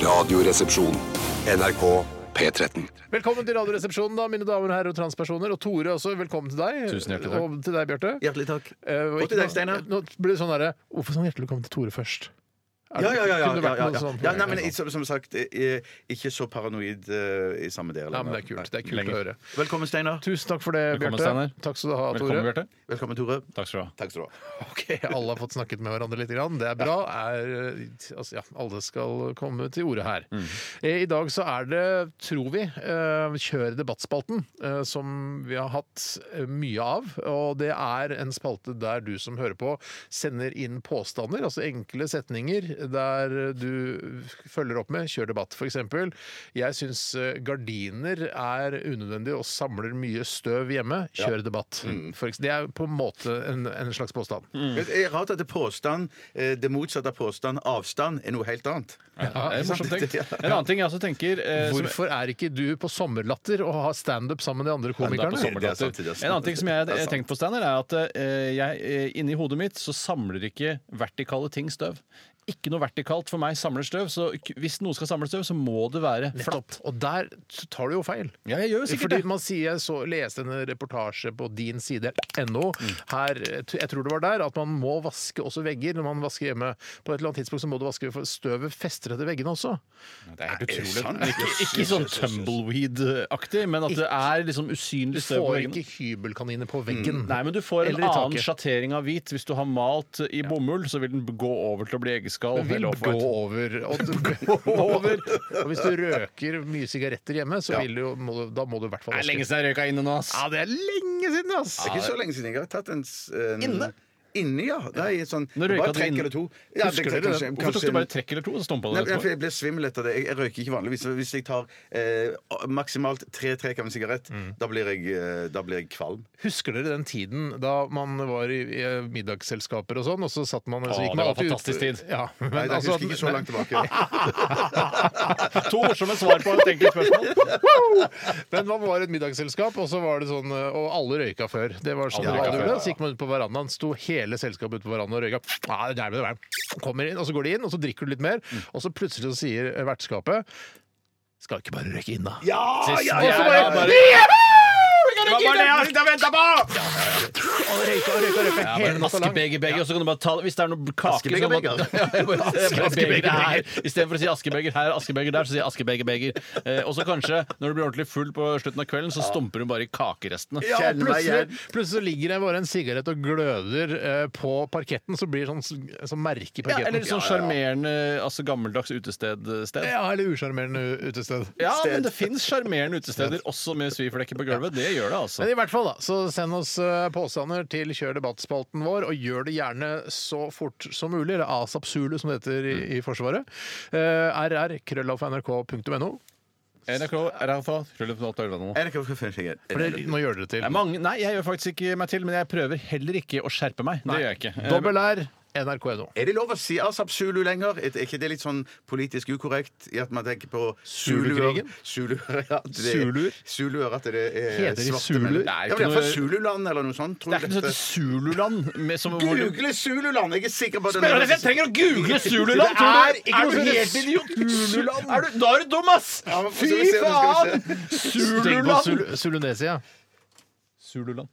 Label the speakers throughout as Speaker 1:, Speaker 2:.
Speaker 1: Radioresepsjon. NRK P13.
Speaker 2: Velkommen til Radioresepsjonen, da, mine damer og herrer og transpersoner. Og Tore også, velkommen til deg.
Speaker 3: Tusen hjertelig takk.
Speaker 2: Og til deg, Bjarte.
Speaker 4: Hjertelig takk.
Speaker 2: Eh, og
Speaker 4: Og
Speaker 2: ikke
Speaker 4: til deg,
Speaker 2: noe-
Speaker 4: Steinar.
Speaker 2: Nå blir det sånn derre Hvorfor sånn hjertelig velkommen til Tore først? Er
Speaker 4: Ja,
Speaker 2: det-
Speaker 4: ja, ja. ja,
Speaker 2: kunne det
Speaker 4: ja,
Speaker 2: vært
Speaker 4: ja,
Speaker 2: noe
Speaker 4: ja.
Speaker 2: sånn-
Speaker 4: ja nei, men jeg- som, som sagt, jeg er ikke så paranoid eh, i samme del.
Speaker 2: Ja, men det er kult. Det er kult
Speaker 3: Lenger.
Speaker 2: å høre.
Speaker 4: Velkommen, Steinar.
Speaker 2: Tusen takk for det,
Speaker 3: Velkommen,
Speaker 2: Bjarte.
Speaker 3: Steinar.
Speaker 2: Takk skal du ha, Tore.
Speaker 3: Velkommen, Bjarte.
Speaker 4: Velkommen, Tore.
Speaker 3: Takk skal du ha.
Speaker 4: Takk skal du ha.
Speaker 2: Ok, Alle har fått snakket med hverandre litt. Grann. Det er bra. Er, eh, altså, ja, alle skal komme til orde her. Eh, I dag så er det, tror vi, eh, Kjør debattspalten, eh, som vi har hatt eh, mye av. Og det er en spalte der du som hører på, sender inn påstander, altså enkle setninger, der du følger opp med Kjør debatt, f.eks. Jeg syns eh, gardiner er unødvendig og samler mye støv hjemme. Kjør debatt. For eks- det er på en måte en, en slags påstand.
Speaker 4: Mm. Det er rart at det, påstand, eh, det motsatte av påstand, avstand, er noe helt annet.
Speaker 3: Ja, det er morsomt tenkt.
Speaker 4: Ja.
Speaker 3: En annen ting jeg også tenker eh, som-
Speaker 2: Hvorfor er ikke du på sommerlatter og har standup sammen med de andre
Speaker 3: Det er på
Speaker 2: komikerne?
Speaker 4: sommer- Det er
Speaker 3: sommerdatter.
Speaker 4: sant, det er sant.
Speaker 3: En annen ting som jeg
Speaker 4: Det er
Speaker 3: har
Speaker 4: sant.
Speaker 3: tenkt på, Steiner, er at eh, jeg, eh, inni hodet mitt så samler ikke vertikale ting støv. Ikke noe vertikalt for meg samler støv, så k- hvis noe skal samle støv, så må det være
Speaker 2: Nettopp.
Speaker 3: flatt.
Speaker 2: Og der tar du jo feil.
Speaker 3: Ja, jeg gjør jo sikkert
Speaker 2: Fordi
Speaker 3: det.
Speaker 2: man sier, jeg så, leste en reportasje på din side, NO,
Speaker 3: Mm.
Speaker 2: her, jeg tror det var der, at man må vaske også vegger når man vasker hjemme. På et eller annet tidspunkt så må du vaske, for støvet fester etter veggene også.
Speaker 3: Det er helt
Speaker 4: Er det
Speaker 3: utrolig.
Speaker 4: sant?
Speaker 3: Ikke, ikke sånn tumbleweed-aktig, men at det er liksom
Speaker 2: Du
Speaker 3: usynlig støv på
Speaker 2: får
Speaker 3: veggene. Mm.
Speaker 2: ikke hybelkaniner på veggen.
Speaker 3: Nei, men du får en
Speaker 2: Eller i
Speaker 3: annen
Speaker 2: taket.
Speaker 3: sjattering av hvit. Hvis du har malt i bomull, så vil den b- gå over til å bli eggeskall.
Speaker 2: Den vil
Speaker 3: eller
Speaker 2: gå
Speaker 3: oppvart.
Speaker 2: over. Og, over. og hvis du røker mye sigaretter hjemme, så vil du, jo- må, du- da må du i hvert fall
Speaker 3: Det er lenge siden jeg røyka inne nå, ass.
Speaker 2: Ja, det er lenge siden, ass!
Speaker 4: Det er ikke så lenge siden jeg har tatt en, s- en
Speaker 3: Inne?
Speaker 4: Inni, ja. Nei, sånn,
Speaker 3: Nå røyka
Speaker 4: bare
Speaker 3: du
Speaker 4: trekk
Speaker 3: inn.
Speaker 4: eller to. Ja, det-
Speaker 3: Husker dere
Speaker 4: kanskje-
Speaker 3: det? Hvorfor tok
Speaker 4: kanskje
Speaker 3: du
Speaker 4: en-
Speaker 3: bare trekk eller to, og så stompa
Speaker 4: Nei,
Speaker 3: du
Speaker 4: men jeg
Speaker 3: etterpå?
Speaker 4: jeg blir svimmel etter det. Jeg, jeg røyker ikke vanligvis. så Hvis jeg tar eh, maksimalt tre trekk av en sigarett,
Speaker 2: Mm.
Speaker 4: da, blir jeg, eh, da blir jeg kvalm.
Speaker 2: Husker dere den tiden da man var i, i eh, middagsselskaper og sånn, og så satt man og så
Speaker 3: Å,
Speaker 2: gikk
Speaker 3: det
Speaker 2: man
Speaker 3: var
Speaker 2: alltid ut-
Speaker 3: fantastisk tid.
Speaker 2: Ja, men
Speaker 4: Nei, jeg
Speaker 2: altså-
Speaker 4: husker ikke så langt tilbake.
Speaker 3: To morsomme svar på et enkelt spørsmål.
Speaker 2: Men man var i et middagsselskap, og så var det sånn Og alle røyka før. Det var sånn
Speaker 3: Alle
Speaker 2: det
Speaker 3: røyka
Speaker 2: var.
Speaker 3: før, ja.
Speaker 2: Så gikk man ut på verandaen, sto hele selskapet ute på verandaen og røyka. Ja, det er det der. Kommer inn, og så går de inn, og så drikker du litt mer,
Speaker 3: Mm.
Speaker 2: og så plutselig så sier eh, vertskapet Skal ikke bare røyke inn, da? Ja,
Speaker 3: ja,
Speaker 2: og så
Speaker 3: ja,
Speaker 2: bare,
Speaker 3: ja, bare-
Speaker 2: «Juhu! Vi kan røyke inn, da!»
Speaker 3: og venta på!
Speaker 2: Og røyka og røyka, og røyka hele natta lang.
Speaker 3: Askebegerbeger, og så kan du bare ta Hvis det er noe kake liksom,
Speaker 4: Askebegerbeger.
Speaker 3: at- Ja, jeg bare- jeg bare
Speaker 2: Askebegerbeger.
Speaker 3: beger her. Istedenfor å si askebeger her, askebeger der, så sier jeg askebegerbeger. Eh, og så kanskje, når du blir ordentlig full på slutten av kvelden, så stumper du bare i kakerestene.
Speaker 2: Ja, og
Speaker 4: Kjenner meg
Speaker 2: plutselig, plutselig så ligger det bare en sigarett og gløder eh, på parketten, så blir det sånn, sånn merke i
Speaker 3: Ja,
Speaker 2: parketten.
Speaker 3: eller sånn sjarmerende, altså gammeldags utestedsted.
Speaker 2: Ja, eller usjarmerende utested.
Speaker 3: Ja,
Speaker 4: Sted.
Speaker 3: men det fins sjarmerende utesteder også med sviflekker på gulvet. Det gjør det, altså.
Speaker 2: Men i hvert fall da, så send oss eh, påstander til Kjør debatt-spalten vår, og gjør det gjerne så fort som mulig, eller asap zulu som det heter i, i Forsvaret. Uh, rr krøllalfa.nrk.no.
Speaker 3: NRK, RFA, Rulleplatt, Ørland.
Speaker 4: Er det ikke hvorfor jeg er-
Speaker 2: For det- Nå gjør dere det
Speaker 3: Det er
Speaker 2: til.
Speaker 3: mange, nei, jeg gjør faktisk ikke meg til, men jeg prøver heller ikke å skjerpe meg. Det gjør jeg ikke. Eh,
Speaker 2: Dobbel R, nrk.no.
Speaker 4: Er det lov å si Asap Zulu lenger? Er er ikke det litt sånn politisk ukorrekt i at man tenker på
Speaker 2: Zulukrigen?
Speaker 4: Zuluer? ja, at det-
Speaker 3: Zuluer?
Speaker 4: Zuluer, at det er
Speaker 2: Heter de
Speaker 4: svarte
Speaker 2: zuluer?
Speaker 4: menn.
Speaker 3: Det er
Speaker 4: Ja,
Speaker 3: ikke
Speaker 4: men det er fra
Speaker 3: noe-
Speaker 4: Zululand eller noe sånt.
Speaker 3: Det
Speaker 4: Tror
Speaker 3: er ikke noe sånn- sånt Zululand med, som, hvor du-
Speaker 4: Google Zululand! Jeg er sikker på at
Speaker 3: Men jeg trenger å google Zululand!
Speaker 2: Det
Speaker 3: tror
Speaker 2: er ikke noe som heter
Speaker 3: idiot? Er du, da er du dum, ass!
Speaker 4: Ja, men
Speaker 3: Fy
Speaker 4: skal vi se, skal vi
Speaker 3: faen!
Speaker 2: Tenk på
Speaker 3: Zululand!
Speaker 2: Zul- Zulunesia.
Speaker 3: Zululand.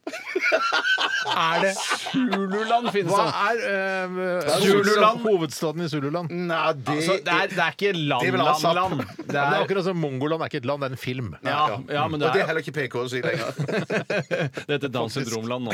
Speaker 2: Er det
Speaker 3: Zululand finnes
Speaker 2: Hva
Speaker 3: det.
Speaker 2: er eh,
Speaker 3: Zululand.
Speaker 2: hovedstaden i Zululand?
Speaker 4: Nei, det,
Speaker 3: Altså, det, er, det er ikke
Speaker 4: Det er vel Asap.
Speaker 3: land-land-land. Det
Speaker 2: Det er
Speaker 3: er
Speaker 2: akkurat som Mongoland er ikke et land, det er en film.
Speaker 3: ja, ja, men det
Speaker 4: Og det er
Speaker 3: er
Speaker 4: heller ikke PK å si lenger.
Speaker 3: Det heter Downs syndrom-land nå.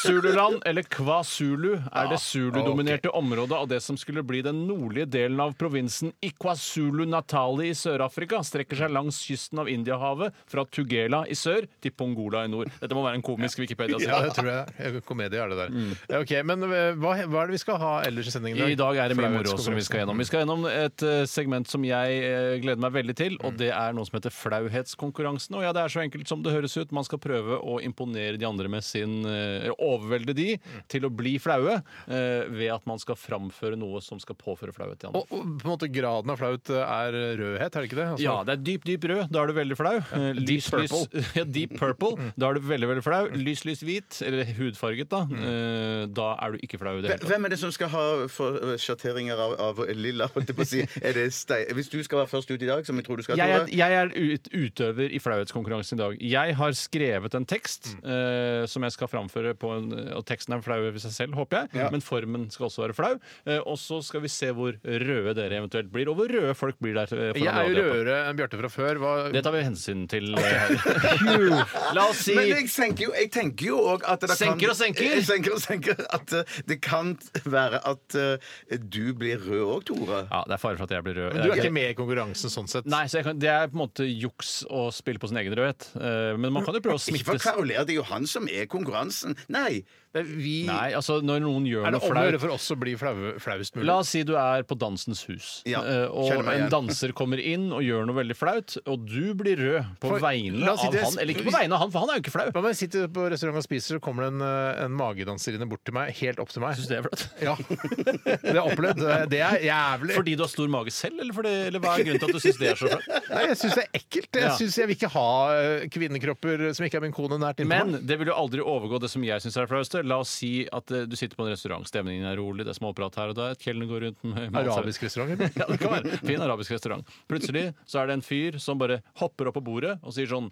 Speaker 3: Zululand, eller Kwasulu, er det zulu-dominerte området av det som skulle bli den nordlige delen av provinsen KwaZulu-Natali i Sør-Afrika. Strekker seg langs kysten av Indiahavet, fra Tugela i sør til Pongola i nord. Dette må være en komisk
Speaker 2: Ja,
Speaker 3: Wikipedia-side.
Speaker 2: det tror jeg. Komedie er det der. Ja, Ok, Men eh, hva, hva er det vi skal ha ellers Mm. i sendingen?
Speaker 3: I dag er det mye moro
Speaker 2: Flauhetskonkurranse.
Speaker 3: som vi skal gjennom. Vi skal gjennom et eh, segment som jeg eh, gleder meg veldig til, og det er noe som heter flauhetskonkurransen. Og ja, det er så enkelt som det høres ut. Man skal prøve å imponere de andre med sin eh, Overvelde de til å bli flaue eh, ved at man skal framføre noe som skal påføre flauhet til andre.
Speaker 2: Og, og på en måte graden av flaut eh, er rødhet, er det ikke det? Altså,
Speaker 3: Ja, det er dyp, dyp rød. Da er du veldig flau. Eh, Mm.
Speaker 2: Deep
Speaker 3: lys, lys- ja, deep purple. Da er du veldig, veldig flau. Lys, lys hvit, eller hudfarget, da. eh, Da er du ikke flau i det hele tatt.
Speaker 4: Hvem er det som skal ha for eh, sjatteringer av, av lilla? holdt jeg på å Si? Er det stein... Hvis du skal være først ut i dag, som jeg tror du skal
Speaker 3: Jeg er,
Speaker 4: Tore,
Speaker 3: jeg er ut, utøver i flauhetskonkurransen i dag. Jeg har skrevet en tekst
Speaker 2: Mm.
Speaker 3: eh, som jeg skal framføre på en Og teksten er flau ved seg selv, håper jeg, men formen skal også være flau. Eh, og så skal vi se hvor røde dere eventuelt blir, og hvor røde folk blir der. eh, foran
Speaker 2: Jeg er jo
Speaker 3: radioapparatet.
Speaker 2: rødere enn Bjarte fra før. Hva,
Speaker 3: Det tar vi hensyn til. eh, her. La oss si
Speaker 4: Men jeg tenker jo, jeg tenker jo også at det
Speaker 3: Senker
Speaker 4: kan,
Speaker 3: og senker.
Speaker 4: Jeg senker og senker At eh, det kan være at eh, du blir rød òg, Tore.
Speaker 3: Ja, det er fare for at jeg blir rød.
Speaker 2: men du er ikke med i konkurransen sånn sett.
Speaker 3: Nei, så jeg kan, Det er på en måte juks å spille på sin egen rødhet. Eh, Men man kan jo prøve å
Speaker 4: Ikke for å
Speaker 3: smittes.
Speaker 4: kverulere, det er jo han som er konkurransen. Nei!
Speaker 2: Det er Eh, Vi,
Speaker 3: Nei, altså når noen gjør
Speaker 2: er det
Speaker 3: noe
Speaker 2: om å gjøre
Speaker 3: flaut
Speaker 2: for oss å bli flau, flauest mulig?
Speaker 3: La oss si du er på Dansens hus,
Speaker 4: Ja,
Speaker 3: eh,
Speaker 4: kjenner
Speaker 3: og
Speaker 4: meg
Speaker 3: en
Speaker 4: igjen.
Speaker 3: danser kommer inn og gjør noe veldig flaut, og du blir rød på
Speaker 2: For-
Speaker 3: vegne
Speaker 2: la oss si
Speaker 3: av
Speaker 2: det-
Speaker 3: han. Eller ikke på vegne av han, for han er jo ikke flau.
Speaker 2: Hva om jeg sitter på restaurant og spiser, så kommer det en, eh, en magedanserinne bort til meg, helt opp til meg.
Speaker 3: Synes det er flaut.
Speaker 2: Ja. Det har jeg opplevd. Det er jævlig.
Speaker 3: Fordi du har stor mage selv, eller, fordi, eller hva er grunnen til at du syns det er så flaut?
Speaker 2: Nei, jeg syns det er ekkelt. Jeg
Speaker 3: Ja.
Speaker 2: synes jeg vil ikke ha eh, kvinnekropper som ikke er min kone, nært innpå meg.
Speaker 3: Men det vil jo aldri overgå det som jeg syns er det flaueste. La oss si at eh, du sitter på en restaurant, stemningen er rolig, det er småprat her og der, kjellene går rundt med med-
Speaker 2: Arabisk restaurant. eller?
Speaker 3: Ja, det kan være. Fin arabisk restaurant. Plutselig så er det en fyr som bare hopper opp på bordet og sier sånn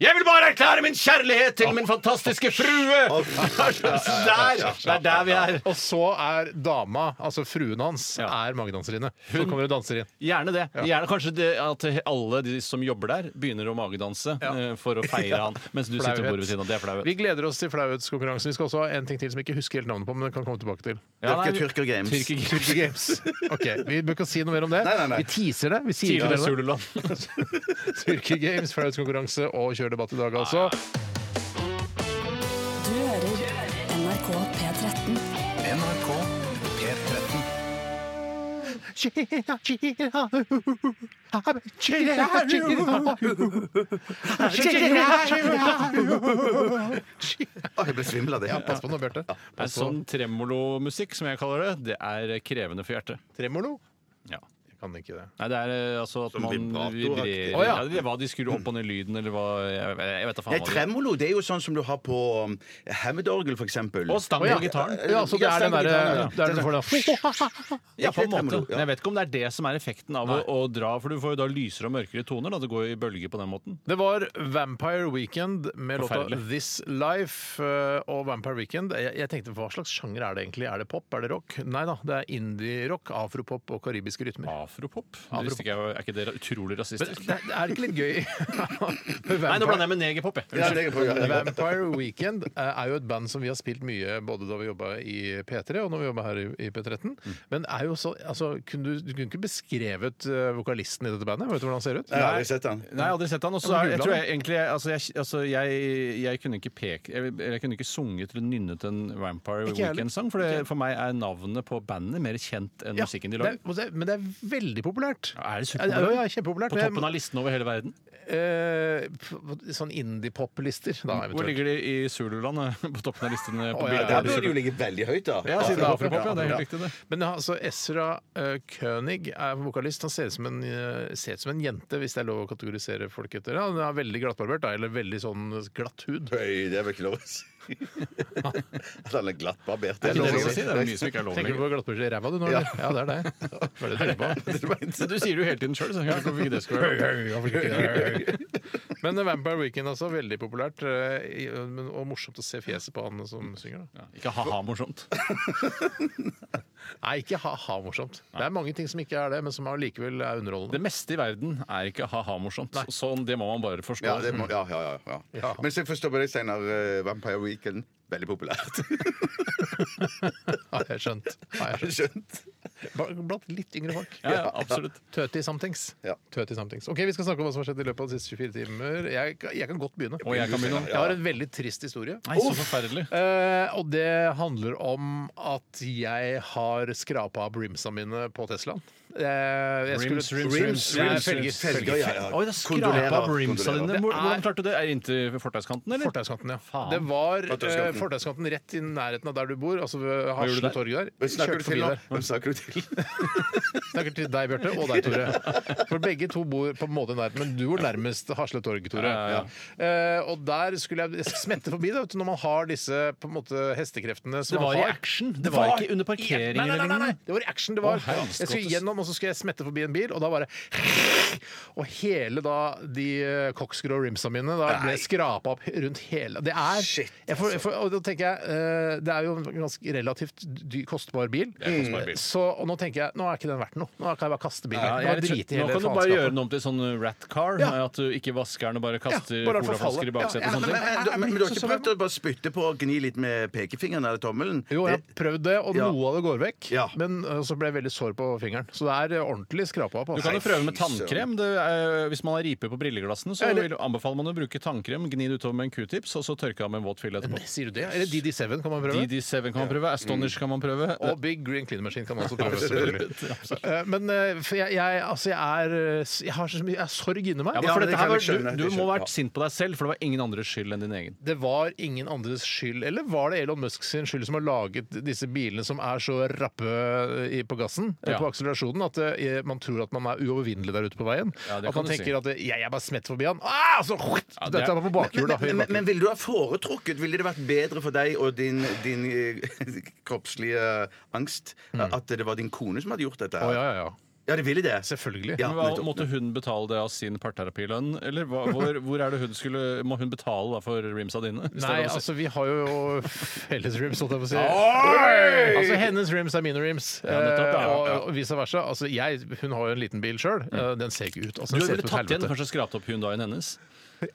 Speaker 3: jeg vil bare erklære min kjærlighet til min fantastiske frue! Så Der, det er der vi er.
Speaker 2: Og så er dama, altså fruen hans,
Speaker 3: Ja.
Speaker 2: er magedanserinne. Så kommer hun og danser inn.
Speaker 3: Gjerne det. Gjerne kanskje det at alle de som jobber der, begynner å magedanse eh, for å feire han. Mens du sitter på bordet ved siden av. Det er flaut.
Speaker 2: Vi gleder oss til flauhetskonkurransen. Vi skal også ha en ting til som jeg ikke husker helt navnet på, men den kan komme tilbake til.
Speaker 3: Ja, nei, vi-
Speaker 4: Tyrker Games.
Speaker 3: Tyrker Games.
Speaker 2: Turkey Games. Ok, Vi bør ikke si noe mer om det.
Speaker 4: Nei, nei, nei.
Speaker 2: Vi teaser det. Vi sier det.
Speaker 3: Tidligere Sululand.
Speaker 2: Turkey Games, flauhetskonkurranse og kjør debatt i dag, altså.
Speaker 5: Du hører NRK P13.
Speaker 1: NRK P13.
Speaker 4: Å, jeg ble svimmel av det.
Speaker 2: Ja, pass på nå, Bjarte.
Speaker 3: Det er sånn tremolomusikk, som jeg kaller det, det er krevende for hjertet.
Speaker 2: Tremolo?
Speaker 3: Ja.
Speaker 2: Jeg kan ikke det.
Speaker 3: Nei, det er eh, altså at
Speaker 4: Som
Speaker 3: man
Speaker 4: vibratoraktig.
Speaker 3: vibrerer
Speaker 2: Å, ja.
Speaker 3: ja, det- Hva de skrur opp og ned lyden, eller hva Jeg, jeg vet da faen hva det
Speaker 4: Nei,
Speaker 3: er.
Speaker 4: tremolo det er jo sånn som du har på um, Hammond-orgel, for eksempel. eh,
Speaker 3: Og stang
Speaker 2: Å, ja.
Speaker 3: på gitaren.
Speaker 2: Ja, så det er den derre Det er den for
Speaker 3: Ja, på en
Speaker 4: det er
Speaker 3: måte.
Speaker 4: tremolo, ja.
Speaker 3: Men jeg vet ikke om det er det som er effekten av å, å dra, for du får jo da lysere og mørkere toner. Da. Det går jo i bølger på den måten.
Speaker 2: Det var Vampire Weekend med låta
Speaker 3: Forferdelig.
Speaker 2: This Life. eh, Og Vampire Weekend jeg, jeg tenkte, hva slags sjanger er det egentlig? Er det pop? Er det rock? Nei da, det er indie-rock, afropop og karibiske rytmer.
Speaker 3: Afropop? Det visste ikke jeg, er ikke det ra- utrolig
Speaker 2: Men
Speaker 3: rasistisk?
Speaker 2: det, det er ikke litt gøy?
Speaker 3: Nei, nå
Speaker 2: Vampire-
Speaker 3: blander jeg med negerpop, jeg.
Speaker 4: Ja, det er på, ja, ja.
Speaker 2: Vampire Weekend eh, er jo et band som vi har spilt mye både da vi jobba i P3 og når vi jobba her i i P13. Men er jo så, altså, kunne du, du kunne ikke beskrevet eh, vokalisten i dette bandet? Vet du hvordan han ser ut?
Speaker 4: Ja, jeg har sett den.
Speaker 3: Nei, jeg har aldri sett han. Og så
Speaker 2: Jeg må
Speaker 3: er- jeg
Speaker 2: google
Speaker 3: tror
Speaker 2: han.
Speaker 3: jeg egentlig altså jeg, altså jeg, jeg kunne ikke peke jeg, jeg kunne ikke sunget eller nynnet en Vampire
Speaker 2: Ikke jeg
Speaker 3: Weekend-sang, for, det- for meg er navnet på bandet mer kjent enn
Speaker 2: Ja,
Speaker 3: musikken de
Speaker 2: det er,
Speaker 3: lager.
Speaker 2: og det er- men det er veldig populært.
Speaker 3: Ja, er det
Speaker 2: Ja,
Speaker 3: superpopulært?
Speaker 2: ja, kjempepopulært.
Speaker 3: På toppen av listen over hele verden?
Speaker 2: Eh, p- sånn indie-pop-lister, da,
Speaker 3: Hvor
Speaker 2: eventuelt.
Speaker 3: ligger de i Zululand? eh, På toppen av listen? eh, På
Speaker 2: Å, ja,
Speaker 3: bildet?
Speaker 2: ja,
Speaker 4: Der burde det jo ligge veldig høyt, da.
Speaker 3: Ja, siden det er
Speaker 2: Afropop,
Speaker 3: Afropop, ja. Det er
Speaker 2: ja.
Speaker 3: helt riktig, det.
Speaker 2: Men ja, altså, Ezra eh, König er vokalist. Han ser ut, som en, eh, ser ut som en jente, hvis det er lov å kategorisere folk etter. det. Han er veldig glattbarbert, da, eller veldig sånn glatt hud.
Speaker 4: Høy, det er vel ikke lov å si. At han er glattbarbert.
Speaker 2: Det er lov å
Speaker 3: si, det er mye som ikke er lov
Speaker 2: Tenker du
Speaker 3: lenger.
Speaker 2: på glattbarbert i ræva du nå, eller? Ja, det er det. Hva er det du tenker på?
Speaker 3: Så Du sier det jo hele tiden sjøl, så jeg hvorfor ikke det skulle være lov?
Speaker 2: Men eh, Vampire Weekend, altså. Veldig populært. eh, i- men- Og morsomt å se fjeset på han som synger. da
Speaker 3: Ja, Ikke ha-ha morsomt.
Speaker 2: Nei, ikke ha-ha morsomt. Det er mange ting som ikke er det, men som allikevel er underholdende.
Speaker 3: Det meste i verden er ikke ha-ha morsomt. Sånn, Det må man bare forstå.
Speaker 4: Ja, det må, ja, ja, ja, ja.
Speaker 2: Ja.
Speaker 4: Men så forstår jeg deg senere, eh, Vampire Weekend. Veldig populært.
Speaker 2: Har jeg skjønt. Har jeg skjønt.
Speaker 4: Skjønt?
Speaker 2: Bare Blant litt yngre folk.
Speaker 3: Ja, ja, absolutt.
Speaker 2: Tøti somethings.
Speaker 4: Ja.
Speaker 2: Tøti somethings. Ok, Vi skal snakke om hva som har skjedd i løpet av de siste 24 timer. Jeg, kan- jeg kan godt begynne.
Speaker 3: Og jeg kan begynne.
Speaker 2: Jeg har en veldig trist historie.
Speaker 3: Nei, så forferdelig.
Speaker 2: Eh, og det handler om at jeg har skrapa brimsa mine på Teslaen. Eh, jeg
Speaker 3: Rims,
Speaker 2: skulle-
Speaker 3: rims, rims,
Speaker 2: Nei,
Speaker 3: rims,
Speaker 2: felger.
Speaker 3: rims,
Speaker 2: felger.
Speaker 4: Felger, ja, ja.
Speaker 3: Oi, det
Speaker 4: Kondolerer,
Speaker 3: skrapa brimsa
Speaker 4: kondolerer.
Speaker 3: dine.
Speaker 2: Det
Speaker 3: Hvor-
Speaker 2: er-
Speaker 3: Hvordan klarte du det? Er det inntil fortauskanten, eller?
Speaker 2: Fortauskanten, ja.
Speaker 3: Faen.
Speaker 2: Det var eh,
Speaker 4: Fortauskanten.
Speaker 2: Fortauskanten rett i nærheten av der du bor, altså ved
Speaker 3: gjorde du
Speaker 2: Hasle
Speaker 3: der?
Speaker 2: torg der. Kjørte
Speaker 4: Snakker du til
Speaker 2: forbi
Speaker 4: nå?
Speaker 2: der.
Speaker 4: Snakker du snakker du til?
Speaker 2: Snakker til deg, Bjarte, og deg, Tore. For begge to bor på en måte nært, men du bor nærmest Hasle Torg, Tore.
Speaker 3: Ja,
Speaker 2: Eh, og der skulle jeg smette forbi, da, vet du, når man har disse på en måte hestekreftene som
Speaker 3: Det var
Speaker 2: man
Speaker 3: i
Speaker 2: har.
Speaker 3: action. Det var ikke under
Speaker 2: Nei,
Speaker 3: parkeringen
Speaker 2: nei, nei, nei,
Speaker 3: eller
Speaker 2: nei.
Speaker 3: lignende.
Speaker 2: Det var i action det var.
Speaker 3: Å, herregud.
Speaker 2: jeg skulle gjennom, og så skulle jeg smette forbi en bil, og da bare Og hele da de eh, koksgrå rimsa mine da ble skrapa opp rundt hele Det er
Speaker 4: Shit,
Speaker 2: jeg får,
Speaker 3: altså.
Speaker 2: jeg får, Og da tenker jeg eh, Det er jo en ganske relativt dy, kostbar bil.
Speaker 3: er en kostbar bil.
Speaker 2: Mm. Så, og nå tenker jeg Nå er ikke den verdt noe. Nå kan jeg bare kaste bilen.
Speaker 3: Ja,
Speaker 2: Nå
Speaker 3: jeg
Speaker 2: driter
Speaker 3: tror-
Speaker 2: jeg i
Speaker 3: nå
Speaker 2: hele
Speaker 3: kan du bare gjøre
Speaker 2: faenskapet.
Speaker 3: den om til sånn eh, rat car.
Speaker 2: Ja.
Speaker 3: At du ikke vasker den og bare kaster
Speaker 2: bare forfalle.
Speaker 3: colaflasker i baksetet.
Speaker 2: Ja,
Speaker 3: og
Speaker 2: ja, men-
Speaker 3: sånne ting.
Speaker 4: Men,
Speaker 2: er- er-
Speaker 4: men, men du har
Speaker 2: så-
Speaker 4: ikke
Speaker 2: så-
Speaker 4: prøvd å bare spytte på og gni litt med pekefingeren eller tommelen?
Speaker 2: Jo, jeg har
Speaker 4: Det-
Speaker 2: prøvd det, og
Speaker 4: Ja.
Speaker 2: noe av det går vekk.
Speaker 4: Ja.
Speaker 2: Men eh, så ble jeg veldig sår på fingeren. Så det er eh, ordentlig skrapa opp.
Speaker 3: Du kan jo
Speaker 2: Altså.
Speaker 3: prøve med
Speaker 4: fy søren.
Speaker 3: tannkrem. Det er, hvis man har ripe på brilleglassene, så
Speaker 2: Eller-
Speaker 3: vil, anbefaler man å bruke tannkrem. Gni det utover med en q-tips, og så tørke av med en våt fille etterpå.
Speaker 2: Sier du det? Eller DD7 kan man prøve.
Speaker 3: DD7 kan man prøve. Astonish kan man prøve.
Speaker 2: Og Big Green Clean Machine kan også prøves.
Speaker 3: Absolutt.
Speaker 2: Eh, Men eh, for jeg, jeg, altså, jeg, er, eh, jeg har så mye jeg har sorg inni meg.
Speaker 3: Ja, men
Speaker 4: Ja,
Speaker 3: for
Speaker 4: det
Speaker 3: dette
Speaker 4: kan
Speaker 3: her var,
Speaker 4: jeg skjønne,
Speaker 3: du,
Speaker 4: det
Speaker 3: du må ha
Speaker 4: skjønner jeg.
Speaker 3: vært sint på deg selv, for det var ingen andres skyld enn din egen.
Speaker 2: Det var ingen andres skyld, eller var det Elon Musk sin skyld som har laget disse bilene som er så rappe i, på gassen, eh,
Speaker 3: Ja.
Speaker 2: på akselerasjonen, at eh, man tror at man er uovervinnelig der ute på veien?
Speaker 3: Ja, det
Speaker 2: at
Speaker 3: kan
Speaker 2: man
Speaker 3: du
Speaker 2: tenker
Speaker 3: si.
Speaker 2: at eh, jeg er bare smett forbi han, ah, så
Speaker 3: det er-
Speaker 2: dette er på bakhjul, da. høyre
Speaker 4: Men, men,
Speaker 2: bakhjul.
Speaker 4: men ville du ha foretrukket Ville det vært bedre for deg og din, din eh, kroppslige angst at det var din kone som hadde gjort dette?
Speaker 2: Å,
Speaker 4: her?
Speaker 2: ja, ja, ja.
Speaker 4: ja, det ville det.
Speaker 2: Selvfølgelig.
Speaker 4: Ja,
Speaker 3: Men hva,
Speaker 4: nettopp.
Speaker 3: måtte hun betale det av sin parterapilønn, eller hva, hvor, hvor er det hun skulle Må hun betale da for rimsa dine? Hvis det er
Speaker 2: Nei,
Speaker 3: lov å si.
Speaker 2: altså vi har jo felles rims, holdt jeg på å si.
Speaker 4: Oi!
Speaker 2: Altså hennes rims er mine rims,
Speaker 3: nettopp, ja,
Speaker 2: eh, og-
Speaker 3: ja.
Speaker 2: og vice versa. Altså jeg, Hun har jo en liten bil sjøl, den ser ikke ut. Altså,
Speaker 3: Du
Speaker 2: den ser
Speaker 3: ville
Speaker 2: ut
Speaker 3: tatt igjen
Speaker 2: helvete.
Speaker 3: kanskje skrapt opp Hyundaien hennes?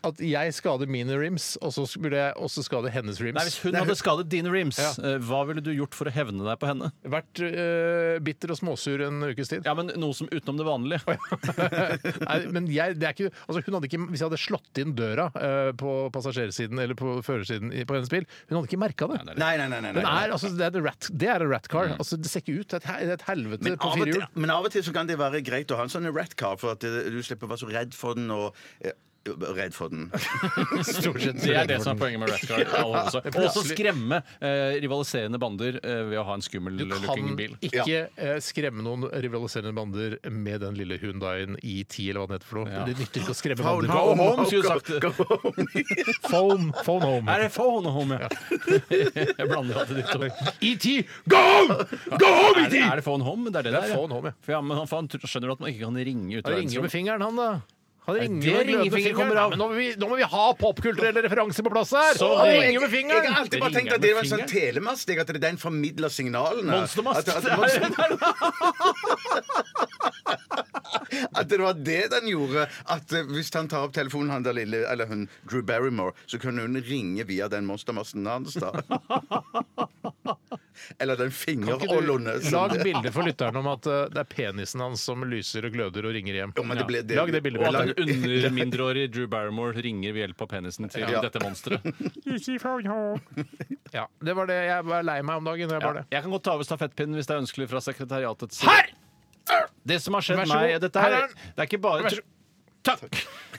Speaker 2: At jeg skader mine rims, og så burde jeg også skade hennes rims.
Speaker 3: Nei, Hvis hun hadde skadet dine rims,
Speaker 2: Ja.
Speaker 3: eh, hva ville du gjort for å hevne deg på henne?
Speaker 2: Vært eh, bitter og småsur en ukes tid.
Speaker 3: Ja, men Noe som utenom det vanlige.
Speaker 2: Nei, men jeg, det er ikke, altså hun hadde ikke, Hvis jeg hadde slått inn døra eh, på passasjersiden eller på førersiden i- på hennes bil, hun hadde ikke merka det.
Speaker 4: Nei, nei, nei. nei,
Speaker 2: Den
Speaker 4: nei.
Speaker 2: er, altså, det, er en rat, det er en rat car.
Speaker 3: Mm.
Speaker 2: Altså, det ser ikke ut. Det er et, he- det er et helvete
Speaker 4: Men
Speaker 2: på
Speaker 4: av, og
Speaker 2: fire
Speaker 4: til,
Speaker 2: hjul.
Speaker 4: men av og til så kan det være greit å ha en sånn rat-car, for at eh, du slipper å være så redd for den og eh, Redd for den.
Speaker 2: Stort sett.
Speaker 3: Det er det som er poenget med Rat Guard. Og så skremme eh, rivaliserende bander eh, ved å ha en skummel
Speaker 2: Du kan
Speaker 3: looking bil.
Speaker 2: ikke eh, skremme noen rivaliserende bander med den lille Hyundaien i10 eller hva den heter for noe. Det nytter ikke å skremme bander.
Speaker 3: Go home, skulle du sagt.
Speaker 4: Go home.
Speaker 2: Phone, phone home.
Speaker 3: Er det phone home, ja? Jeg blander alltid ditt ord.
Speaker 2: ET, go home! Go home,
Speaker 3: Er det, er det phone home? Det er det
Speaker 2: Det
Speaker 3: der,
Speaker 2: er
Speaker 3: ja.
Speaker 2: phone home, ja.
Speaker 3: For ja, men han, for han tr- skjønner at man ikke kan ringe ut
Speaker 2: Han ringer jo
Speaker 3: av
Speaker 2: med
Speaker 3: verdensrommet.
Speaker 2: fingeren, han da. Han ringer jo
Speaker 3: det
Speaker 2: med glødende
Speaker 3: ringefingeren kommer
Speaker 2: fingeren.
Speaker 3: av.
Speaker 2: Men nå må, vi, nå må vi ha popkulturelle referanser på plass her!
Speaker 3: Så
Speaker 2: han
Speaker 3: det-
Speaker 2: ringer jo med
Speaker 4: Jeg har
Speaker 2: fingeren!
Speaker 4: alltid bare tenkt at det var en sånn telemast, jeg, at det er den formidler signalene.
Speaker 3: Monstermast!
Speaker 4: At, at, monster- At det var det den gjorde. At eh, hvis han tar opp telefonen, han der lille, eller hun Drew Barrymore, så kunne hun ringe via den monstermassen hans, da. eller den fingerolone. som-
Speaker 2: Lag bilde for lytteren om at eh, det er penisen hans som lyser og gløder og ringer hjem.
Speaker 4: Jo, men det ble det.
Speaker 2: Lag det bildet.
Speaker 3: Og at
Speaker 2: Lag-
Speaker 3: en undermindreårig Drew Barrymore ringer ved hjelp av penisen til
Speaker 4: Ja.
Speaker 3: dette monsteret.
Speaker 2: Ja, det var det. Jeg var lei meg om dagen. Jeg var det.
Speaker 3: Jeg kan godt ta over stafettpinnen hvis det er ønskelig fra sekretariatets
Speaker 2: Her!
Speaker 3: Det som har skjedd
Speaker 2: Vær så
Speaker 3: meg
Speaker 2: god.
Speaker 3: dette her,
Speaker 2: Her er den.
Speaker 3: Det er ikke bare
Speaker 2: Vær så-
Speaker 3: Takk!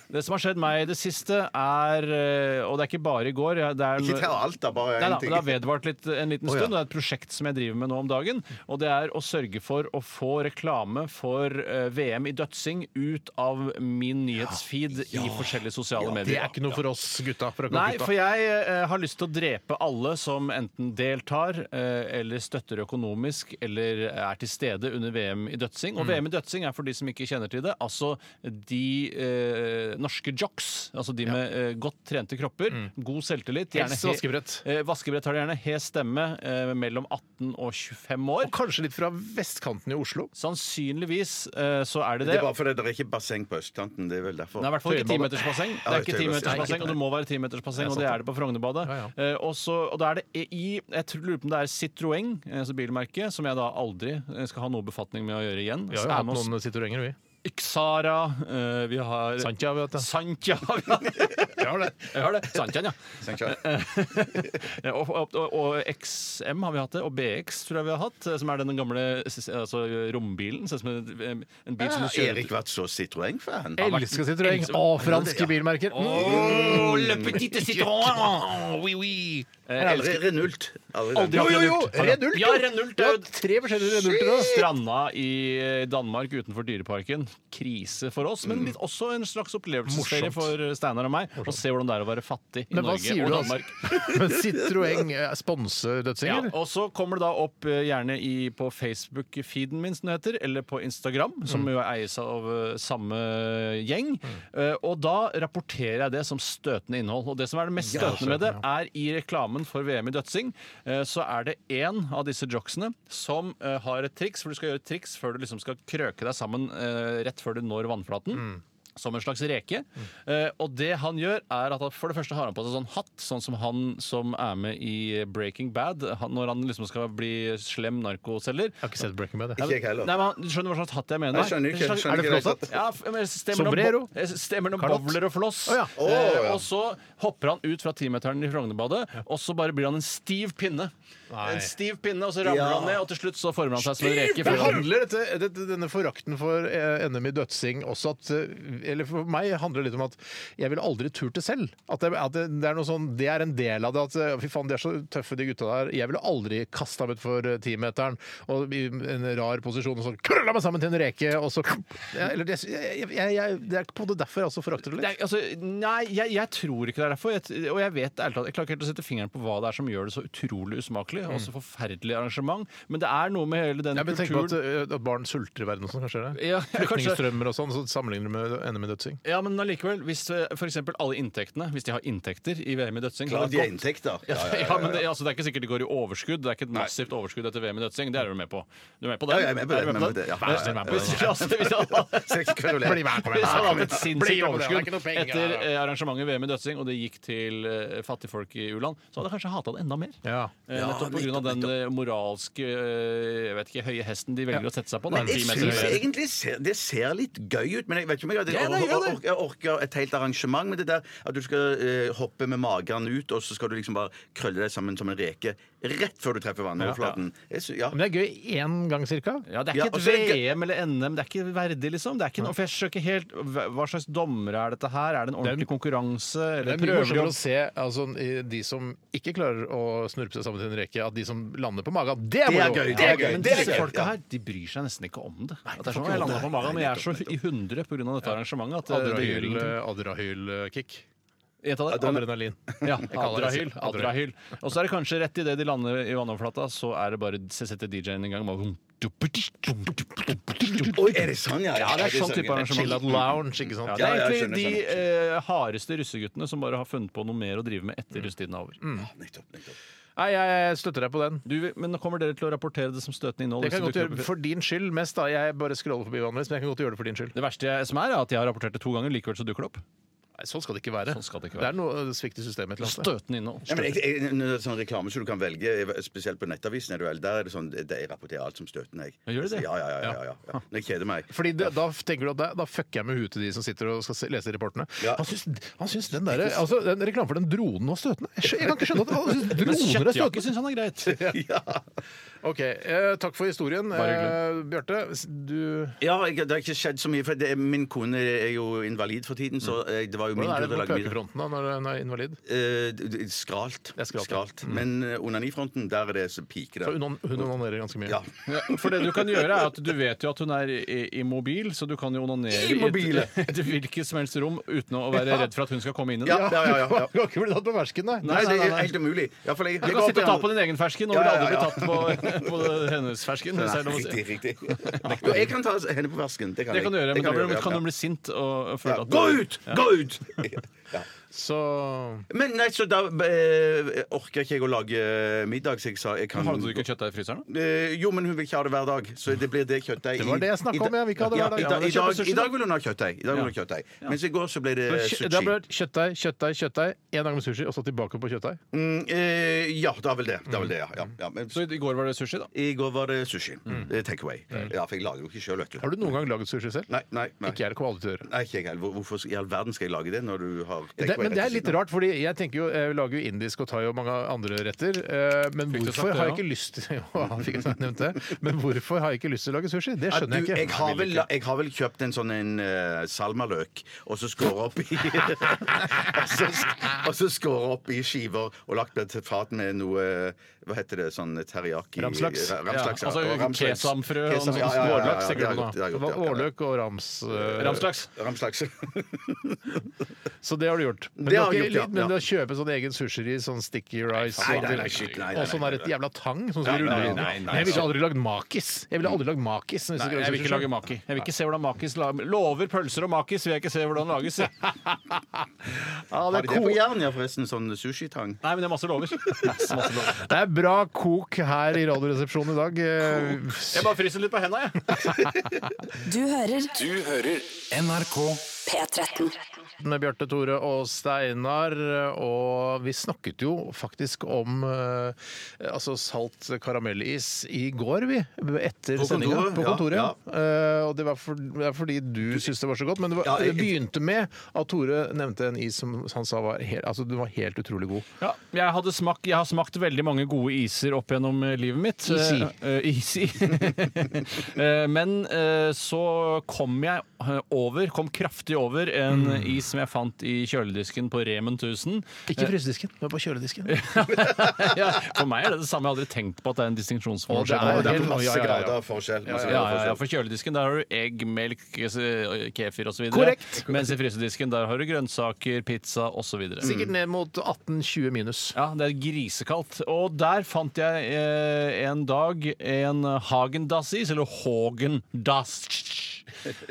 Speaker 3: Det som har skjedd meg i det siste, er eh, Og det er ikke bare i går. jeg- Det er
Speaker 4: Ikke ta alt, da.
Speaker 3: Nei,
Speaker 4: Bare én
Speaker 3: da, men
Speaker 4: ting.
Speaker 3: det har vedvart litt, eh, en liten
Speaker 4: Å, ja.
Speaker 3: stund. Det er et prosjekt som jeg driver med nå om dagen. Og det er å sørge for å få reklame for eh, VM i dødsing ut av min nyhetsfeed i forskjellige sosiale
Speaker 2: Det
Speaker 3: medier.
Speaker 2: er ikke noe for oss gutta. fra
Speaker 3: Nei,
Speaker 2: Calcutta.
Speaker 3: for jeg eh, har lyst til å drepe alle som enten deltar eh, eller støtter økonomisk eller er til stede under VM i
Speaker 2: Mm.
Speaker 3: dødsing. Og VM i dødsing er for de som ikke kjenner til det, altså de eh, norske jocks. Altså de med eh, godt trente kropper, god selvtillit. gjerne
Speaker 2: Mm. Helst
Speaker 3: he-
Speaker 2: vaskebrett.
Speaker 3: Eh, vaskebrett har de gjerne hes stemme eh, mellom 18 og 25 år.
Speaker 2: Og kanskje litt fra vestkanten i Oslo.
Speaker 3: Sannsynligvis eh, så er det
Speaker 4: Det
Speaker 3: det.
Speaker 4: er bare fordi det er ikke basseng på østkanten. Det er vel derfor.
Speaker 3: Det er i hvert fall ikke
Speaker 2: Tøyenbadet.
Speaker 3: timetersbasseng. Det
Speaker 4: det
Speaker 3: er
Speaker 4: er
Speaker 3: ikke
Speaker 4: tøyenbasseng.
Speaker 3: timetersbasseng, og det må være timetersbasseng, og det er det på Frognerbadet.
Speaker 2: Ja, ja.
Speaker 3: Eh, og så- og da er det i Jeg tror lurer på om det er Citroën, eh, altså bilmerket, som jeg da aldri eh, skal ha noe befatning med å gjøre igjen.
Speaker 2: Vi har
Speaker 3: Så
Speaker 2: jo
Speaker 3: er
Speaker 2: hatt
Speaker 3: med oss
Speaker 2: noen Citroënger, vi.
Speaker 3: Xara, eh, vi har
Speaker 2: Santia, vet du.
Speaker 3: Santja. Vi har det. Vi har det. Santjan, ja. Eh, Og, og, og, og XM har vi hatt det, og BX tror jeg vi har hatt, eh, som er den gamle altså, rombilen. Ser ut som en, en bil som du
Speaker 4: Har
Speaker 3: kjører
Speaker 4: Erik vært så Citroën-fan?
Speaker 2: Elsker Citroën. Å, franske bilmerker. Mm.
Speaker 3: Oh, le petit Citroën! Oui, oui. Eh,
Speaker 4: Aldri
Speaker 3: elsker-
Speaker 4: Renult. Aldri
Speaker 3: Aldri hatt
Speaker 4: Renult.
Speaker 2: Jo, jo,
Speaker 3: Renult.
Speaker 2: jo, Renult,
Speaker 3: Ja,
Speaker 2: jo.
Speaker 3: Renult
Speaker 2: Du
Speaker 3: er
Speaker 2: har
Speaker 3: jo
Speaker 2: tre forskjellige renulter nå.
Speaker 3: Stranda i eh, Danmark utenfor Dyreparken. Krise for oss, men litt også en slags opplevelsesferie
Speaker 2: Mm. Morsomt.
Speaker 3: for eh, Steinar og meg. Å se hvordan det er å være fattig i
Speaker 2: Men hva
Speaker 3: Norge
Speaker 2: sier
Speaker 3: og
Speaker 2: du, altså?
Speaker 3: Danmark.
Speaker 2: Men Citroën eh, sponser
Speaker 3: Ja,
Speaker 2: dødsengel?
Speaker 3: og så kommer det da opp eh, gjerne i, på Facebook-feeden min, som det heter, eller på Instagram, som
Speaker 2: Mm.
Speaker 3: jo eies av eh, samme gjeng. Eh, og da rapporterer jeg det som støtende innhold. Og det som er det mest støtende med det, er i reklamen for VM i dødsing, eh, så er det én av disse jocksene som eh, har et triks, for du skal gjøre et triks før du liksom skal krøke deg sammen eh, rett før du når vannflaten.
Speaker 4: Mm.
Speaker 3: Som en slags reke. Eh, og det han gjør, er at han for det første har han på seg sånn hatt, sånn som han som er med i Breaking Bad. Han, når han liksom skal bli slem narkoselger.
Speaker 2: Jeg har ikke sett Breaking Bad. jeg.
Speaker 4: Ikke jeg heller.
Speaker 3: Nei, men han- Du skjønner hva slags hatt jeg mener?
Speaker 4: Jeg skjønner ikke,
Speaker 3: En slags- er
Speaker 4: skjønner
Speaker 3: det
Speaker 4: ikke
Speaker 3: flott
Speaker 4: det.
Speaker 3: hatt? Ja, f- men stemmer noen
Speaker 2: Sombrero?
Speaker 3: bo- eh, Stemmer noen
Speaker 2: Kalott?
Speaker 3: bowler og floss.
Speaker 2: Å, ja.
Speaker 3: Eh,
Speaker 4: Å, ja.
Speaker 3: Og så hopper han ut fra timeteren i Frognerbadet, og så bare blir han en stiv pinne.
Speaker 2: Nei.
Speaker 3: En stiv pinne, Og så ramler
Speaker 4: Ja.
Speaker 3: han ned, og til slutt så former han seg som en reke.
Speaker 2: Men
Speaker 3: før han-
Speaker 2: handler dette, dette, denne forakten for eh, NM i dødsing også at eh, Eller for meg handler det litt om at jeg ville aldri turt det selv. At det, at det, det er noe sånn, det er en del av det. At eh, fy faen, de er så tøffe, de gutta der. Jeg ville aldri kasta meg utfor timeteren og i en rar posisjon og så krølla meg sammen til en reke, og så ja, eller, det, jeg, jeg, jeg, det er på en måte derfor jeg også forakter det
Speaker 3: Det
Speaker 2: litt.
Speaker 3: er, altså, nei, jeg, jeg tror ikke det er derfor. Jeg, og jeg vet ærlig talt, jeg klarer ikke helt å sette fingeren på hva det er som gjør det så utrolig usmakelig. Og så forferdelig arrangement. Men det er noe med hele den
Speaker 2: Ja, men tenk på at,
Speaker 3: kulturen
Speaker 2: eh, at barn sulter i verden og sånn, kanskje? er det?
Speaker 3: Ja, kanskje.
Speaker 2: Flyktningstrømmer og sånn, så sammenligner du med NM i dødsing.
Speaker 3: Ja, men allikevel, hvis f.eks. alle inntektene, hvis de har inntekter i VM i dødsing
Speaker 4: Klart de
Speaker 3: da-
Speaker 4: er inntekter.
Speaker 3: ja, ja, men det, altså, det er ikke sikkert de går i overskudd. Det er ikke et massivt overskudd etter VM i dødsing. Det er du med på? Du er med på det?
Speaker 4: Ja, jeg er med på det,
Speaker 3: du
Speaker 4: men- men det- ja.
Speaker 3: Vær så snill, vær med på det. Altså, hvis alle-
Speaker 4: Så jeg kan jo le.
Speaker 2: Bli med, kom igjen.
Speaker 3: Hvis han hadde
Speaker 2: Bli
Speaker 3: et sinnssykt
Speaker 2: med på det, det er
Speaker 3: overskudd
Speaker 2: ikke noe penger.
Speaker 3: etter eh, arrangementet VM i dødsing, og det gikk til eh, fattigfolk i u-land, så hadde jeg kanskje hata det enda mer.
Speaker 2: Ja.
Speaker 3: Eh,
Speaker 4: Ja,
Speaker 3: nettopp pga.
Speaker 4: nettopp,
Speaker 3: den eh, moralske eh, jeg vet ikke, høye hesten de velger å sette seg på. Da,
Speaker 4: Men
Speaker 3: en
Speaker 4: jeg
Speaker 3: time etter
Speaker 4: synes
Speaker 3: VM.
Speaker 4: egentlig ser, Det ser litt gøy ut, men jeg vet ikke om jeg hadde
Speaker 3: Ja, det gjør det.
Speaker 4: or- or- orker, orker et helt arrangement med det der at du skal eh, hoppe med magen ut, og så skal du liksom bare krølle deg sammen som en reke rett før du treffer vannoverflaten. Jeg sy- Ja.
Speaker 2: Men det er gøy én gang cirka.
Speaker 3: Ja, Det er
Speaker 4: Ja,
Speaker 3: ikke
Speaker 4: og så er
Speaker 3: et
Speaker 4: det gøy-
Speaker 3: VM eller NM. Det er ikke verdig, liksom. Det er ikke noe, for jeg skjønner ikke helt hva hva slags dommere er dette her? Er det en ordentlig konkurranse?
Speaker 2: Det
Speaker 3: Eller
Speaker 2: er mye
Speaker 3: prøver de
Speaker 2: morsommere
Speaker 3: å
Speaker 2: å se altså, i- de som ikke klarer å snurpe seg sammen til en reke, at de som lander på magen, det er
Speaker 4: Det er
Speaker 2: moro!
Speaker 4: gøy, det
Speaker 2: Ja,
Speaker 4: er gøy,
Speaker 3: Men
Speaker 4: det er
Speaker 3: disse
Speaker 4: gøy,
Speaker 3: folka
Speaker 4: ja.
Speaker 3: her de bryr seg nesten ikke om det. At det er sånn,
Speaker 4: folk
Speaker 3: jeg
Speaker 4: gjør
Speaker 3: landet
Speaker 4: det.
Speaker 3: på magen, men jeg er
Speaker 4: Nei,
Speaker 3: så i hundre pga. dette arrangementet at eh, det gjør
Speaker 2: Adrahyl-
Speaker 3: ingenting.
Speaker 2: Adrahyl-kick.
Speaker 3: Et av det-
Speaker 2: Adrenalin.
Speaker 3: Ja,
Speaker 2: Jeg kaller
Speaker 3: Adrahyl.
Speaker 2: det-
Speaker 3: Adrahyl. Og så er det kanskje rett idet de lander i vannoverflata, så er det bare så setter DJ-en i gang. med-
Speaker 4: Oi, er det sånn, ja?
Speaker 3: Ja, det er sånn type
Speaker 4: ja.
Speaker 2: Chill
Speaker 3: arrangement.
Speaker 2: out lounge, ikke sant?
Speaker 3: Ja, det
Speaker 4: Ja,
Speaker 3: er
Speaker 4: ja, jeg
Speaker 3: egentlig
Speaker 4: skjønner,
Speaker 3: de eh, hardeste russeguttene som bare har funnet på noe mer å drive med etter russetiden er over.
Speaker 4: Mm. Nettopp, nettopp.
Speaker 2: Nei, jeg støtter deg på den.
Speaker 3: Du, men nå kommer dere til å rapportere det som støtende innhold?
Speaker 2: Det kan jeg
Speaker 3: hvis
Speaker 2: godt
Speaker 3: det dukker
Speaker 2: gjøre
Speaker 3: opp i-
Speaker 2: for din skyld mest, da. Jeg bare scroller forbi vanligvis, men jeg kan godt gjøre det for din skyld.
Speaker 3: Det verste jeg, som er, er at jeg har rapportert det to ganger, likevel så dukker det opp.
Speaker 2: Nei, sånn skal det ikke være.
Speaker 3: Sånn skal det ikke
Speaker 2: er noe svikt i systemet et eller annet sted.
Speaker 3: Støtende innhold.
Speaker 4: Ja, men jeg, jeg, når det er sånn reklame som du kan velge, spesielt på Nettavisen, er det vel, der er det sånn det, Jeg rapporterer alt som støtende, jeg.
Speaker 3: Gjør du det?
Speaker 4: Ja, ja, ja. ja, ja, ja. Når jeg kjeder meg.
Speaker 2: Fordi det, Da tenker du at det, da fucker jeg med huet til de som sitter og skal se- lese rapportene.
Speaker 4: Ja.
Speaker 2: Han, syns, han syns den der, altså, den reklamen for den dronen var støtende. Jeg, skjø- jeg kan ikke skjønne at han syns
Speaker 3: Men
Speaker 2: droner er støtende.
Speaker 3: kjøttjakke syns han er greit.
Speaker 2: Ok, eh, Takk for historien, eh, Bjarte. s- Du
Speaker 4: Ja, jeg, det har ikke skjedd så mye, for det, min kone er jo invalid for tiden,
Speaker 3: Mm.
Speaker 4: så eh, det var jo min
Speaker 2: Hvordan er
Speaker 4: tur
Speaker 2: det
Speaker 4: til å
Speaker 2: på
Speaker 4: lage middag.
Speaker 2: køkefronten da, når hun er invalid?
Speaker 4: Eh, d- d- skralt.
Speaker 2: er skralt, ja.
Speaker 3: Mm.
Speaker 4: Men eh, onanifronten, der er det så piker
Speaker 2: Så hun
Speaker 4: det.
Speaker 2: on- hun onanerer ganske mye.
Speaker 4: Ja.
Speaker 3: For det du kan gjøre, er at du vet jo at hun er i- immobil, så du kan jo onanere i et, et hvilket som helst rom uten å være redd for at hun skal komme inn i det.
Speaker 4: Ja, ja, ja, ja, ja.
Speaker 2: Du har ikke blitt tatt på fersken, nei?
Speaker 4: Nei, det
Speaker 3: nei,
Speaker 4: er
Speaker 3: nei.
Speaker 4: helt umulig. Ja, for jeg,
Speaker 3: Du
Speaker 4: jeg
Speaker 3: kan
Speaker 4: går
Speaker 3: sitte og
Speaker 4: opp i
Speaker 3: ta
Speaker 4: andre-
Speaker 3: på din egen fersken, og
Speaker 4: Ja,
Speaker 3: vil
Speaker 4: ja,
Speaker 3: aldri bli
Speaker 4: ja.
Speaker 3: tatt på, på hennes fersken. hvis det er lov å si.
Speaker 4: Riktig, riktig. Jo, jeg kan ta henne på fersken. Det kan
Speaker 3: Det kan du
Speaker 4: jeg.
Speaker 3: gjøre, men
Speaker 4: Det
Speaker 3: da
Speaker 4: jeg
Speaker 3: blir-
Speaker 4: gjøre,
Speaker 3: kan
Speaker 4: ja.
Speaker 3: hun bli sint og
Speaker 4: Ja.
Speaker 3: føle at
Speaker 4: Gå ut! Gå ut! Ja.
Speaker 2: Så
Speaker 4: Men nei, så da eh, orker ikke jeg å lage eh, middag, så jeg sa jeg kan
Speaker 3: Hadde du ikke kjøttdeig i fryseren? da?
Speaker 4: Eh, jo, men hun vil ikke ha det hver dag. Så det blir det kjøttdeig.
Speaker 2: Det var
Speaker 4: i-
Speaker 2: det jeg snakket
Speaker 4: i da-
Speaker 2: om, ja, vi ikke ha det hver dag.
Speaker 4: i
Speaker 2: Ja, men
Speaker 4: I, dag,
Speaker 2: kjøpe sushi,
Speaker 4: i dag vil hun ha kjøttdeig. I dag vil hun ha
Speaker 3: Ja.
Speaker 4: kjøttdeig. Mens i går så ble det Eh, sushi.
Speaker 2: Det har blitt kjøttdeig, kjøttdeig, kjøttdeig. Én dag med sushi, og så tilbake på kjøttdeig.
Speaker 4: Mm, eh, ja, da vel det. Da vel det ja, ja,
Speaker 2: Mm.
Speaker 4: ja. Men,
Speaker 3: Så i går var det sushi, da?
Speaker 4: I går var det sushi. Eh, Take away. Ja, for jeg lager jo ikke sjøl, vet du.
Speaker 2: Har du noen gang laget sushi selv?
Speaker 4: Nei, nei, nei.
Speaker 2: Ikke jeg er kvaletør.
Speaker 4: Nei, ikke jeg heller. Hvor- Hvorfor i all verden skal jeg lage det når du har
Speaker 2: Det, det, men det er litt rart, fordi jeg tenker jo, jeg lager jo indisk og thai og mange andre retter. eh, Men
Speaker 3: Fikk du sagt
Speaker 2: hvorfor
Speaker 3: det,
Speaker 2: har
Speaker 3: ja?
Speaker 2: jeg ikke lyst til Ja, jeg fikk sagt- nevnt det. Men hvorfor har jeg ikke lyst til å lage sushi? Det
Speaker 4: Ja, du,
Speaker 2: skjønner jeg
Speaker 4: jeg,
Speaker 2: ikke.
Speaker 4: har vel, jeg har vel kjøpt en sånn en eh, salmaløk, og så skåret opp i og, så, sk- og så skåret opp i skiver og lagt det til fat med noe eh, Hva heter det? Sånn teriyaki
Speaker 2: Ramslaks.
Speaker 4: Ja, ramslaks,
Speaker 3: Ja, altså
Speaker 4: og ramslaks.
Speaker 3: kesamfrø og
Speaker 4: Kesam-
Speaker 3: noe sånt.
Speaker 4: ja, ja, ja, ja,
Speaker 3: Vårlaks,
Speaker 4: ja,
Speaker 3: tenker du på
Speaker 4: det har jeg
Speaker 3: nå?
Speaker 4: gjort, det har jeg
Speaker 2: Det
Speaker 4: gjort,
Speaker 2: var
Speaker 4: ja, ja,
Speaker 2: Årløk og rams... eh,
Speaker 3: Ramslaks.
Speaker 4: Ramslaks.
Speaker 2: Så det har du gjort. Men
Speaker 4: Det
Speaker 2: det
Speaker 4: har
Speaker 2: har
Speaker 4: jeg
Speaker 2: ikke,
Speaker 4: gjort, ja.
Speaker 2: litt- men
Speaker 4: Ja.
Speaker 2: det å kjøpe sånn egen sushiri, sånn sticky rice
Speaker 4: Nei,
Speaker 2: og-
Speaker 4: nei, nei, shit, nei, nei,
Speaker 2: Og sånn
Speaker 4: nei,
Speaker 2: der et jævla tang som skal
Speaker 3: Nei,
Speaker 2: rulle
Speaker 3: nei,
Speaker 2: rundt.
Speaker 3: nei, nei,
Speaker 2: Men Jeg
Speaker 4: altså.
Speaker 2: ville aldri lagd makis. Jeg ville aldri lagd makis. hvis
Speaker 3: Nei,
Speaker 2: skulle
Speaker 3: jeg vil ikke
Speaker 2: sushi.
Speaker 3: lage maki. Jeg vil ikke se hvordan makis la- Lover pølser og makis, vil jeg ikke se hvordan lages. Nei,
Speaker 2: Ja,
Speaker 4: Har
Speaker 2: det
Speaker 4: de
Speaker 2: er
Speaker 4: det på
Speaker 2: ko-
Speaker 4: Jæren, ja, forresten? Sånn sushitang?
Speaker 3: men det er masse lover. Masse, masse lover.
Speaker 2: Det er bra kok her i Radioresepsjonen i dag. Eh,
Speaker 3: Jeg bare fryser litt på henda, jeg.
Speaker 5: Du hører
Speaker 6: Du hører
Speaker 1: NRK
Speaker 5: P13.
Speaker 2: med Bjarte Tore og Steinar. Og vi snakket jo faktisk om eh, altså salt karamellis i går, vi. Etter
Speaker 4: På
Speaker 2: sendinga.
Speaker 4: kontoret,
Speaker 2: På
Speaker 4: ja,
Speaker 2: kontoret.
Speaker 4: ja.
Speaker 2: Eh, og det var, for, det er fordi du syntes det var så godt. Men det, var,
Speaker 4: Ja, jeg-
Speaker 2: det begynte med at Tore nevnte en is som han sa var helt, altså, den var helt utrolig god.
Speaker 3: Ja, jeg, hadde smak, jeg har smakt veldig mange gode iser opp gjennom eh, livet mitt.
Speaker 2: Isi.
Speaker 3: Eh, eh, isi. Eh, Men eh, så kom jeg eh, over, kom kraftig over, en
Speaker 2: Mm.
Speaker 3: is som jeg fant i kjøledisken på Remen 1000.
Speaker 2: Ikke frysedisken, men på kjøledisken.
Speaker 3: Ja, For meg er det det samme. Jeg har aldri tenkt på at det er en
Speaker 2: Og det
Speaker 3: distinksjonsforskjell.
Speaker 2: er
Speaker 4: Det er
Speaker 2: helt-
Speaker 4: masse
Speaker 2: ja, ja, ja.
Speaker 4: grader av forskjell. Masse
Speaker 3: Ja, ja,
Speaker 4: grader av
Speaker 3: ja,
Speaker 4: forskjell.
Speaker 3: for kjøledisken der har du egg, melk, eh, kefir osv.
Speaker 2: Korrekt.
Speaker 3: Mens i frysedisken der har du grønnsaker, pizza osv.
Speaker 2: Sikkert ned mot 18-20 minus.
Speaker 3: Ja, det er grisekaldt. Og der fant jeg eh, en dag en Hagen-dass-is, eller Hågen-dass.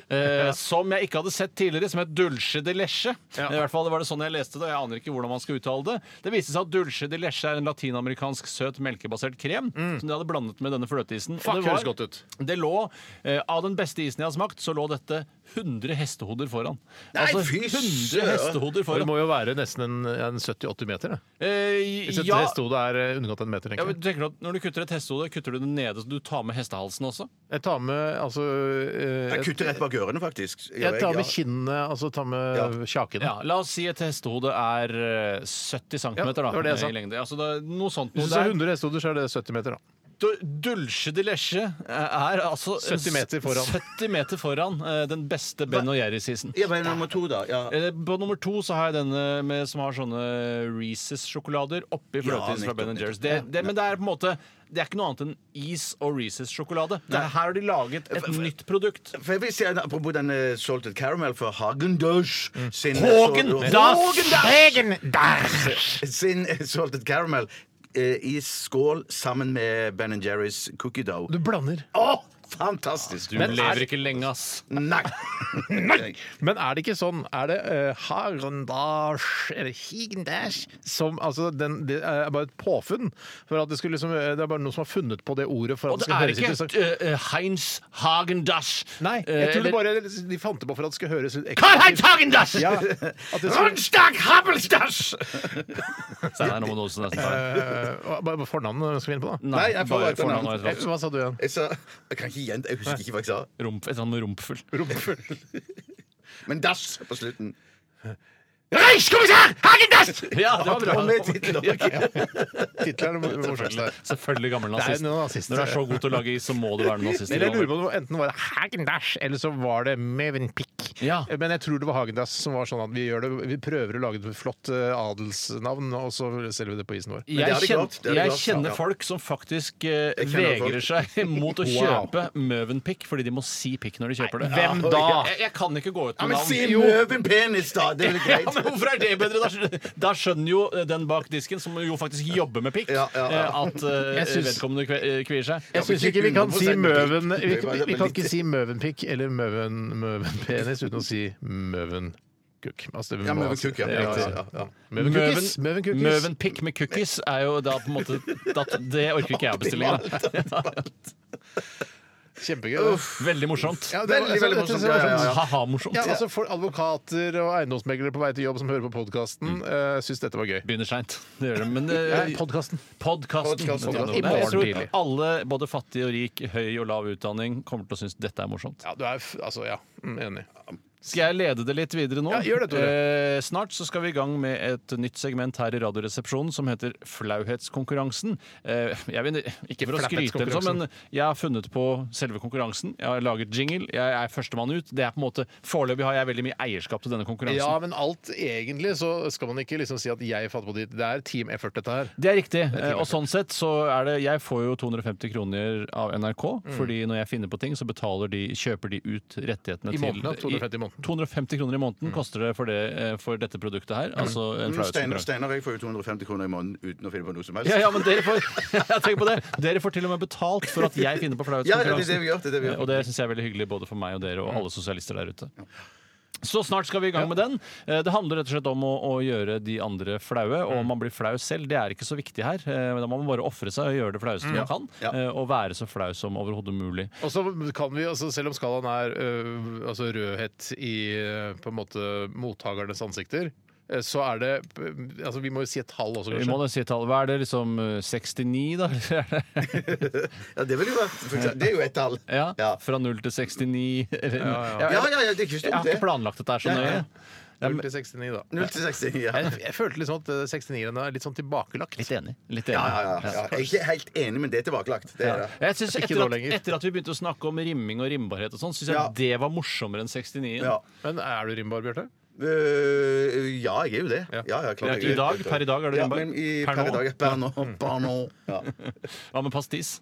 Speaker 3: Eh, som jeg ikke hadde sett tidligere, som het Dulce de Leche.
Speaker 2: Ja.
Speaker 3: I hvert fall var det sånn jeg leste det, og jeg aner ikke hvordan man skal uttale det. Det viste seg at Dulce de Leche er en latinamerikansk søt melkebasert krem som de hadde blandet med denne fløteisen.
Speaker 2: Mm.
Speaker 3: Og
Speaker 2: Fuck,
Speaker 3: det var-
Speaker 2: høres godt ut.
Speaker 3: Det lå, eh, Av den beste isen jeg hadde smakt, så lå dette 100 hestehoder foran.
Speaker 4: Nei,
Speaker 3: altså,
Speaker 4: fy
Speaker 3: 100
Speaker 4: søren!
Speaker 3: hestehoder
Speaker 2: Og Det
Speaker 3: foran.
Speaker 2: må jo være nesten en, en 70-80 meter. Det.
Speaker 3: Eh,
Speaker 2: Hvis et
Speaker 3: ja.
Speaker 2: hestehode er eh, undergått en meter,
Speaker 3: Ja,
Speaker 2: tenker
Speaker 3: men
Speaker 2: jeg.
Speaker 3: du tenker at Når du kutter et hestehode, kutter du det nede, så du tar med hestehalsen også?
Speaker 2: Jeg tar med altså eh,
Speaker 4: Jeg kutter rett bak ørene, faktisk. Gjør
Speaker 2: Jeg tar
Speaker 4: ja.
Speaker 2: med kinnene, altså tar med
Speaker 4: Ja.
Speaker 2: kjakene.
Speaker 3: Ja, La oss si et hestehode er eh, 70 cm
Speaker 2: Ja, det
Speaker 3: da,
Speaker 2: var det jeg sa.
Speaker 3: i lengde. Altså, det er noe sånt.
Speaker 2: Hvis du
Speaker 3: Noe
Speaker 2: ser
Speaker 3: der.
Speaker 2: 100 hestehoder, så er det 70 meter, da.
Speaker 3: Du- Dulce de Leche er altså
Speaker 2: 70 meter foran.
Speaker 3: 70 meter foran eh, den beste Ben og Jerry-season.
Speaker 4: Ja, men nummer to, da. Ja.
Speaker 3: Eh, På nummer to så har jeg denne med, som har sånne Reeces-sjokolader oppi
Speaker 4: Ja,
Speaker 3: fløteis fra
Speaker 4: nettopp,
Speaker 3: Ben Jerry's. Det,
Speaker 4: nettopp.
Speaker 3: det, men det er på en måte Det er ikke noe annet enn is og Reeces-sjokolade. Det er- Her har de laget et nytt produkt.
Speaker 4: For jeg vil si, Apropos denne Salted Caramel fra Hagendash
Speaker 3: Hm.
Speaker 4: sin, äh, sin Salted äh, Caramel eh, i skål sammen med Ben Jerry's cookie dough.
Speaker 2: Du blander.
Speaker 4: Å, fantastisk!
Speaker 3: Du lever ikke lenge, ass.
Speaker 4: Nei!
Speaker 2: Men er det ikke sånn Er det uh, Harendash eller Higendash som Altså, den, det er bare et påfunn. For at det skulle liksom eh, Det er bare noen som har funnet på det ordet for at
Speaker 3: Og
Speaker 2: det
Speaker 3: det
Speaker 2: skal
Speaker 3: er
Speaker 2: høres
Speaker 3: ikke
Speaker 2: interessant
Speaker 3: eh, eh, Heinz eh, Hagendash.
Speaker 2: Nei, jeg tror det bare de fant det på for at det skal høres ut
Speaker 3: Karl-Heinz Hagendash!
Speaker 2: Ja, at det skulle,
Speaker 4: Rundstag Habbelstash!
Speaker 3: Steinar, nå må du også nesten ta den.
Speaker 2: eh, hva- hva- fornavnet skal vi inn på, da?
Speaker 4: Nei, jeg får
Speaker 3: bare
Speaker 4: et eller
Speaker 3: fornavn og
Speaker 4: annet.
Speaker 3: etternavn.
Speaker 2: Eh, Hva sa du igjen?
Speaker 4: Jeg sa Jeg kan ikke gjenta Jeg husker ikke hva jeg sa.
Speaker 3: Rump, et eller annet med rumpfull.
Speaker 4: Men dash på slutten.
Speaker 2: Reichskommissær Hagendash!
Speaker 3: Ja, det var bra.
Speaker 4: Og med tittel også.
Speaker 2: Tittelen er morsom. der.
Speaker 3: Selvfølgelig gammel
Speaker 2: Det er
Speaker 3: nazist.
Speaker 2: noen nazist.
Speaker 3: Når du er så god til å lage is, så må du være nazist.
Speaker 2: Eller jeg lurer på om det var- enten var det Hagendash eller så var det Mevenpick.
Speaker 3: Ja.
Speaker 2: Men jeg tror det var Hagendash som var sånn at vi, gjør det, vi prøver å lage et flott eh, adelsnavn, og så selger vi det på isen vår.
Speaker 4: det
Speaker 3: Jeg,
Speaker 4: er det
Speaker 3: kjen,
Speaker 4: godt, det er det
Speaker 3: jeg
Speaker 4: godt. Ja,
Speaker 3: kjenner
Speaker 4: ja.
Speaker 3: folk som faktisk eh,
Speaker 4: Jeg kjenner
Speaker 3: vegrer seg mot å
Speaker 2: Wow.
Speaker 3: kjøpe Møvenpick fordi de må si pikk når de kjøper det.
Speaker 2: Hvem da?
Speaker 3: Jeg, jeg kan ikke gå ut
Speaker 4: Ja,
Speaker 3: med
Speaker 4: men
Speaker 3: navn.
Speaker 4: si
Speaker 2: Jo.
Speaker 4: Møvenpenis, da! Det er vel
Speaker 3: Ja, men
Speaker 4: greit.
Speaker 3: Hvorfor er det bedre? Da, skjø- da skjønner jo den bak disken, som jo faktisk jobber med pikk,
Speaker 4: Ja, ja, ja.
Speaker 3: eh, at eh,
Speaker 2: Jeg syns-
Speaker 3: vedkommende kve- eh, kvier seg.
Speaker 2: Jeg syns
Speaker 4: men
Speaker 2: ikke vi kan si
Speaker 4: 100%
Speaker 2: Møven
Speaker 4: pikk.
Speaker 2: Vi,
Speaker 4: Det var- det var
Speaker 2: vi kan
Speaker 4: litt-
Speaker 2: ikke si Møvenpick eller Møven Møvenpenis uten å si Møvenkukk. Altså, det
Speaker 4: Ja,
Speaker 2: må
Speaker 4: Møven
Speaker 2: altså-
Speaker 4: Kukk, ja.
Speaker 2: det er
Speaker 4: Ja,
Speaker 2: riktig.
Speaker 4: ja, ja.
Speaker 2: Møvenkukkis.
Speaker 3: Møven-
Speaker 2: Møvenkukkis.
Speaker 3: Møvenpick med cookies er jo da på en måte da, Det orker ikke jeg å bestille. da.
Speaker 2: Kjempegøy. det.
Speaker 3: Veldig morsomt.
Speaker 2: Ja, det var-
Speaker 4: Veldig, veldig
Speaker 2: jeg synes det
Speaker 4: morsomt.
Speaker 2: var
Speaker 4: Ja, ja,
Speaker 2: sånn-
Speaker 4: ja.
Speaker 3: Ha-ha-morsomt.
Speaker 2: Ja, altså for Advokater og eiendomsmeglere på vei til jobb som hører på podkasten, uh, syns dette var gøy.
Speaker 3: Begynner seint. Det gjør det. Men eh,
Speaker 2: Podkasten.
Speaker 3: podkasten
Speaker 4: Podcasten.
Speaker 3: det er noe.
Speaker 2: I morgen
Speaker 3: Jeg tror
Speaker 2: tidlig.
Speaker 3: alle, både fattig og rik, høy og lav utdanning, kommer til å synes dette er morsomt.
Speaker 2: Ja, du er f altså, ja. Mm, enig.
Speaker 3: Skal jeg lede det litt videre nå?
Speaker 2: Ja, gjør det, Tore.
Speaker 3: Eh, snart så skal vi i gang med et nytt segment her i Radioresepsjonen som heter Flauhetskonkurransen. Eh, jeg vil, ikke for å skryte, eller sånn, men jeg har funnet på selve konkurransen. Jeg har laget jingle. Jeg er førstemann ut. Det er på en måte, Foreløpig har jeg veldig mye eierskap til denne konkurransen.
Speaker 2: Ja, men alt egentlig så skal man ikke liksom si at jeg fatter på ditt. Det er Team Effort, dette her.
Speaker 3: Det er riktig. eh, Og sånn sett så er det Jeg får jo 250 kroner av NRK,
Speaker 2: Mm.
Speaker 3: fordi når jeg finner på ting, så betaler de, kjøper de ut rettighetene
Speaker 2: I
Speaker 3: til
Speaker 2: måneden, ja, 250 i måneden. Mm.
Speaker 3: 250 kroner i måneden koster det for, det eh, for dette produktet her. Altså en
Speaker 4: Men Steinar,
Speaker 3: flauhetskonkurranse.
Speaker 4: Steinar og jeg får jo 250 kroner i måneden uten å finne på noe som helst.
Speaker 3: Ja, ja, men dere får, jeg tenker på det. dere får til og med betalt for at jeg finner på
Speaker 4: Ja, Mm. det er det vi
Speaker 3: flauhetskonkurransen.
Speaker 4: gjør. Det er det vi gjør.
Speaker 3: Eh, Og det syns jeg er veldig hyggelig både for meg og dere og alle sosialister der ute. Så snart skal vi i gang med den. Eh, Det handler rett og slett om å, å gjøre de andre flaue. Og
Speaker 4: Mm.
Speaker 3: om man blir flau selv, det er ikke så viktig her. Eh, men Da må man bare ofre seg og gjøre det flaueste man kan.
Speaker 4: Mm. Ja.
Speaker 3: eh, Og være så flau som overhodet mulig.
Speaker 2: Og så kan vi, altså Selv om skalaen er øh, altså rødhet i øh, på en måte mottakernes ansikter, øh, så er det øh, altså Vi må jo si et tall også,
Speaker 3: Vi må
Speaker 2: kanskje.
Speaker 3: da si et tall. Hva er det, liksom eh, 69, da? Eller er det-
Speaker 4: Ja, det vil jo være for eksempel- Det er jo et tall.
Speaker 3: Ja,
Speaker 4: Ja.
Speaker 3: Fra 0 til 69. Eller,
Speaker 4: Ja,
Speaker 3: Jeg, jeg,
Speaker 4: ja, ja, det er ikke
Speaker 3: jeg
Speaker 4: stort,
Speaker 3: har ikke
Speaker 4: det.
Speaker 3: planlagt dette her så
Speaker 4: Ja, ja.
Speaker 3: nøye. Ja, men-
Speaker 2: 0 til 69, da.
Speaker 4: 0 til 60. Ja.
Speaker 2: Jeg, jeg følte liksom at 69-erne er litt sånn tilbakelagt.
Speaker 3: Litt enig. Litt enig.
Speaker 4: Ja, ja, ja, ja. Jeg er ikke helt enig, men det er tilbakelagt. Det er det.
Speaker 3: Jeg synes
Speaker 2: Ikke
Speaker 3: etter,
Speaker 2: nå
Speaker 3: at,
Speaker 2: lenger.
Speaker 3: etter at vi begynte å snakke om rimming og rimbarhet, og sånn, syns jeg
Speaker 4: Ja.
Speaker 3: det var morsommere enn 69.
Speaker 4: Ja.
Speaker 2: Men er du rimbar, Bjarte?
Speaker 4: Øh, ja, jeg er jo det. Ja, ja, klart
Speaker 3: Ja,
Speaker 4: jeg
Speaker 3: i dag, per i dag er du
Speaker 4: ja,
Speaker 3: rimbar.
Speaker 4: men i,
Speaker 3: Per
Speaker 4: per,
Speaker 3: nå.
Speaker 4: i dag. Per nå. Per nå. Ja.
Speaker 3: Hva med pastis?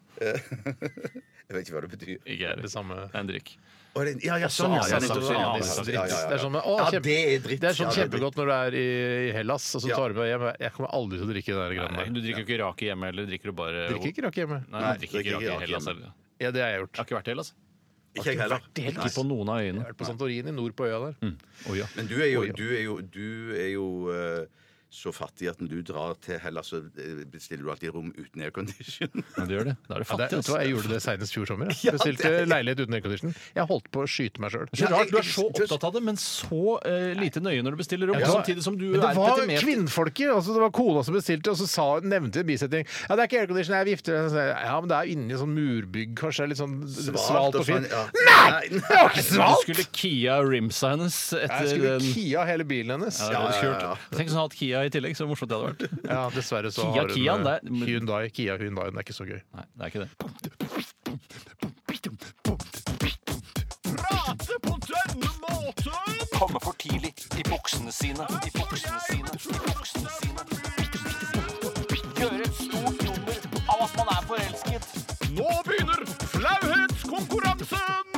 Speaker 4: Jeg vet ikke hva det betyr.
Speaker 3: Ikke jeg.
Speaker 2: Det samme
Speaker 3: Det er en drikk.
Speaker 4: Å, det- Ja, ja, sånn, ja. ja,
Speaker 3: Også
Speaker 4: nettopp, sånn, ja,
Speaker 3: anis og
Speaker 4: ja, ja, ja, ja.
Speaker 2: Det er sånn, med, å,
Speaker 4: Ja,
Speaker 2: kjempe,
Speaker 4: det er dritt.
Speaker 2: det er sånn
Speaker 4: Ja, det er dritt.
Speaker 2: kjempegodt når du er i i Hellas, og så
Speaker 4: Ja.
Speaker 2: tar du med hjem. Jeg kommer aldri til å drikke de der greiene
Speaker 3: Nei,
Speaker 2: der.
Speaker 3: du drikker jo ikke rake hjemme, eller drikker du bare
Speaker 2: Drikker ikke rake hjemme.
Speaker 3: Nei,
Speaker 4: Nei,
Speaker 3: du drikker ikke
Speaker 4: drikker ikke
Speaker 3: rake i
Speaker 4: rake
Speaker 3: Hellas.
Speaker 4: hjemme.
Speaker 3: eller? Jeg
Speaker 2: Ja, det har jeg gjort.
Speaker 3: har ikke vært i Hellas.
Speaker 4: Ikke jeg heller.
Speaker 2: Helt
Speaker 3: Ikke på noen av øyene.
Speaker 2: vært på Santorini, nord på øya der.
Speaker 3: Å, ja.
Speaker 4: Men du er jo, du er jo, du er jo eh, så fattig at når du drar til Hellas, så eh, bestiller du alltid rom uten aircondition.
Speaker 3: Ja, du gjør det. Da
Speaker 2: Ja,
Speaker 3: er du
Speaker 2: det,
Speaker 3: fattig.
Speaker 2: vet du hva,
Speaker 3: altså.
Speaker 2: jeg gjorde det senest fjor sommer.
Speaker 4: Ja,
Speaker 2: Jeg. Bestilte
Speaker 4: det-
Speaker 2: leilighet uten aircondition. Jeg holdt på å skyte meg sjøl.
Speaker 3: Så
Speaker 4: Ja,
Speaker 3: rart, Du er
Speaker 4: jeg-
Speaker 3: så opptatt av det, men så eh, lite nøye når du bestiller rom.
Speaker 2: Ja,
Speaker 3: Samtidig som du
Speaker 2: Men
Speaker 3: er
Speaker 2: det var
Speaker 3: petimeter.
Speaker 2: kvinnfolket! Altså det var kona som bestilte, og så sa, nevnte en bisetning Ja, det er ikke aircondition, jeg er gifter. Så sa jeg, Ja, men det er inni sånn murbygg, kanskje. Litt sånn svalt og fint.
Speaker 4: ja. Nei!
Speaker 2: Det var ikke
Speaker 3: Du
Speaker 2: svalt!
Speaker 3: skulle Kia rimsa hennes
Speaker 2: Jeg
Speaker 3: etter
Speaker 2: skulle
Speaker 3: den.
Speaker 2: kia hele bilen hennes.
Speaker 3: Ja, det
Speaker 2: Ja,
Speaker 3: er
Speaker 4: Ja, ja, ja, ja.
Speaker 3: kult. Tenk hvis han hadde hatt Kia i tillegg, så morsomt det hadde vært.
Speaker 2: dessverre så
Speaker 3: Kia
Speaker 2: har hun
Speaker 3: Kiaen,
Speaker 2: eh,
Speaker 3: det er-
Speaker 2: Hyundai. Kia Hyundai, den er ikke så gøy.
Speaker 3: Nei, det er ikke det.
Speaker 6: Komme for tidlig i buksene sine, i buksene sine, i buksene sine. Gjøre et stort nummer av at man er forelsket.
Speaker 3: Nå begynner flauhetskonkurransen!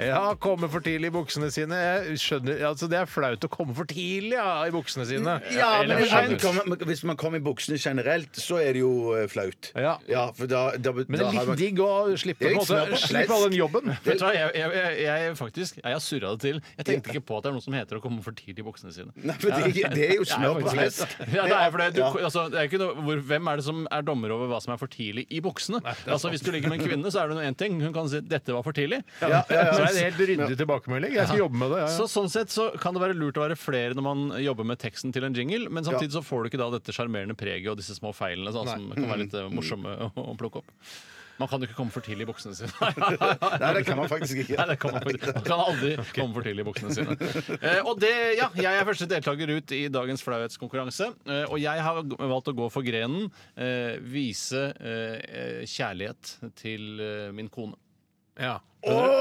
Speaker 2: Ja, komme for tidlig i buksene sine. Jeg skjønner, altså Det er flaut å komme for tidlig ja, i buksene sine.
Speaker 4: Ja, men
Speaker 2: Eller
Speaker 4: hvis
Speaker 2: skjønner.
Speaker 4: man, kommer, hvis man kommer i buksene generelt, så er det jo eh, flaut.
Speaker 2: Ja.
Speaker 4: for da, da,
Speaker 2: Men
Speaker 4: da
Speaker 2: det er
Speaker 4: har
Speaker 2: litt
Speaker 4: man-
Speaker 2: digg å slippe,
Speaker 4: Det er
Speaker 2: på en
Speaker 4: litt smør
Speaker 2: måte,
Speaker 4: på
Speaker 2: slippe
Speaker 4: flesk.
Speaker 2: all den jobben.
Speaker 3: Vet du hva, jeg, jeg, jeg, jeg faktisk Jeg har surra det til. Jeg tenkte ikke på at det er noe som heter å komme for tidlig i buksene sine.
Speaker 4: Nei, men det, er- det er jo smør på
Speaker 3: faktisk-
Speaker 4: flesk.
Speaker 3: Ja, det er for det, du,
Speaker 4: Ja.
Speaker 3: altså, det er ikke noe, hvor, hvem er det som er dommer over hva som er for tidlig i buksene? altså, hvis du ligger med en kvinne, så er det nå én ting. Hun kan si 'dette var for tidlig'.
Speaker 2: Så er det helt ryddig tilbakemelding. Jeg skal jobbe med det.
Speaker 3: Så sånn sett så kan det være lurt å være flere når man jobber med teksten til en jingle, men samtidig så får du ikke da dette sjarmerende preget og disse små feilene sånn, som kan være litt eh, morsomme å, å plukke opp. Man kan jo ikke komme for tidlig i buksene sine.
Speaker 4: Nei, det kan man faktisk ikke.
Speaker 3: Nei, det kan man, faktisk- man kan aldri komme for tidlig i buksene sine. Eh, og det, ja, jeg er første deltaker ut i dagens flauhetskonkurranse. Eh, og jeg har g- valgt å gå for grenen eh, vise eh, eh, kjærlighet til eh, min kone.
Speaker 2: Ja.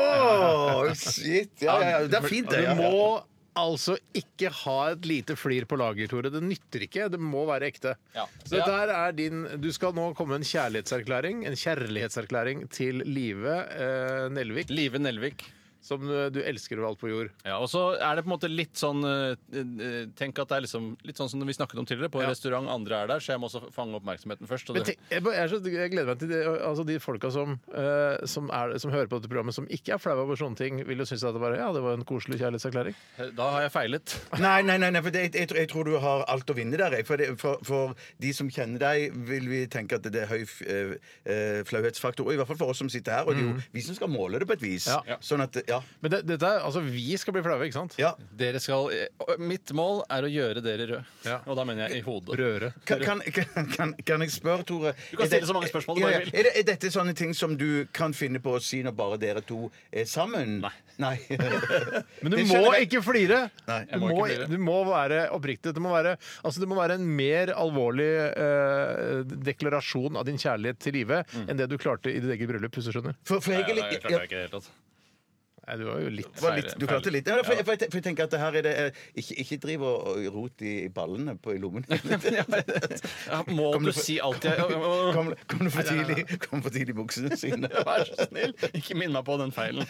Speaker 4: Åh, shit! Ja, ja, ja, det er fint, det.
Speaker 2: Du
Speaker 4: Ja, ja.
Speaker 2: må altså ikke ha et lite flir på lager, Tore. Det nytter ikke. Det må være ekte.
Speaker 3: Ja.
Speaker 2: Så dette her er din Du skal nå komme med en kjærlighetserklæring En kjærlighetserklæring til Live eh, Nelvik,
Speaker 3: Live Nelvik.
Speaker 2: som eh, du elsker over alt på jord.
Speaker 3: Ja, og så er det på en måte litt sånn eh, eh, Tenk at det er liksom litt sånn som vi snakket om tidligere. På en
Speaker 2: Ja.
Speaker 3: restaurant, andre er der, så jeg må også fange oppmerksomheten først. Og
Speaker 2: Men
Speaker 3: det,
Speaker 2: tenk, jeg, bare- jeg, er så- jeg gleder meg til de, altså de folka som, eh, som, er, som hører på dette programmet, som ikke er flaue over sånne ting, vil jo synes at det, bare, ja, det var en koselig kjærlighetserklæring.
Speaker 3: da har jeg feilet.
Speaker 4: Nei, nei, nei, nei for det, jeg, jeg, tror- jeg tror du har alt å vinne der. jeg. For, det, for, for de som kjenner deg, vil vi tenke at det er høy f- eh, eh, flauhetsfaktor. Og i hvert fall for oss som sitter her. Og det er jo vi som skal måle det på et vis.
Speaker 2: Mm. Ja.
Speaker 4: Sånn at Ja.
Speaker 2: Men det, dette er, altså, vi skal bli flaue, ikke sant?
Speaker 4: Ja.
Speaker 3: Dere skal, eh, mitt mål er å gjøre dere røde.
Speaker 2: Ja.
Speaker 3: Og da mener jeg i hodet.
Speaker 2: Røre.
Speaker 4: Kan, kan, kan- kan, kan jeg spørre, Tore Du
Speaker 3: kan stille så mange spørsmål du bare vil.
Speaker 4: Er, det, er dette sånne ting som du kan finne på å si når bare dere to er sammen? Nei.
Speaker 2: Men du
Speaker 4: Det
Speaker 2: må
Speaker 4: skjønner jeg.
Speaker 2: ikke flire!
Speaker 4: Nei,
Speaker 2: Du
Speaker 4: jeg
Speaker 2: må,
Speaker 3: må ikke flire.
Speaker 2: du må være oppriktig. Det må være, altså, det må være en mer alvorlig eh, deklarasjon av din kjærlighet til livet enn det du klarte i ditt eget bryllup. hvis du skjønner.
Speaker 4: For, for jeg er
Speaker 3: Nei,
Speaker 4: litt,
Speaker 3: det klarte
Speaker 4: ja,
Speaker 3: jeg ikke altså. i det hele tatt.
Speaker 2: Nei, du var jo litt
Speaker 4: var litt, du klarte litt. Ja, for, for, jeg, for jeg tenker at det her er det eh, Ikke, ikke driv og og rot i ballene på, i lommen.
Speaker 3: Ja, må
Speaker 4: Kom
Speaker 3: du
Speaker 4: du for-
Speaker 3: si alt jeg Å, å, å.
Speaker 4: Kom, kom, du for tidlig, kom for tidlig i buksene sine.
Speaker 3: Vær så snill, ikke minn meg på den feilen.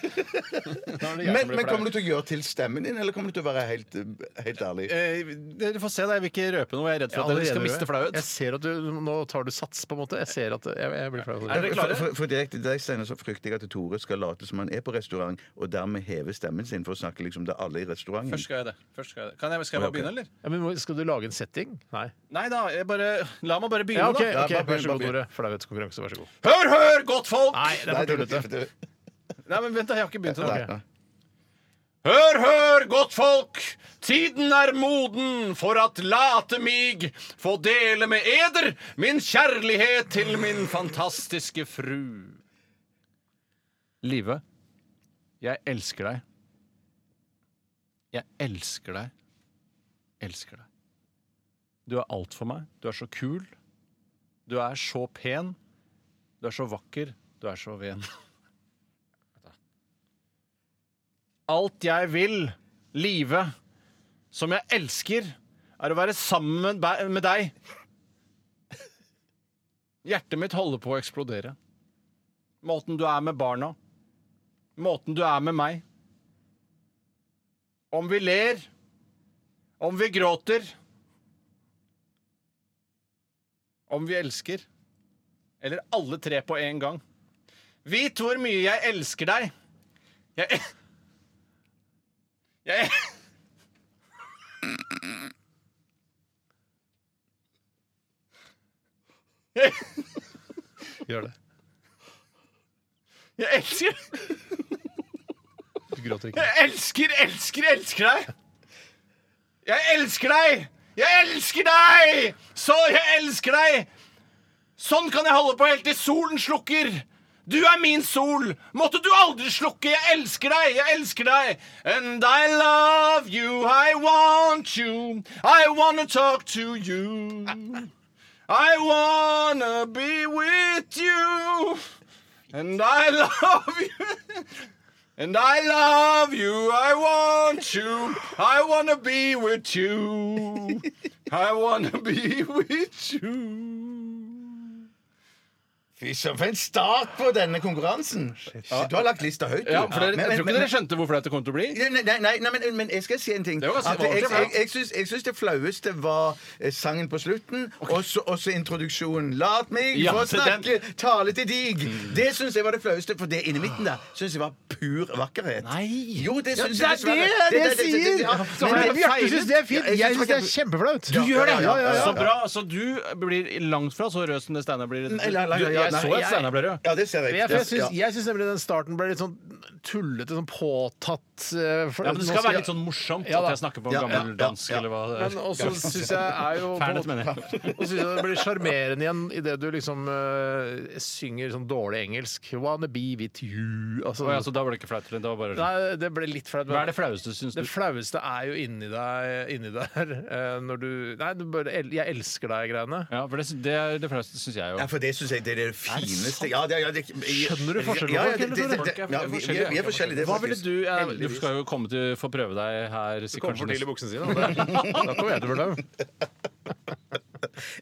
Speaker 4: Men, men kommer du til å gjøre til stemmen din, eller kommer du til å være helt, eh, helt ærlig?
Speaker 3: Eh, Dere får se, da. Jeg vil ikke røpe noe. Jeg er redd for at dere skal miste flauhet.
Speaker 2: Jeg ser at du, Nå tar du sats, på en måte. Jeg ser at jeg, jeg blir flau.
Speaker 3: Er dere
Speaker 4: For,
Speaker 3: klare?
Speaker 4: for, for direkte til deg, Steinar, så frykter jeg at Tore skal late som han er på restaurant, og dermed heve stemmen sin for å snakke liksom til alle i restauranten.
Speaker 3: Først skal jeg det. Først skal, jeg det. Kan jeg, skal jeg bare begynne, eller?
Speaker 2: Ja, men må- skal du lage en setting? Nei.
Speaker 3: Nei da, jeg bare, la meg bare
Speaker 2: Ja,
Speaker 3: begynne,
Speaker 2: OK,
Speaker 3: da.
Speaker 2: ok,
Speaker 4: bare begynn,
Speaker 2: vær så god,
Speaker 4: bare
Speaker 2: Tore. Flauhetskonkurranse, vær så god.
Speaker 3: Hør, hør, godt folk!
Speaker 2: Nei, det er
Speaker 4: Nei,
Speaker 2: for
Speaker 4: det var
Speaker 2: tullete.
Speaker 4: ikke-
Speaker 3: Nei, men vent da, jeg har ikke begynt ennå.
Speaker 4: Nei, nei.
Speaker 3: Hør, hør, godt folk! Tiden er moden for at late mig få dele med eder min kjærlighet til min fantastiske fru. Live, jeg elsker deg. Jeg elsker deg. Elsker deg. Du er alt for meg. Du er så kul. Du er så pen. Du er så vakker. Du er så ven. Alt jeg vil, Live, som jeg elsker, er å være sammen med be- med deg. Hjertet mitt holder på å eksplodere. Måten du er med barna. Måten du er med meg. Om vi ler. Om vi gråter. Om vi elsker. Eller alle tre på en gang. Vit hvor mye jeg elsker deg. Jeg elsker jeg jeg,
Speaker 2: Gjør det.
Speaker 3: jeg elsker,
Speaker 2: Du gråter ikke.
Speaker 3: jeg elsker, elsker, elsker deg! Jeg elsker deg! Jeg elsker deg! Så jeg elsker deg! Sånn kan jeg holde på helt til solen slukker! Du er min sol! Måtte du aldri slukke! Jeg elsker deg! Jeg elsker deg! And I love you, I want you, I wanna talk to you. I wanna be with you, and I love you. And I love you, I want you, I wanna be with you. I wanna be with you.
Speaker 4: Fy søren, for en start på denne konkurransen! Du har lagt lista høyt, du.
Speaker 3: Ja, for dere,
Speaker 4: Men-
Speaker 3: Jeg tror
Speaker 4: men-
Speaker 3: ikke dere skjønte hvor flaut det kom til å bli.
Speaker 4: Nei, nei, nei, nei men, men jeg skal si en ting.
Speaker 3: Det var ganske
Speaker 4: At jeg
Speaker 3: ordentlig
Speaker 4: jeg,
Speaker 3: flaut.
Speaker 4: jeg, syns, jeg syns det flaueste var eh, sangen på slutten, og så- og så introduksjonen. Lat meg
Speaker 3: Ja,
Speaker 4: få
Speaker 3: til den.
Speaker 4: snakke, tale til dig.
Speaker 2: Mm.
Speaker 4: Det syns jeg var det flaueste, for det inni midten der syns jeg var pur vakkerhet.
Speaker 3: Nei.
Speaker 4: Jo, det syns
Speaker 2: Ja,
Speaker 4: jeg
Speaker 2: det er det jeg sier!
Speaker 4: ja.
Speaker 2: Men
Speaker 4: Men- men-
Speaker 2: Bjarte syns det er fint.
Speaker 4: Ja, jeg
Speaker 2: Jeg
Speaker 4: synes
Speaker 2: syns det er kjempeflaut.
Speaker 4: Du gjør det?
Speaker 2: Ja, ja, ja.
Speaker 3: Så bra. Så du blir langt fra så rød som det Steinar blir.
Speaker 4: Nei, nei, nei,
Speaker 3: Du,
Speaker 4: ja,
Speaker 3: jeg
Speaker 4: nei,
Speaker 3: så at
Speaker 4: jeg-
Speaker 3: Steinar ble rød.
Speaker 4: Ja, det ser jeg.
Speaker 2: Men jeg, for jeg,
Speaker 4: Ja.
Speaker 2: syns, jeg syns nemlig den starten ble litt sånn tullete, sånn påtatt. eh, for-
Speaker 3: Ja,
Speaker 2: nå
Speaker 3: men Det skal
Speaker 2: skal
Speaker 3: være
Speaker 2: jeg-
Speaker 3: litt sånn morsomt
Speaker 2: Ja, da.
Speaker 3: at jeg snakker på
Speaker 4: Ja, ja,
Speaker 3: gammel
Speaker 4: ja,
Speaker 3: dansk,
Speaker 4: ja.
Speaker 3: eller hva det
Speaker 2: Men
Speaker 3: er.
Speaker 2: også syns jeg er jo på en
Speaker 3: Fernet,
Speaker 2: måte-
Speaker 3: mener jeg.
Speaker 2: Og synes jeg det blir sjarmerende igjen idet du liksom eh, synger sånn dårlig engelsk. Wanna be with you. Altså,
Speaker 3: Å ja, så da var det ikke flaut? eller? Det var bare
Speaker 2: Nei, det ble litt flaut. men-
Speaker 3: Hva er det flaueste, syns du?
Speaker 2: Det flaueste er jo inni deg, inni der, eh, når du Nei, du bare el- Jeg elsker deg-greiene.
Speaker 3: Ja, for det, det er det flaueste, syns jeg jo.
Speaker 4: Ja, for det syns jeg det er det fineste ja, det, ja, det,
Speaker 2: Skjønner du forskjellen på
Speaker 4: Ja, ja,
Speaker 2: folk,
Speaker 4: det,
Speaker 2: eller,
Speaker 4: det,
Speaker 2: Tore?
Speaker 4: det, ja, vi, vi, er- vi er forskjellige. det er
Speaker 3: Hva ville
Speaker 4: faktisk-
Speaker 3: du ja, Du skal jo komme til få prøve deg her.
Speaker 2: Du
Speaker 3: sikkert
Speaker 2: kommer for
Speaker 3: kanskje
Speaker 2: tidlig i altså. buksene sine. Da Da kommer jeg til å bli flau.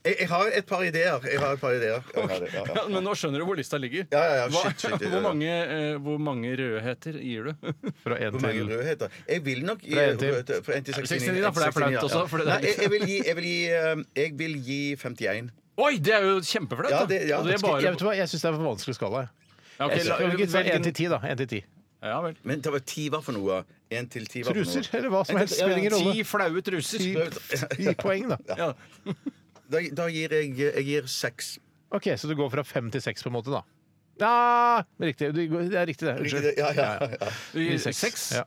Speaker 4: jeg, jeg har et par ideer. Jeg har et par ideer. Jeg har det, ja, ja.
Speaker 3: Ja, men nå skjønner du hvor lista ligger.
Speaker 4: Ja, ja, ja,
Speaker 3: Hva,
Speaker 4: shit, shit, ja, ja.
Speaker 3: hvor, mange, eh, hvor mange rødheter gir du?
Speaker 2: Fra én
Speaker 4: Hvor mange
Speaker 2: til
Speaker 4: røde heter Jeg vil nok gi
Speaker 2: Fra en til-
Speaker 4: røde- fra en til 69.
Speaker 3: 69, da, for det er flaut
Speaker 4: 69, ja.
Speaker 3: også, for det er-
Speaker 4: Nei, jeg, jeg vil gi, jeg vil gi, eh, jeg vil gi 51.
Speaker 3: Oi, det er jo kjempeflaut!
Speaker 4: Ja,
Speaker 3: da.
Speaker 4: det- ja.
Speaker 3: Og det er
Speaker 2: Jeg, vet
Speaker 3: bare...
Speaker 2: hva, jeg syns det er for vanskelig skala. jeg.
Speaker 3: Ja, ok,
Speaker 2: Jeg
Speaker 3: la-
Speaker 2: skal vi ikke ta
Speaker 3: velg
Speaker 2: Én
Speaker 3: en-
Speaker 2: til ti, da. En til ti.
Speaker 3: Ja vel.
Speaker 4: Men det var ti hva for noe? En til ti hva for noe?
Speaker 2: Truser eller hva som
Speaker 4: En-
Speaker 2: helst.
Speaker 4: ja, ja,
Speaker 2: Spiller ingen
Speaker 3: Ti
Speaker 2: rolle.
Speaker 3: flaue truser.
Speaker 2: Ti poeng, da.
Speaker 3: Ja.
Speaker 4: Da, da gir jeg Jeg gir seks.
Speaker 2: OK, så du går fra fem til seks, på en måte, da. Ja, riktig. Du- Det er riktig, det.
Speaker 4: Riktig,
Speaker 2: Unnskyld.
Speaker 4: Ja, ja, ja.
Speaker 2: I
Speaker 3: Seks.
Speaker 2: Ja.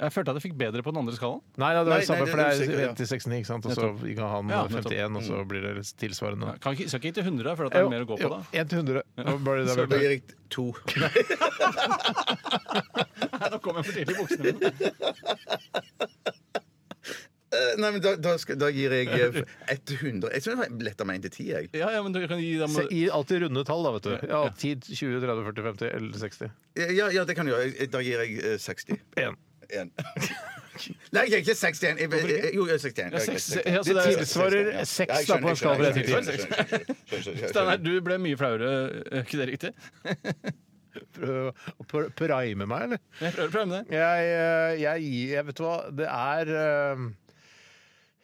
Speaker 3: Jeg følte at jeg fikk bedre på den andre skalaen.
Speaker 2: Nei, nei, det var
Speaker 4: Nei, nei,
Speaker 2: det samme,
Speaker 4: det er
Speaker 2: for det
Speaker 4: usikker,
Speaker 2: er
Speaker 4: ja.
Speaker 2: 1-6-9, ikke sant? Og så ga han
Speaker 3: Ja, nettopp.
Speaker 2: 51, og så blir det litt tilsvarende.
Speaker 3: Kan ikke, skal ikke gi til 100, jeg føler at det er mer å gå på da.
Speaker 2: 1 til 100. Det var bare det
Speaker 4: Så
Speaker 2: jeg
Speaker 4: det
Speaker 2: ville.
Speaker 4: blir rikt to.
Speaker 3: Nå kom jeg for tidlig i buksene mine.
Speaker 4: Eh, Nei, men da, da, skal, da gir jeg eh, 100 Jeg tror jeg letta meg inn til 10, jeg.
Speaker 3: Ja, ja, men du kan gi dem
Speaker 2: Se, Gi alltid runde tall, da, vet du. Ja, 10, 20, 30, 40, 50 eller 60.
Speaker 4: Ja, ja, det kan du gjøre. Da gir jeg eh, 60.
Speaker 2: 1.
Speaker 4: En. Nei, jeg er ikke 61. Jeg, jeg, jeg, jo, jeg er 61. Jeg er
Speaker 3: seks-
Speaker 4: 61.
Speaker 3: ja, så det er-
Speaker 2: tilsvarer
Speaker 4: Ja,
Speaker 2: seks,
Speaker 4: jeg
Speaker 2: da, på en
Speaker 4: skjønner,
Speaker 2: skala fra
Speaker 4: skjønner,
Speaker 2: ett til
Speaker 4: skjønner,
Speaker 2: ti.
Speaker 4: skjønner, skjønner, skjønner, skjønner.
Speaker 3: Steinar, du ble mye flauere, er ikke det riktig?
Speaker 2: Prøv å pr- prime meg, eller?
Speaker 3: Jeg prøver å prøve med det.
Speaker 2: Jeg, eh, jeg, gir- jeg vet du hva, det er eh,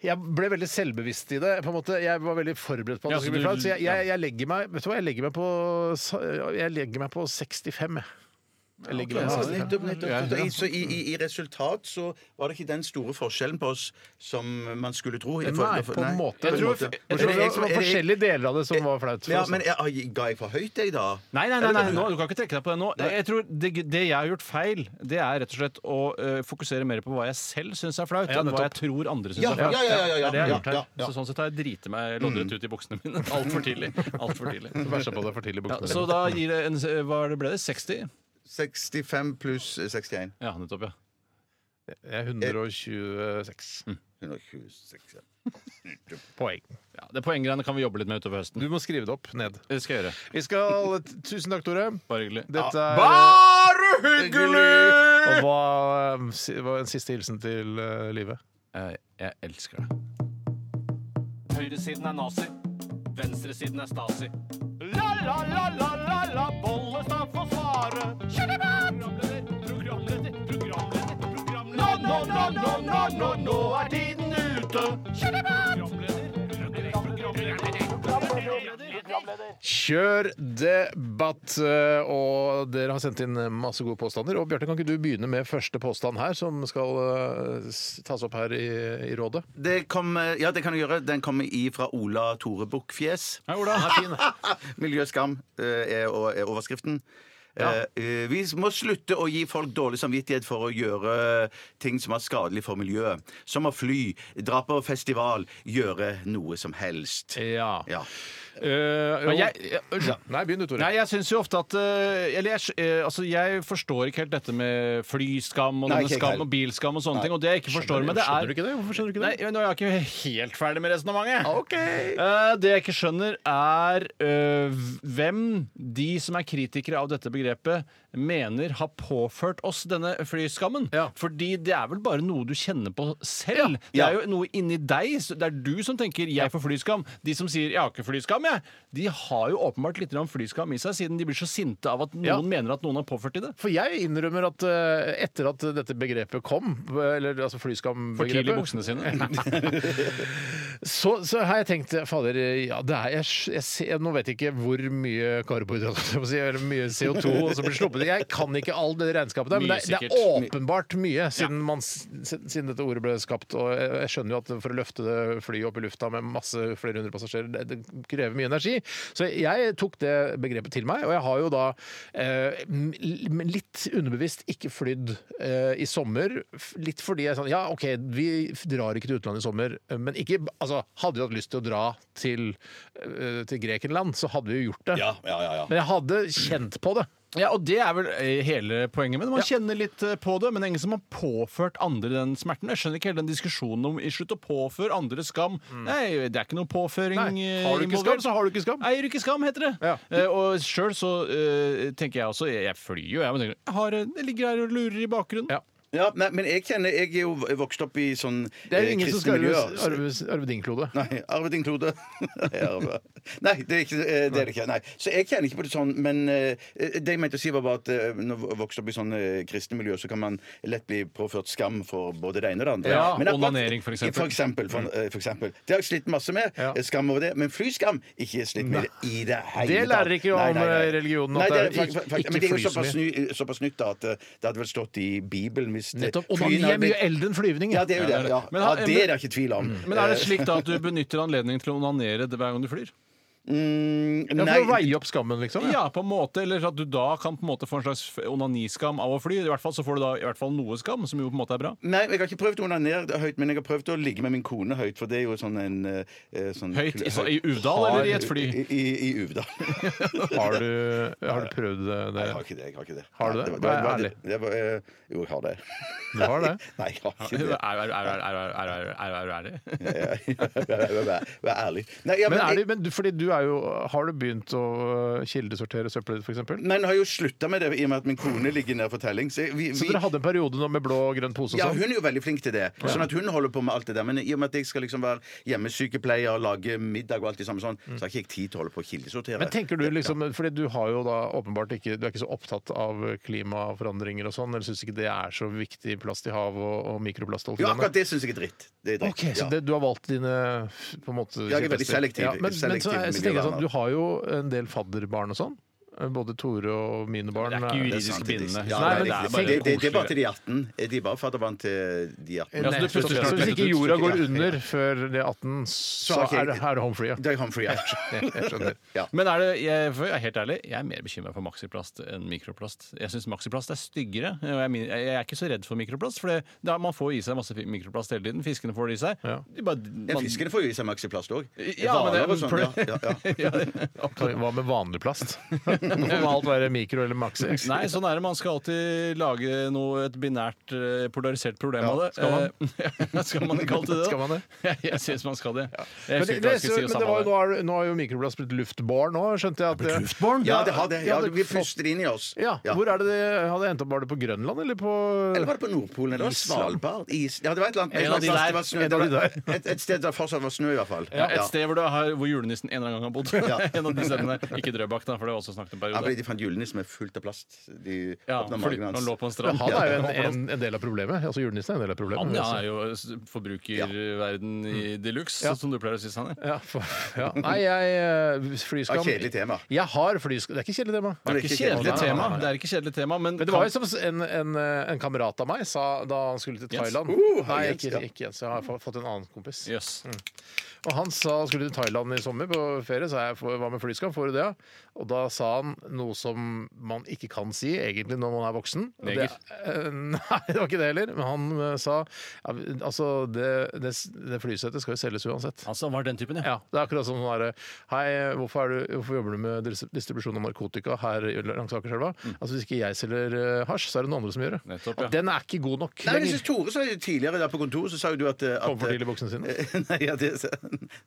Speaker 2: jeg ble veldig selvbevisst i det. på en måte. Jeg var veldig forberedt på at
Speaker 3: Ja,
Speaker 2: det
Speaker 3: så
Speaker 2: skulle bli
Speaker 3: du-
Speaker 2: flaut. Så jeg,
Speaker 3: ja.
Speaker 2: jeg, jeg legger meg vet du hva, jeg legger meg på, sa- jeg legger meg på 65. jeg. Jeg legger
Speaker 4: Ja,
Speaker 2: meg på 65.
Speaker 4: nettopp, nettopp. Så i- Så i, i, I resultat så var det ikke den store forskjellen på oss som man skulle tro. i
Speaker 2: Nei,
Speaker 4: forhold-
Speaker 2: på en
Speaker 4: nei.
Speaker 2: måte.
Speaker 4: Jeg tror-
Speaker 2: Bortsett fra at
Speaker 4: Er det
Speaker 2: Det
Speaker 4: jeg som-
Speaker 2: var
Speaker 4: er det jeg-
Speaker 2: forskjellige deler av det som var flaut. for
Speaker 4: Ja,
Speaker 2: oss,
Speaker 4: men
Speaker 2: da.
Speaker 4: jeg, ga jeg for høyt, jeg, da?
Speaker 3: Nei, nei, nei, nei, nå, du kan ikke trekke deg på det nå. Jeg tror det, det jeg har gjort feil, det er rett og slett å eh, fokusere mer på hva jeg selv syns er flaut,
Speaker 2: Ja,
Speaker 3: enn hva
Speaker 2: nettopp.
Speaker 3: jeg tror andre syns
Speaker 4: Ja,
Speaker 3: er
Speaker 4: ja,
Speaker 3: flaut.
Speaker 4: ja. ja,
Speaker 3: Det er
Speaker 4: ja,
Speaker 3: det jeg har
Speaker 4: ja,
Speaker 3: gjort her.
Speaker 4: ja, ja.
Speaker 3: Så sånn sett har jeg driti meg loddrett ut i buksene mine. Altfor tidlig. Alt for tidlig.
Speaker 2: Bæsja på deg for tidlig i
Speaker 3: Ja,
Speaker 2: buksene.
Speaker 3: så da gir det en Hva er det ble det? 60?
Speaker 4: 65 pluss 61.
Speaker 3: Ja, nettopp, ja.
Speaker 2: Jeg er 126
Speaker 4: 126.
Speaker 2: poeng.
Speaker 3: ja det poenggreiene kan vi jobbe litt med utover høsten.
Speaker 2: Du må skrive det opp ned.
Speaker 3: Det skal jeg gjøre.
Speaker 2: Vi skal Tusen takk, Tore.
Speaker 3: Bare hyggelig.
Speaker 2: Dette er
Speaker 7: Bare hyggelig!
Speaker 2: Og hva, eh, si- hva er en siste hilsen til eh, livet?
Speaker 3: Jeg, jeg elsker deg.
Speaker 6: Høyresiden er nazi. Venstresiden er stasi. La, la, la, la, la, la, Bollestad får svare. Programleder, programleder, programleder, programleder. Nå, nå, nå, nå, nå, nå, nå er tiden ute. Programleder, programleder, programleder.
Speaker 2: Kjør debatt! eh, Og dere har sendt inn masse gode påstander. Og Bjarte, kan ikke du begynne med første påstand her, som skal eh, s- tas opp her i, i rådet?
Speaker 4: Det kom, eh, ja, det kan du gjøre. Den kommer i fra Ola Tore Bukkfjes.
Speaker 3: Hei, Ola.
Speaker 4: Miljøskam eh, er, o- er overskriften. Eh, eh, Vi må slutte å gi folk dårlig samvittighet for å gjøre eh, ting som er skadelig for miljøet. Som å fly, dra på festival, gjøre noe som helst.
Speaker 3: Ja.
Speaker 4: Ja.
Speaker 2: Eh,
Speaker 3: Men
Speaker 2: jo-
Speaker 3: jeg, jeg, unnskyld.
Speaker 2: Nei, begynn du, Tore.
Speaker 3: Nei, jeg syns jo ofte at eh, Eller jeg, eh, altså, jeg forstår ikke helt dette med flyskam og
Speaker 4: Nei,
Speaker 3: denne
Speaker 4: ikke jeg
Speaker 3: skam
Speaker 4: heller.
Speaker 3: og bilskam og sånne ting. Og det jeg ikke forstår med det er
Speaker 2: Skjønner du ikke det? Hvorfor skjønner du ikke det? Ah,
Speaker 3: Nei, nå er jeg ikke helt ferdig med resonnementet.
Speaker 2: Ok.
Speaker 3: Eh, det jeg ikke skjønner, er eh, hvem de som er kritikere av dette begrepet, mener har påført oss denne flyskammen.
Speaker 2: Ja.
Speaker 3: Fordi det er vel bare noe du kjenner på selv. Det
Speaker 4: Ja.
Speaker 3: er jo noe inni deg. så Det er du som tenker 'jeg får flyskam'. De som sier 'jeg har ikke flyskam', jeg, de har jo åpenbart litt grann flyskam i seg, siden de blir så sinte av at noen
Speaker 2: Ja.
Speaker 3: mener at noen har påført de det.
Speaker 2: For jeg innrømmer at eh, etter at dette begrepet kom, eller altså
Speaker 3: For tidlig i
Speaker 2: flyskam-begrepet
Speaker 3: buksene sine.
Speaker 2: så, så har jeg tenkt Fader, ja, det er, jeg, jeg, ser- nå vet jeg ikke hvor mye karbohydrater jeg må si, eller mye CO2 som blir sluppet. Jeg kan ikke all det regnskapet der, men
Speaker 3: Mye
Speaker 2: det, er- det er
Speaker 3: sikkert.
Speaker 2: åpenbart mye siden, man, s- siden dette ordet ble skapt. Og jeg, jeg skjønner jo at for å løfte det flyet opp i lufta med masse flere hundre passasjerer, det, det krever mye energi. Så jeg tok det begrepet til meg, og jeg har jo da eh, m- l- litt underbevisst ikke flydd eh, i sommer. f- Litt fordi jeg sånn Ja, OK, vi f- drar ikke til utlandet i sommer, eh, men ikke Altså, hadde vi hatt lyst til å dra til, eh, til Grekenland, så hadde vi jo gjort det.
Speaker 4: ja, ja,
Speaker 2: Men jeg hadde kjent på det.
Speaker 3: Ja, og det er vel eh, hele poenget med det. Man kjenner litt eh, på det, men det er ingen som har påført andre den smerten. Jeg skjønner ikke hele den diskusjonen om i slutt å påføre andre skam. Nei, det er ikke noe påføring
Speaker 2: Mm. Nei,
Speaker 3: eh,
Speaker 2: har du ikke skam, så har du ikke skam.
Speaker 3: Eier du ikke skam, heter det.
Speaker 2: Ja.
Speaker 3: Eh, og sjøl så eh, tenker jeg også Jeg, jeg flyr jo, jeg. Men tenker, jeg har, jeg ligger her og lurer i bakgrunnen.
Speaker 2: Ja.
Speaker 4: Ja, nei, men jeg kjenner Jeg er jo vokst opp i sånn
Speaker 2: Det er jo
Speaker 4: eh, altså,
Speaker 2: ingen som
Speaker 4: kristne
Speaker 2: skal arve,
Speaker 4: miljøer.
Speaker 2: arve, arve din klode.
Speaker 4: Nei, arvet din klode. Jeg arver. Nei, det er, ikke, eh, det er det ikke. Nei. Så jeg kjenner ikke på det sånn, men eh, det jeg mente å si, var bare at eh, når jeg vokste opp i sånne eh, kristne miljøer, så kan man lett bli påført skam for både det ene og det andre.
Speaker 3: Ja,
Speaker 4: Men akkurat-
Speaker 3: onanering, for eksempel.
Speaker 4: For eksempel, for, eh, for eksempel. Det har jeg slitt masse med.
Speaker 2: Ja.
Speaker 4: eh, Skam over det. Men flyskam ikke slitt med i det hele
Speaker 2: Det lærer ikke om,
Speaker 4: Nei, nei, nei.
Speaker 2: eh, religionen at
Speaker 4: Nei, det
Speaker 2: det
Speaker 4: er,
Speaker 2: er
Speaker 4: fakt-
Speaker 2: ikke-
Speaker 4: fakt-
Speaker 2: ikke
Speaker 4: men det er jo
Speaker 2: fly så
Speaker 4: såpass, ny, såpass nytt da, at eh, det hadde vel stått i Bibelen hvis det-
Speaker 2: Nettopp.
Speaker 4: flyen
Speaker 2: Onani er
Speaker 4: hadde blitt-
Speaker 2: mye eldre enn flyvning.
Speaker 4: Ja, det er jo det. Ja.
Speaker 3: Men har-
Speaker 2: Mm.
Speaker 4: Ja, det er det ikke tvil om.
Speaker 3: Men er det
Speaker 4: Eh,
Speaker 3: slik da at du benytter anledningen til å onanere det hver gang du flyr?
Speaker 4: Mm,
Speaker 2: Ja,
Speaker 4: nei,
Speaker 2: for å veie opp skammen, liksom?
Speaker 3: Ja, på en måte, eller at du da kan på en måte få en slags onaniskam av å fly. I hvert fall så får du da i hvert fall noe skam, som jo på en måte er bra.
Speaker 4: nei, jeg har ikke prøvd å onanere høyt, men jeg har prøvd å ligge med min kone høyt, for det er jo sånn en eh, eh, sånn,
Speaker 3: Høyt i, i Uvdal eller i et fly?
Speaker 4: I, i, i Uvdal.
Speaker 2: Har, du, har du prøvd det?
Speaker 4: Nei, jeg har ikke det. jeg Har ikke det
Speaker 2: Har du
Speaker 4: Nei,
Speaker 2: det?
Speaker 4: var- var-
Speaker 2: Vær
Speaker 4: var-
Speaker 2: ærlig.
Speaker 4: det var, eh, jo, jeg har det.
Speaker 2: Du har det?
Speaker 4: Nei, jeg har ikke det.
Speaker 3: Er
Speaker 4: Vær ærlig. Nei, ja,
Speaker 2: Men, er
Speaker 4: jeg-
Speaker 2: det, men du, fordi du er jo Har du begynt å øh, kildesortere søppelet ditt, f.eks.?
Speaker 4: Men har jo slutta med det i og med at min kone ligger ned for telling. Så, vi,
Speaker 2: Så
Speaker 4: vi,
Speaker 2: dere hadde en periode nå med blå og grønn pose og
Speaker 4: ja,
Speaker 2: sånn?
Speaker 4: hun er jo veldig flink til det. Sånn at hun holder på med alt det der. Men i og med at jeg skal liksom være hjemmesykepleier og lage middag og alt det samme sånn, så har ikke jeg tid til å holde på å kildesortere.
Speaker 2: Men tenker du liksom, fordi du har jo da åpenbart ikke Du er ikke så opptatt av klimaforandringer og sånn, eller syns ikke det er så viktig plast i hav og, og mikroplast og alt
Speaker 4: Jo,
Speaker 2: det der?
Speaker 4: akkurat det syns jeg er dritt. Det er dritt.
Speaker 2: Ok, Så
Speaker 4: ja.
Speaker 2: det, du har valgt dine på en måte
Speaker 4: Jeg er veldig
Speaker 2: kjepphester.
Speaker 4: selektiv.
Speaker 2: Ja, men, men så,
Speaker 4: Selektiv
Speaker 2: så tenker jeg
Speaker 4: miljøverner.
Speaker 2: sånn, du har jo en del fadderbarn og sånn. Både Tore og mine barn.
Speaker 3: ikke
Speaker 4: Det er sant,
Speaker 3: juridisk
Speaker 4: det er
Speaker 3: bindende.
Speaker 4: sant. Ja,
Speaker 2: Nei,
Speaker 4: det er
Speaker 2: men det
Speaker 4: riktig.
Speaker 2: er bare
Speaker 4: det, det, det er bare
Speaker 3: koseligere.
Speaker 4: til de 18. De er bare fadderbarn til de 18.
Speaker 3: Ja, så du
Speaker 2: Nettopp.
Speaker 3: putter-
Speaker 2: så hvis ikke
Speaker 3: putter-
Speaker 2: jorda går
Speaker 4: putter-
Speaker 2: under før det er 18, så
Speaker 4: er ikke jeg-
Speaker 2: er det, er det home free. Ja.
Speaker 4: Det er Humphrey Ash.
Speaker 2: Jeg skjønner.
Speaker 3: Men er det, jeg, for jeg er helt ærlig, jeg er mer bekymra for maksiplast enn mikroplast. Jeg syns maksiplast er styggere. og Jeg, er min- jeg er ikke så redd for mikroplast, for det, da, man får i seg masse mikroplast hele tiden. Fiskene får det i seg.
Speaker 2: Ja.
Speaker 3: De bare,
Speaker 4: Ja,
Speaker 3: man-
Speaker 4: Fiskene får jo i seg maxiplast òg.
Speaker 3: Ja, men det-
Speaker 4: og sånn. Ja, ja, ja.
Speaker 3: Ja, det-
Speaker 2: Kan- Hva med vanlig plast? Må alt være mikro eller maxi?
Speaker 3: Nei, sånn er det. Man skal alltid lage noe, et binært, eh, polarisert problem
Speaker 2: Ja,
Speaker 3: av det.
Speaker 2: skal man?
Speaker 3: Eh, skal man ikke alltid det?
Speaker 2: Skal man det?
Speaker 3: Jeg, jeg syns man skal det. Jeg
Speaker 2: Men, det,
Speaker 3: husker ikke hva
Speaker 2: det,
Speaker 3: jeg skulle si om
Speaker 2: men det
Speaker 3: samme
Speaker 2: var,
Speaker 3: det.
Speaker 2: jo- nå, er, det- nå er jo mikroplast blitt luftbåren nå, skjønte jeg. At, det-
Speaker 4: ja, det har det. Ja,
Speaker 2: Ja, det-
Speaker 4: vi puster det inn i oss.
Speaker 2: Ja, Hvor er det det hadde endt opp? Var det på Grønland eller på
Speaker 4: Eller var det på Nordpolen? Eller
Speaker 2: Island?
Speaker 4: Svalbard? Is. Ja, det var et eller annet.
Speaker 3: En av de der.
Speaker 4: Det var snø.
Speaker 2: En av de der.
Speaker 4: Et, et sted der fortsatt var snø, i hvert fall.
Speaker 3: Ja, et sted hvor, du har, hvor julenissen en eller annen gang har bodd.
Speaker 4: Ja.
Speaker 3: en av de stedene. Ikke Drøbak, da, for det har også snakket om
Speaker 4: Ja, fordi
Speaker 3: periode.
Speaker 4: de fant julenissen med fullt av plast. De
Speaker 3: Ja,
Speaker 4: åpna
Speaker 3: fordi
Speaker 4: magen
Speaker 3: han
Speaker 4: hans.
Speaker 3: lå på en strand.
Speaker 2: Han er jo en,
Speaker 3: Ja.
Speaker 2: en, en del av problemet. Altså Julenissen er en del av problemet.
Speaker 3: Han
Speaker 2: vil jeg
Speaker 3: ja,
Speaker 2: si.
Speaker 3: er jo s- forbrukerverden i de luxe,
Speaker 2: Ja.
Speaker 3: som du pleier å si, Sanne.
Speaker 2: Ja, for, ja. Nei, jeg eh, Flyskam
Speaker 4: Det var kjedelig tema.
Speaker 2: Jeg har flyskam. Det er ikke kjedelig tema.
Speaker 4: Det er
Speaker 3: Ikke
Speaker 4: ikke
Speaker 3: kjedelig
Speaker 4: kjedelig.
Speaker 3: tema. Det er ikke kjedelig tema, men,
Speaker 2: Men det var jo som en, en, eh, en kamerat av meg sa da han skulle til
Speaker 3: Jens.
Speaker 2: Thailand
Speaker 4: Uh,
Speaker 2: Nei,
Speaker 4: Jens,
Speaker 2: ikke,
Speaker 4: ja.
Speaker 2: ikke Jens. Jeg har fa- fått en annen kompis.
Speaker 3: Jøss.
Speaker 2: Og han sa han skulle til Thailand i sommer på ferie, sa jeg hva med flyskam, får du det? ja? Og da sa han noe som man ikke kan si egentlig når man er voksen. Og
Speaker 3: Neger.
Speaker 2: Det, eh, nei, det var ikke det heller. Men han eh, sa ja, altså det, det, det flysettet skal jo selges uansett.
Speaker 3: Altså, var den typen,
Speaker 2: Ja, det er akkurat som sånn derre Hei, hvorfor, er du, hvorfor jobber du med dis- distribusjon av narkotika her i- langs Akerselva? Altså, hvis ikke jeg selger eh, hasj, så er det noen andre som gjør det.
Speaker 3: Nettopp, ja.
Speaker 2: Og Den er ikke god nok
Speaker 4: Nei, men jeg
Speaker 2: lenger.
Speaker 4: synes Tore sa jo tidligere der på kontoret, så sa jo du at, eh, at
Speaker 2: Kom for tidlig i buksene sine.
Speaker 4: Nei, ja, det, sa-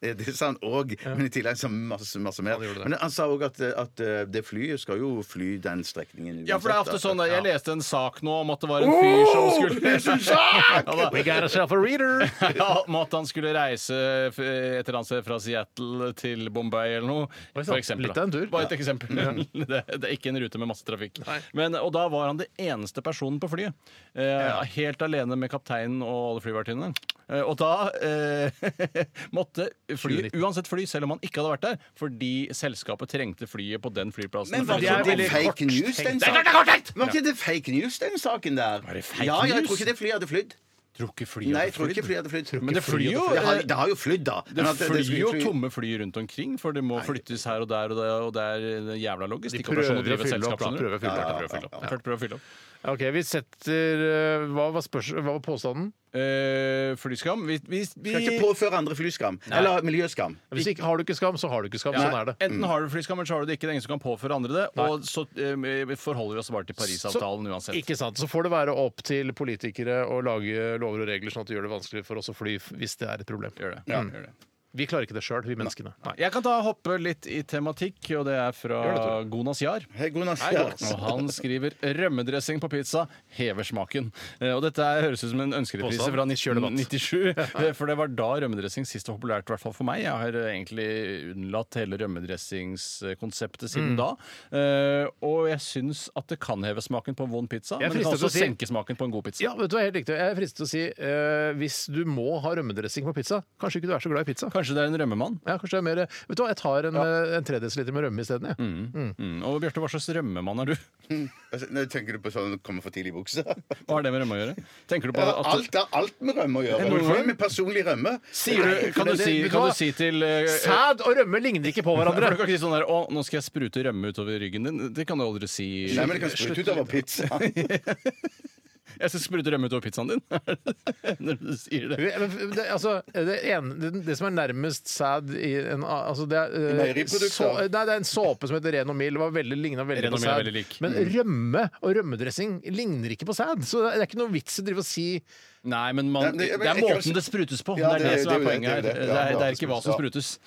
Speaker 4: det, det sa han òg, men i tillegg sa han masse, masse mer.
Speaker 2: Han gjorde det.
Speaker 4: men han sa òg at, at eh, det flyet skal jo fly den strekningen.
Speaker 3: Ja, for det er ofte
Speaker 4: uansett,
Speaker 3: sånn
Speaker 4: da.
Speaker 3: Jeg leste en sak nå om at det var en fyr som skulle ja, da.
Speaker 2: We got ourselves a reader!
Speaker 3: ja, Om at han skulle reise f- et eller annet sted fra Seattle til Bombay eller noe.
Speaker 2: Oi,
Speaker 3: For
Speaker 2: sant.
Speaker 3: eksempel,
Speaker 2: Litt
Speaker 3: da.
Speaker 2: av en tur.
Speaker 3: Bare et eksempel. det, det er ikke en rute med masse trafikk. Men, og da var han det eneste personen på flyet. Eh, Helt alene med kapteinen og alle flyvertinnene. Eh, og da eh, måtte flyet
Speaker 2: 2019.
Speaker 3: uansett fly, selv om han ikke hadde vært der, fordi selskapet trengte flyet på den flyplassen.
Speaker 4: Men
Speaker 3: For
Speaker 4: var
Speaker 3: det
Speaker 4: ikke
Speaker 3: er
Speaker 4: det,
Speaker 3: veldig-
Speaker 4: fake news, den
Speaker 3: Det er klart det er
Speaker 4: saken?
Speaker 3: korttenkt!
Speaker 4: Var ikke det fake news, den saken der?
Speaker 3: det fake
Speaker 4: ja, ja, jeg
Speaker 3: news?
Speaker 4: tror ikke det flyet hadde flydd.
Speaker 3: Tror ikke flyet
Speaker 4: Nei,
Speaker 3: hadde
Speaker 4: jeg tror ikke
Speaker 3: flydd.
Speaker 4: flyet hadde flydd.
Speaker 3: Men det flyr jo
Speaker 4: Det har, det har jo flydd, da.
Speaker 3: Det
Speaker 4: Men at
Speaker 3: flyr
Speaker 4: skulle
Speaker 3: jo
Speaker 4: fly-
Speaker 3: tomme fly rundt omkring, for det må flyttes her og der og der, og det er en jævla
Speaker 2: De prøver
Speaker 3: logistikkoperasjon å
Speaker 2: å
Speaker 3: drive et
Speaker 2: fylle
Speaker 3: selskap.
Speaker 2: opp, da.
Speaker 3: skjønner
Speaker 2: Prøver å
Speaker 3: du?
Speaker 2: fylle
Speaker 3: Ja,
Speaker 2: opp.
Speaker 3: prøver å fylle opp. Klart prøver å fylle opp.
Speaker 2: OK, vi setter eh, Hva var, spørs- hva var påstanden?
Speaker 3: Eh, Flyskam vi, vi, vi,
Speaker 4: Skal ikke påføre andre flyskam. Eller miljøskam.
Speaker 2: Hvis ikke har du ikke skam, så har du ikke skam.
Speaker 3: ja,
Speaker 2: Sånn er det.
Speaker 3: Enten har du flyskam, eller så har du det ikke. Det er ingen som kan påføre andre det. Og så eh, forholder vi oss bare til Parisavtalen uansett.
Speaker 2: Ikke sant. Så får det være opp til politikere å lage lover og regler sånn at det gjør det vanskelig for oss å fly f- hvis det er et problem.
Speaker 3: Gjør det. Gjør det.
Speaker 2: Vi klarer ikke det sjøl, vi menneskene.
Speaker 3: Jeg kan da hoppe litt i tematikk, og det er fra Gonas Jahr.
Speaker 4: Hei, god natt.
Speaker 3: Og han skriver 'rømmedressing på pizza hever smaken'. Eh, Og dette er, høres ut som en ønskereprise
Speaker 2: Påstand?
Speaker 3: fra
Speaker 2: Kjør debatt.
Speaker 3: 1997. eh, For det var da rømmedressing sist var populært, i hvert fall for meg. Jeg har eh, egentlig unnlatt hele rømmedressingskonseptet
Speaker 2: Mm.
Speaker 3: siden da. Eh, Og jeg syns at det kan heve smaken på en vond pizza,
Speaker 2: Jeg
Speaker 3: men det kan
Speaker 2: fristes til
Speaker 3: også
Speaker 2: å si-
Speaker 3: senke smaken på en god pizza.
Speaker 2: Ja, vet du hva, helt riktig. Jeg er fristet til å si eh, hvis du må ha rømmedressing på pizza, kanskje ikke du er så glad i pizza.
Speaker 3: Kanskje Kanskje det er en rømmemann?
Speaker 2: Ja, kanskje det er mer Vet du hva, jeg tar en, eh, en tredjedels liter med rømme isteden, jeg.
Speaker 3: Mm. Og Bjarte, hva slags rømmemann er du?
Speaker 4: Altså, nå tenker du på sånn kommer for tidlig i buksa?
Speaker 3: Hva har det med rømme å gjøre? Tenker du på at
Speaker 4: Alt har alt med rømme å gjøre.
Speaker 3: Hvorfor?
Speaker 4: Hvorfor? Med personlig rømme.
Speaker 3: Sier du, kan, du
Speaker 2: det-
Speaker 3: si,
Speaker 2: vet du
Speaker 3: kan
Speaker 2: hva?
Speaker 3: du si til eh,
Speaker 2: Sæd og rømme ligner ikke på
Speaker 3: eh, for Du
Speaker 2: hverandre.
Speaker 3: kan ikke si sånn der 'Å, nå skal jeg sprute rømme utover ryggen din'. Det kan du aldri si.
Speaker 4: Nei, men det kan sprute utover pizza.
Speaker 3: Jeg skal sprute rømme utover pizzaen din. Når du sier det.
Speaker 2: Men Det, altså, det, en, det, det som er nærmest sæd i en altså det er, eh,
Speaker 4: Meieriprodukter.
Speaker 2: så, nei, det er en såpe som heter Ren og Mild. Det var veldig, lignet veldig
Speaker 3: Ren og
Speaker 2: på
Speaker 3: Mild er
Speaker 2: sæd.
Speaker 3: veldig lik. Mm.
Speaker 2: Men rømme og rømmedressing ligner ikke på sæd. Så det er ikke noe vits i å drive og si
Speaker 3: Nei, men
Speaker 4: Nei,
Speaker 3: man,
Speaker 4: men
Speaker 3: det
Speaker 4: jeg-
Speaker 3: er
Speaker 4: jeg-
Speaker 3: måten det sprutes på. Det
Speaker 4: Ja,
Speaker 3: er det
Speaker 4: det-
Speaker 3: som er
Speaker 4: det er jo det,
Speaker 3: poenget her.
Speaker 4: det er det.
Speaker 3: Det
Speaker 4: Ja,
Speaker 3: er,
Speaker 4: det
Speaker 3: det
Speaker 4: er
Speaker 3: er ikke hva som sprutes.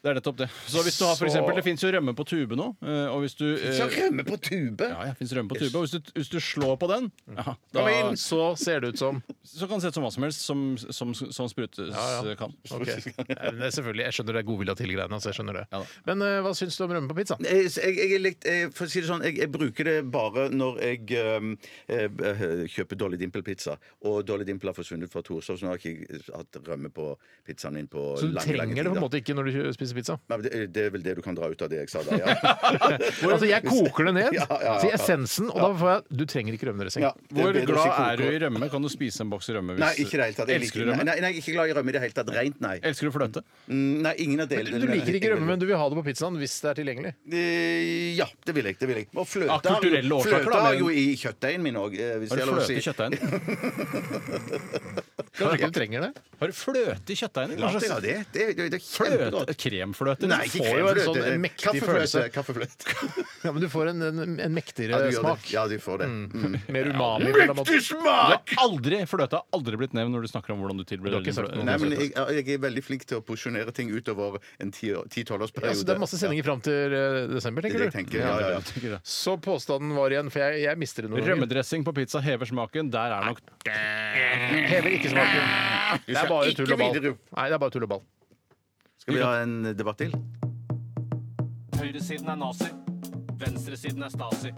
Speaker 3: Det er nettopp det. Så hvis du har for
Speaker 2: Så-
Speaker 3: eksempel, Det fins jo rømme på tube nå. eh, Og hvis du eh,
Speaker 4: Så rømme på tube!
Speaker 3: ja, ja, finnes rømme på tube. Og hvis du, hvis du slår på den,
Speaker 4: Mm.
Speaker 3: ja, da,
Speaker 2: Så ser det ut som
Speaker 3: så kan det se ut som hva som helst som, som, som sprutes
Speaker 2: Ja, ja.
Speaker 3: eh, kan.
Speaker 2: Ok. Ja, men det er Selvfølgelig, Jeg skjønner det er godvilja til greiene. Altså, jeg skjønner det.
Speaker 3: Ja da.
Speaker 2: Men eh, hva syns du om rømme på pizza?
Speaker 4: Jeg, jeg, jeg, er litt, eh, for å si det sånn, jeg, jeg bruker det bare når jeg ehm, eh, eh, kjøper Dolly Dimple-pizza. Og Dolly Dimple har forsvunnet fra Torshov, så nå har jeg ikke hatt rømme på pizzaen min på
Speaker 2: Så du
Speaker 4: lange, lange
Speaker 2: trenger det på en
Speaker 4: tider.
Speaker 2: måte ikke når du spiser pizza?
Speaker 4: Nei, men det, det er vel det du kan dra ut av det jeg sa der, ja.
Speaker 2: Altså, Jeg koker det ned
Speaker 4: Ja, ja, ja.
Speaker 2: til essensen, og da får jeg Du trenger ikke rømmedressing.
Speaker 4: Ja, det
Speaker 3: Hvor
Speaker 4: bedre å si
Speaker 3: glad
Speaker 4: koke.
Speaker 3: er du i rømme? Kan du spise en boks rømme? Hvis,
Speaker 4: Nei, ikke i det hele tatt. Jeg
Speaker 3: Elsker
Speaker 4: liker-
Speaker 3: du rømme?
Speaker 4: Nei, nei, jeg er ikke glad i rømme i det hele tatt. Rent, nei.
Speaker 3: Elsker du fløte?
Speaker 4: Mm, Nei, ingen av delene.
Speaker 2: Du liker ikke rømme, men du vil ha det på pizzaen hvis det er tilgjengelig.
Speaker 4: Eh, Ja, det vil jeg. det vil jeg Og fløte
Speaker 3: Av kulturelle
Speaker 4: har jo-
Speaker 3: årsaker,
Speaker 4: fløte
Speaker 3: da,
Speaker 4: har
Speaker 3: men-
Speaker 4: jo i kjøttdeigen min eh, òg.
Speaker 3: Har du fløte i kjøttdeigen?
Speaker 2: Kanskje ikke du trenger det?
Speaker 3: Har du fløte i kjøttdeigen? Hva
Speaker 4: Ja, det,
Speaker 3: slags
Speaker 4: er det. Det, det, det er
Speaker 3: Fløte?
Speaker 4: kjempegodt.
Speaker 3: Kremfløte?
Speaker 4: Nei,
Speaker 3: liksom?
Speaker 4: ikke
Speaker 2: får jo en
Speaker 4: kremfløte.
Speaker 2: sånn
Speaker 4: det er
Speaker 2: mektig følelse.
Speaker 4: Kaffefløte.
Speaker 2: Ja, men du får en, en, en mektigere
Speaker 4: Ja, du gjør
Speaker 2: smak.
Speaker 4: det. Ja, du får det. Mm.
Speaker 2: Mer umami. på en eller annen måte.
Speaker 4: smak!
Speaker 3: Du har aldri, Fløte har aldri blitt nevnt når du snakker om hvordan du
Speaker 2: Du
Speaker 3: tilbereder
Speaker 2: har ikke sagt noe om
Speaker 4: Nei,
Speaker 3: Nei,
Speaker 4: men jeg, jeg er veldig flink til å porsjonere ting utover en 10-12
Speaker 2: Ja,
Speaker 4: års periode.
Speaker 2: så det er masse sendinger fram til eh, desember,
Speaker 4: Det
Speaker 2: tenker du?
Speaker 4: er det jeg tenker. Ja, ja, ja.
Speaker 3: men-
Speaker 2: Så påstanden var igjen, for jeg, jeg mister det noen ganger.
Speaker 3: Rømmedressing på pizza hever smaken. Der er nok
Speaker 2: Hever ikke smaken. Det er bare
Speaker 4: ikke
Speaker 2: tull og ball.
Speaker 4: videre.
Speaker 2: Nei, det er bare tull og ball.
Speaker 4: Skal vi ha en debatt til?
Speaker 6: Høyresiden er nazi, venstresiden er stasi.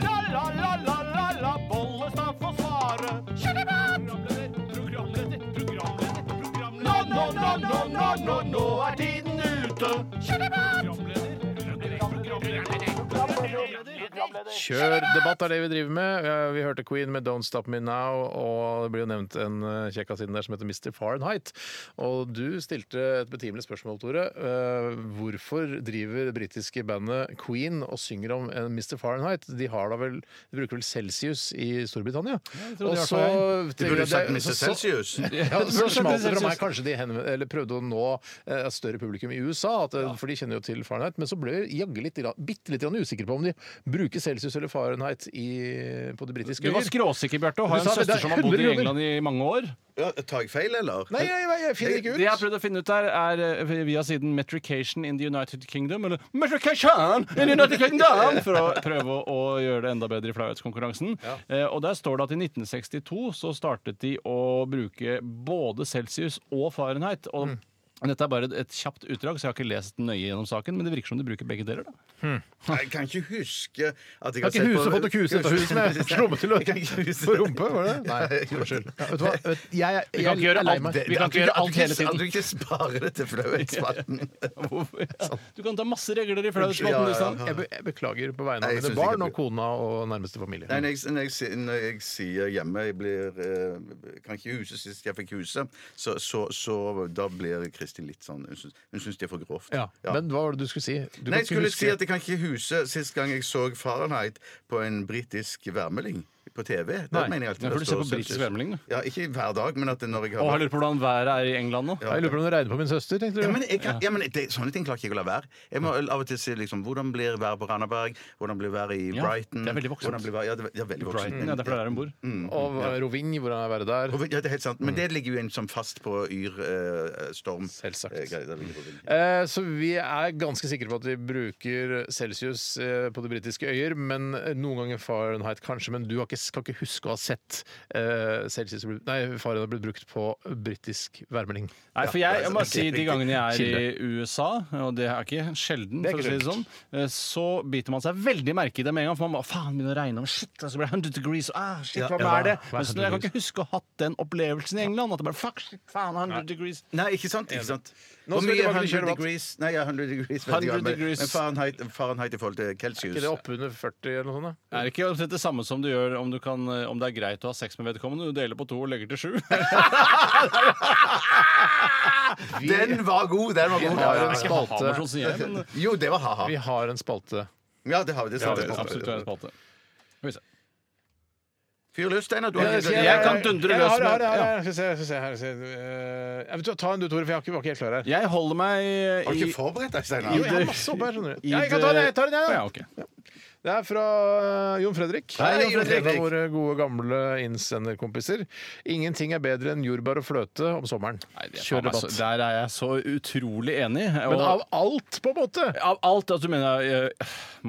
Speaker 6: La, la, la, la, la, la, Bollestad får svare. Programleder, programleder, programleder, programleder. Nå, nå, nå, nå, nå, nå, nå er tiden ute. Programleder, programleder, programleder, programleder, programleder.
Speaker 2: Kjør debatt er det vi driver med. Eh, Vi hørte Queen med Don't Stop Me Now, og det blir jo nevnt en eh, kjekkas siden der som heter Mr. Fahrenheit. Og du stilte et betimelig spørsmål, Tore. Eh, Hvorfor driver det britiske bandet Queen og synger om en Mr. Fahrenheit? De har da vel De bruker vel Celsius i Storbritannia?
Speaker 3: trodde
Speaker 2: Og
Speaker 3: de
Speaker 2: så
Speaker 4: Du
Speaker 2: tenker
Speaker 4: burde
Speaker 2: jeg det-
Speaker 4: sagt Mr.
Speaker 2: så- så-
Speaker 4: Celsius.
Speaker 2: ja, så
Speaker 3: burde sagt
Speaker 2: smalt
Speaker 3: Mr.
Speaker 2: det fra meg.
Speaker 3: Celsius.
Speaker 2: Kanskje de henv- eller prøvde å nå eh, et større publikum i USA, at, eh, for de kjenner jo til Fahrenheit. Men så ble jeg jaggu litt grann- bitte litt grann usikker på om de bruker Celsius eller Fahrenheit i, på det britiske
Speaker 3: Du var
Speaker 2: øyer.
Speaker 3: skråsikker, Bjarte, og
Speaker 2: Du
Speaker 3: har en
Speaker 2: sa det, det
Speaker 3: søster
Speaker 2: er
Speaker 3: som har bodd
Speaker 2: 100
Speaker 3: i
Speaker 2: kroner.
Speaker 3: England i mange år.
Speaker 4: Ja, tar jeg feil, eller?
Speaker 2: Nei, nei, nei, jeg finner ikke
Speaker 3: Det jeg har
Speaker 2: ut.
Speaker 3: prøvd å finne ut der, er eh, via siden Metrication in the United Kingdom, eller Metrication in the United Kingdom, for å prøve å, å gjøre det enda bedre i flauhetskonkurransen. Eh, og der står det at i 1962 så startet de å bruke både Celsius og Fahrenheit.
Speaker 4: Mm.
Speaker 3: og Dette er bare et- et kjapt utdrag, så jeg har ikke lest nøye gjennom saken, men det virker som de bruker begge deler. da.
Speaker 4: Jeg kan ikke huske at jeg
Speaker 2: Kan ikke huset fått noe kuse dette huset med
Speaker 4: Jeg kan ikke
Speaker 2: slummetulør
Speaker 4: huske
Speaker 2: på
Speaker 4: det.
Speaker 2: rumpe? Var det? Nei, unnskyld. Ja, vet du hva? Vet- Jeg, jeg,
Speaker 3: kan ikke gjøre
Speaker 2: er lei
Speaker 3: alt
Speaker 2: meg.
Speaker 3: det- Vi kan ikke gjøre alt hele tiden.
Speaker 4: At du ikke sparer det til flauhetsspalten.
Speaker 3: Hvorfor? Ja. Du kan ta masse regler i flauhetsmaten.
Speaker 4: Sånn. Ja, ja,
Speaker 3: du, Stan.
Speaker 4: ja.
Speaker 2: Jeg, be, jeg beklager på vegne
Speaker 4: Nei,
Speaker 2: av
Speaker 4: jeg
Speaker 2: mine
Speaker 4: synes
Speaker 2: barn
Speaker 4: ikke-
Speaker 2: og kona og nærmeste familie.
Speaker 4: Nei, når jeg, når, jeg, si- når jeg sier hjemme Jeg blir, eh, kan ikke huset sist jeg fikk huset, så, så, så da blir Kristin litt sånn Hun syns, hun syns det er for grovt.
Speaker 2: Ja. Men hva var det du skulle si? Du kan
Speaker 4: Nei, jeg
Speaker 2: ikke
Speaker 4: skulle
Speaker 2: huske-
Speaker 4: si at jeg kan ikke huske sist gang jeg så Fahrenheit på en britisk værmelding på TV. Det
Speaker 2: Nei,
Speaker 4: mener jeg alltid
Speaker 3: nei, for
Speaker 4: det
Speaker 3: du ser
Speaker 4: står
Speaker 3: på britisk
Speaker 4: Celsius.
Speaker 3: værmelding, du.
Speaker 4: Ja, ikke hver dag, men at når jeg har
Speaker 3: Og jeg lurer på hvordan været er i England nå.
Speaker 2: Jeg lurer på om det regner på min søster, tenkte du?
Speaker 4: Ja, men, jeg kan, ja, men det, Sånne ting klarer ikke jeg å la være. Jeg må av og til si liksom, hvordan blir været på Randaberg, hvordan blir været i
Speaker 3: Ja,
Speaker 4: Brighton
Speaker 3: det er veldig voksent.
Speaker 4: hvordan blir været- Ja, det er- det er veldig voksent.
Speaker 3: Brighton, ja, det er fordi det er der hun bor.
Speaker 2: Og eh, Roving, hvordan er været der?
Speaker 4: Ja, det er helt sant.
Speaker 3: Mm.
Speaker 4: Men det ligger jo inn som fast på yr eh, storm.
Speaker 2: Selvsagt.
Speaker 4: Eh, greier, det ligger
Speaker 3: Mm.
Speaker 4: på vind.
Speaker 2: Eh, Så vi er ganske sikre på at de bruker celsius eh, på de britiske øyer, men eh, noen ganger Fahrenheit kanskje. Men du har ikke Selsis kan ikke huske å ha sett uh, Selsis bli- Nei, faren har blitt brukt på britisk værmelding.
Speaker 3: Nei, for jeg, jeg må
Speaker 4: ikke
Speaker 3: si De
Speaker 4: riktig
Speaker 3: gangene jeg er
Speaker 4: kilde.
Speaker 3: i USA, og det er ikke sjelden,
Speaker 2: Det er
Speaker 3: for å si det sånn, eh, så biter man seg veldig merke i det med en gang. For man bare faen, begynner å regne om shit, og så blir det 100 degrees, og, ah, shit, hva
Speaker 2: Ja,
Speaker 3: er det?
Speaker 2: hva er
Speaker 3: Men så
Speaker 2: 100
Speaker 3: jeg kan ikke huske å ha hatt den opplevelsen i England. At det bare fuck, shit, faen, 100 degrees.
Speaker 4: Nei, ikke sant? ikke sant
Speaker 2: Nå
Speaker 4: Hvor
Speaker 2: skal vi
Speaker 4: mye
Speaker 2: tilbake til
Speaker 4: 100
Speaker 2: kjølevann.
Speaker 4: degrees? Nei, ja, 100 degrees vet jeg ikke,
Speaker 3: 100
Speaker 4: men,
Speaker 3: degrees.
Speaker 4: men Fahrenheit, Fahrenheit i forhold til Celsius.
Speaker 2: Er det oppunder 40 eller noe sånt? da?
Speaker 3: Det er ikke omtrent det samme som du gjør om, du kan, eh, om det er greit å ha sex med vedkommende. Du deler på to og legger til sju.
Speaker 4: Den var god! Den var god.
Speaker 2: har
Speaker 4: Ja, ja,
Speaker 2: en
Speaker 4: ja.
Speaker 2: spalte.
Speaker 3: Hamersson sier jeg, men det
Speaker 4: Jo, det var ha-ha.
Speaker 2: Vi har en spalte.
Speaker 4: Ja, det har vi. Det
Speaker 3: er
Speaker 4: satte jeg på.
Speaker 3: absolutt en spalte. Skal vi se.
Speaker 4: Fyr løs, Steinar. Du
Speaker 2: Ja,
Speaker 4: har
Speaker 2: skal
Speaker 3: Jeg kan dundre
Speaker 2: Jeg
Speaker 3: løs
Speaker 2: har det, jeg
Speaker 3: med-
Speaker 2: har det, jeg har det. Skal vi se, skal vi se her. skal vi se. Eh, jeg vet du hva, Ta en du, Tore, for jeg har ikke- var ikke helt klar her.
Speaker 3: Jeg holder meg
Speaker 4: Har du
Speaker 3: i
Speaker 4: ikke forberedt
Speaker 3: Jo,
Speaker 4: deg,
Speaker 2: Jo,
Speaker 4: Steinar?
Speaker 2: jeg har masse opp her, skjønner du.
Speaker 3: i
Speaker 2: Ja, jeg kan ta den, jeg tar den, jeg,
Speaker 3: Å,
Speaker 2: da.
Speaker 3: ja, ok.
Speaker 2: Det er fra eh, Jon Fredrik.
Speaker 4: Hei, Jon Fredrik.
Speaker 2: En av våre gode, gamle innsenderkompiser. Ingenting er bedre enn jordbær og fløte om sommeren.
Speaker 3: Nei, det er
Speaker 2: Kjør
Speaker 3: faen meg
Speaker 2: debatt.
Speaker 3: så- Der er jeg så utrolig enig.
Speaker 2: Men
Speaker 3: og-
Speaker 2: av alt, på en måte!
Speaker 3: Av alt at du mener jeg,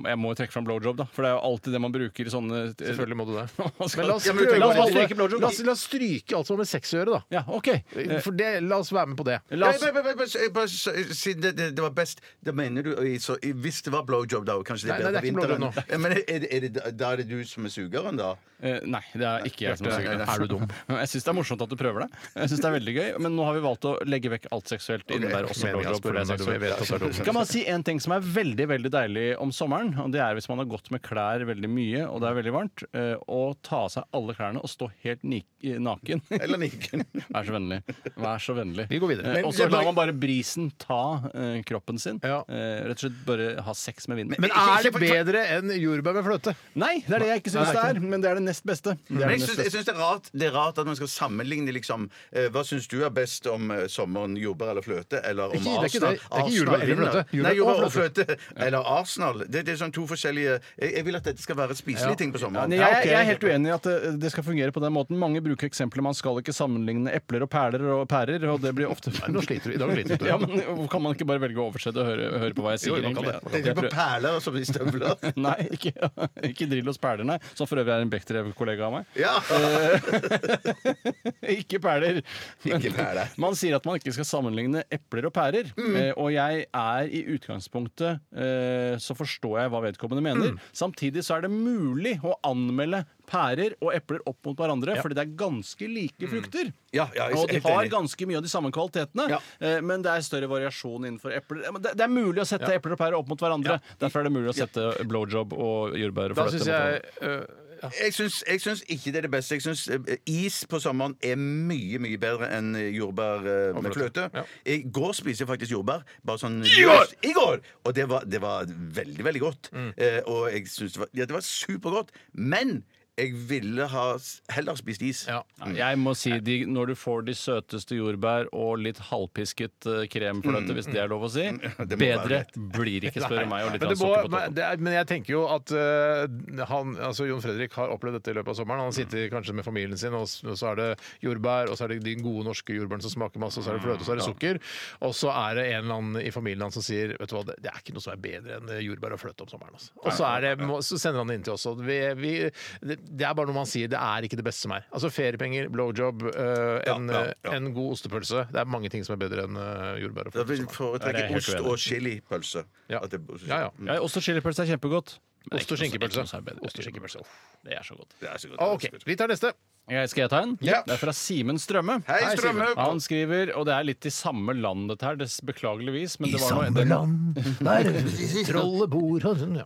Speaker 3: jeg må jo trekke fram blowjob, da. For det er jo alltid det man bruker i sånne
Speaker 2: Selvfølgelig må du det.
Speaker 3: Men
Speaker 2: Men la oss,
Speaker 4: Ja, men du
Speaker 2: prøve
Speaker 4: trenger bare
Speaker 2: å-
Speaker 3: stryke blowjob.
Speaker 2: la oss, la oss stryke alt som har med sex å gjøre, da.
Speaker 3: Ja, OK. Eh,
Speaker 2: For det, la oss være med på det.
Speaker 3: La oss
Speaker 4: Nei, nei, nei, nei, bare- eh, bare si- Siden det, det, det var best Da mener du i- så, i- Hvis det var blowjob, da og Kanskje
Speaker 2: Nei,
Speaker 4: det er
Speaker 2: nei,
Speaker 4: bedre
Speaker 2: det er ikke blowjob
Speaker 4: vinteren. Ja, Men er det, er det, da er det du som er sugeren, da?
Speaker 3: eh, Nei, det er ikke jeg som
Speaker 4: Bjarte,
Speaker 3: sier det.
Speaker 4: nei, nei.
Speaker 3: Er du dum? Jeg syns det er morsomt at du prøver det. Jeg synes det er veldig gøy Men nå har vi valgt å legge vekk alt seksuelt. Okay. Innebærer også
Speaker 2: Meningen er å spørre
Speaker 3: blowjob. for det er
Speaker 2: når du
Speaker 3: seksuelt.
Speaker 2: vet at det er dumt.
Speaker 3: Kan man si en ting som er veldig veldig deilig om sommeren? og Det er hvis man har gått med klær veldig mye og det er veldig varmt, eh, å ta av seg alle klærne og stå helt ni eh, naken.
Speaker 4: Eller niken?
Speaker 3: Vær så vennlig. Vær så vennlig.
Speaker 2: Vi går videre.
Speaker 3: Eh, Og så
Speaker 4: Men det er
Speaker 3: lar
Speaker 4: bare-
Speaker 3: man bare brisen ta eh, kroppen sin.
Speaker 2: Ja.
Speaker 3: Eh, rett og slett bare ha sex med vinden.
Speaker 2: Men er det bedre enn jordbær med fløte?
Speaker 3: Nei, det er det jeg ikke syns det er, men det er det nest beste. Det er
Speaker 4: Men
Speaker 3: det
Speaker 4: jeg
Speaker 3: nest
Speaker 4: syns, jeg
Speaker 3: beste.
Speaker 4: syns det, er rart, det er rart at man skal sammenligne liksom eh, Hva syns du er best om eh, sommeren, jordbær eller fløte? Eller om
Speaker 2: Ikke- det er ikke
Speaker 4: Arsenal,
Speaker 2: det. Det er ikke jordbær eller
Speaker 4: vinner.
Speaker 2: fløte. Jordbær
Speaker 4: Nei, jordbær
Speaker 2: og
Speaker 4: og fløte. Eller Arsenal. Det, det er sånn to forskjellige jeg, jeg vil at dette skal være spiselige ting på
Speaker 3: Ja,
Speaker 4: sommeren.
Speaker 3: nei, jeg, jeg er helt uenig i at det, det skal fungere på den måten. Mange bruker eksempler. Man skal ikke sammenligne epler og perler og pærer, og det blir ofte
Speaker 2: Nå sliter du. I dag sliter du.
Speaker 3: ja, men hvorfor Kan man ikke bare velge å oversette og høre, høre på hva jeg sier?
Speaker 2: Jo, man kan
Speaker 3: egentlig?
Speaker 2: det. Man
Speaker 4: Tenker
Speaker 3: Jeg
Speaker 4: du på
Speaker 3: prøver-
Speaker 4: perler og så blir støvler?
Speaker 3: Nei, ikke, ikke Drillos perler, nei. Som for øvrig er en Bechdrev-kollega av meg.
Speaker 4: Ja!
Speaker 2: Eh,
Speaker 3: Eh, Ikke perler. Men
Speaker 4: Ikke perler. Mm.
Speaker 3: Man sier at man ikke skal sammenligne epler og pærer. Eh, og jeg er i utgangspunktet eh, Så forstår jeg hva vedkommende
Speaker 4: Mm.
Speaker 3: mener. Samtidig så er det mulig å anmelde pærer og epler opp mot hverandre, fordi det er ganske like frukter.
Speaker 4: Mm. Ja, ja, jeg er
Speaker 3: og de
Speaker 4: helt
Speaker 3: har
Speaker 4: enig.
Speaker 3: ganske mye av de samme kvalitetene,
Speaker 4: Ja.
Speaker 3: eh, men det er større variasjon innenfor epler. Eh, men Det, det er mulig å sette epler og pærer opp mot hverandre. Derfor er det mulig å sette blowjob og jordbær og
Speaker 2: Da
Speaker 3: fløte
Speaker 2: syns
Speaker 3: mot hverandre.
Speaker 2: jeg øh, ja.
Speaker 4: Jeg syns, jeg syns ikke det er det beste. Jeg syns eh, is på sommeren er mye mye bedre enn jordbær eh, med fløte. I går spiste jeg faktisk jordbær. Bare sånn I går! I går! Og det var, det var veldig, veldig godt. Eh, og jeg syns det var Ja, det var supergodt. Men jeg ville ha s- heller spist is.
Speaker 2: Ja.
Speaker 3: Nei, Jeg må si de, Når du får de søteste jordbær og litt halvpisket eh, kremfløte, hvis det er lov å si,
Speaker 4: Mm. det må
Speaker 3: bedre
Speaker 4: være
Speaker 3: blir ikke, spør du meg. Og litt
Speaker 2: Men, det
Speaker 3: grann
Speaker 2: må,
Speaker 3: sukker på
Speaker 2: men,
Speaker 3: toppen.
Speaker 2: det er, men jeg tenker jo at øh, han, altså Jon Fredrik har opplevd dette i løpet av sommeren. Han sitter kanskje med familien sin, og s- og så er det jordbær, og så er det de gode norske jordbærene som smaker masse, og så er det fløte, og så er det sukker. Og så er det en eller annen i familien hans som sier Vet du hva, det det er ikke noe som er bedre enn eh, jordbær og fløte om sommeren. Altså. Og så, er det, må- så sender han det inn til oss. og Vi, vi, det, det er bare noe man sier. Det er ikke det beste som er. Altså feriepenger, blowjob, øh, en,
Speaker 4: Ja, ja, ja.
Speaker 2: en god ostepølse. Det er mange ting som er bedre enn øh, jordbær og fløte.
Speaker 4: Da
Speaker 2: om
Speaker 4: vil jeg
Speaker 2: sommeren.
Speaker 3: Ja, det er
Speaker 4: foretrekke
Speaker 3: jeg
Speaker 4: ost
Speaker 3: helt uenig i.
Speaker 4: og chilipølse.
Speaker 2: Ja.
Speaker 4: At det-
Speaker 2: Ja, ja.
Speaker 4: Mm.
Speaker 3: ja, ost og chilipølse er kjempegodt. Men
Speaker 2: Ost og
Speaker 3: det er ikke noe som-
Speaker 2: skinkepølse.
Speaker 3: ikke noe som er bedre.
Speaker 2: Ost og skinkepølse. Uff.
Speaker 3: Det er så godt.
Speaker 4: Det er så godt.
Speaker 2: Ah, OK, vi tar neste.
Speaker 3: Jeg, skal jeg ta en?
Speaker 4: Ja.
Speaker 3: Det er fra Simen Strømme.
Speaker 4: Hei,
Speaker 2: Hei, Simen.
Speaker 4: Strømme!
Speaker 3: Han skriver, og det er litt i samme land dette her, des- beklageligvis men det var noe, det,
Speaker 2: land der trollet bor ja.
Speaker 3: ja,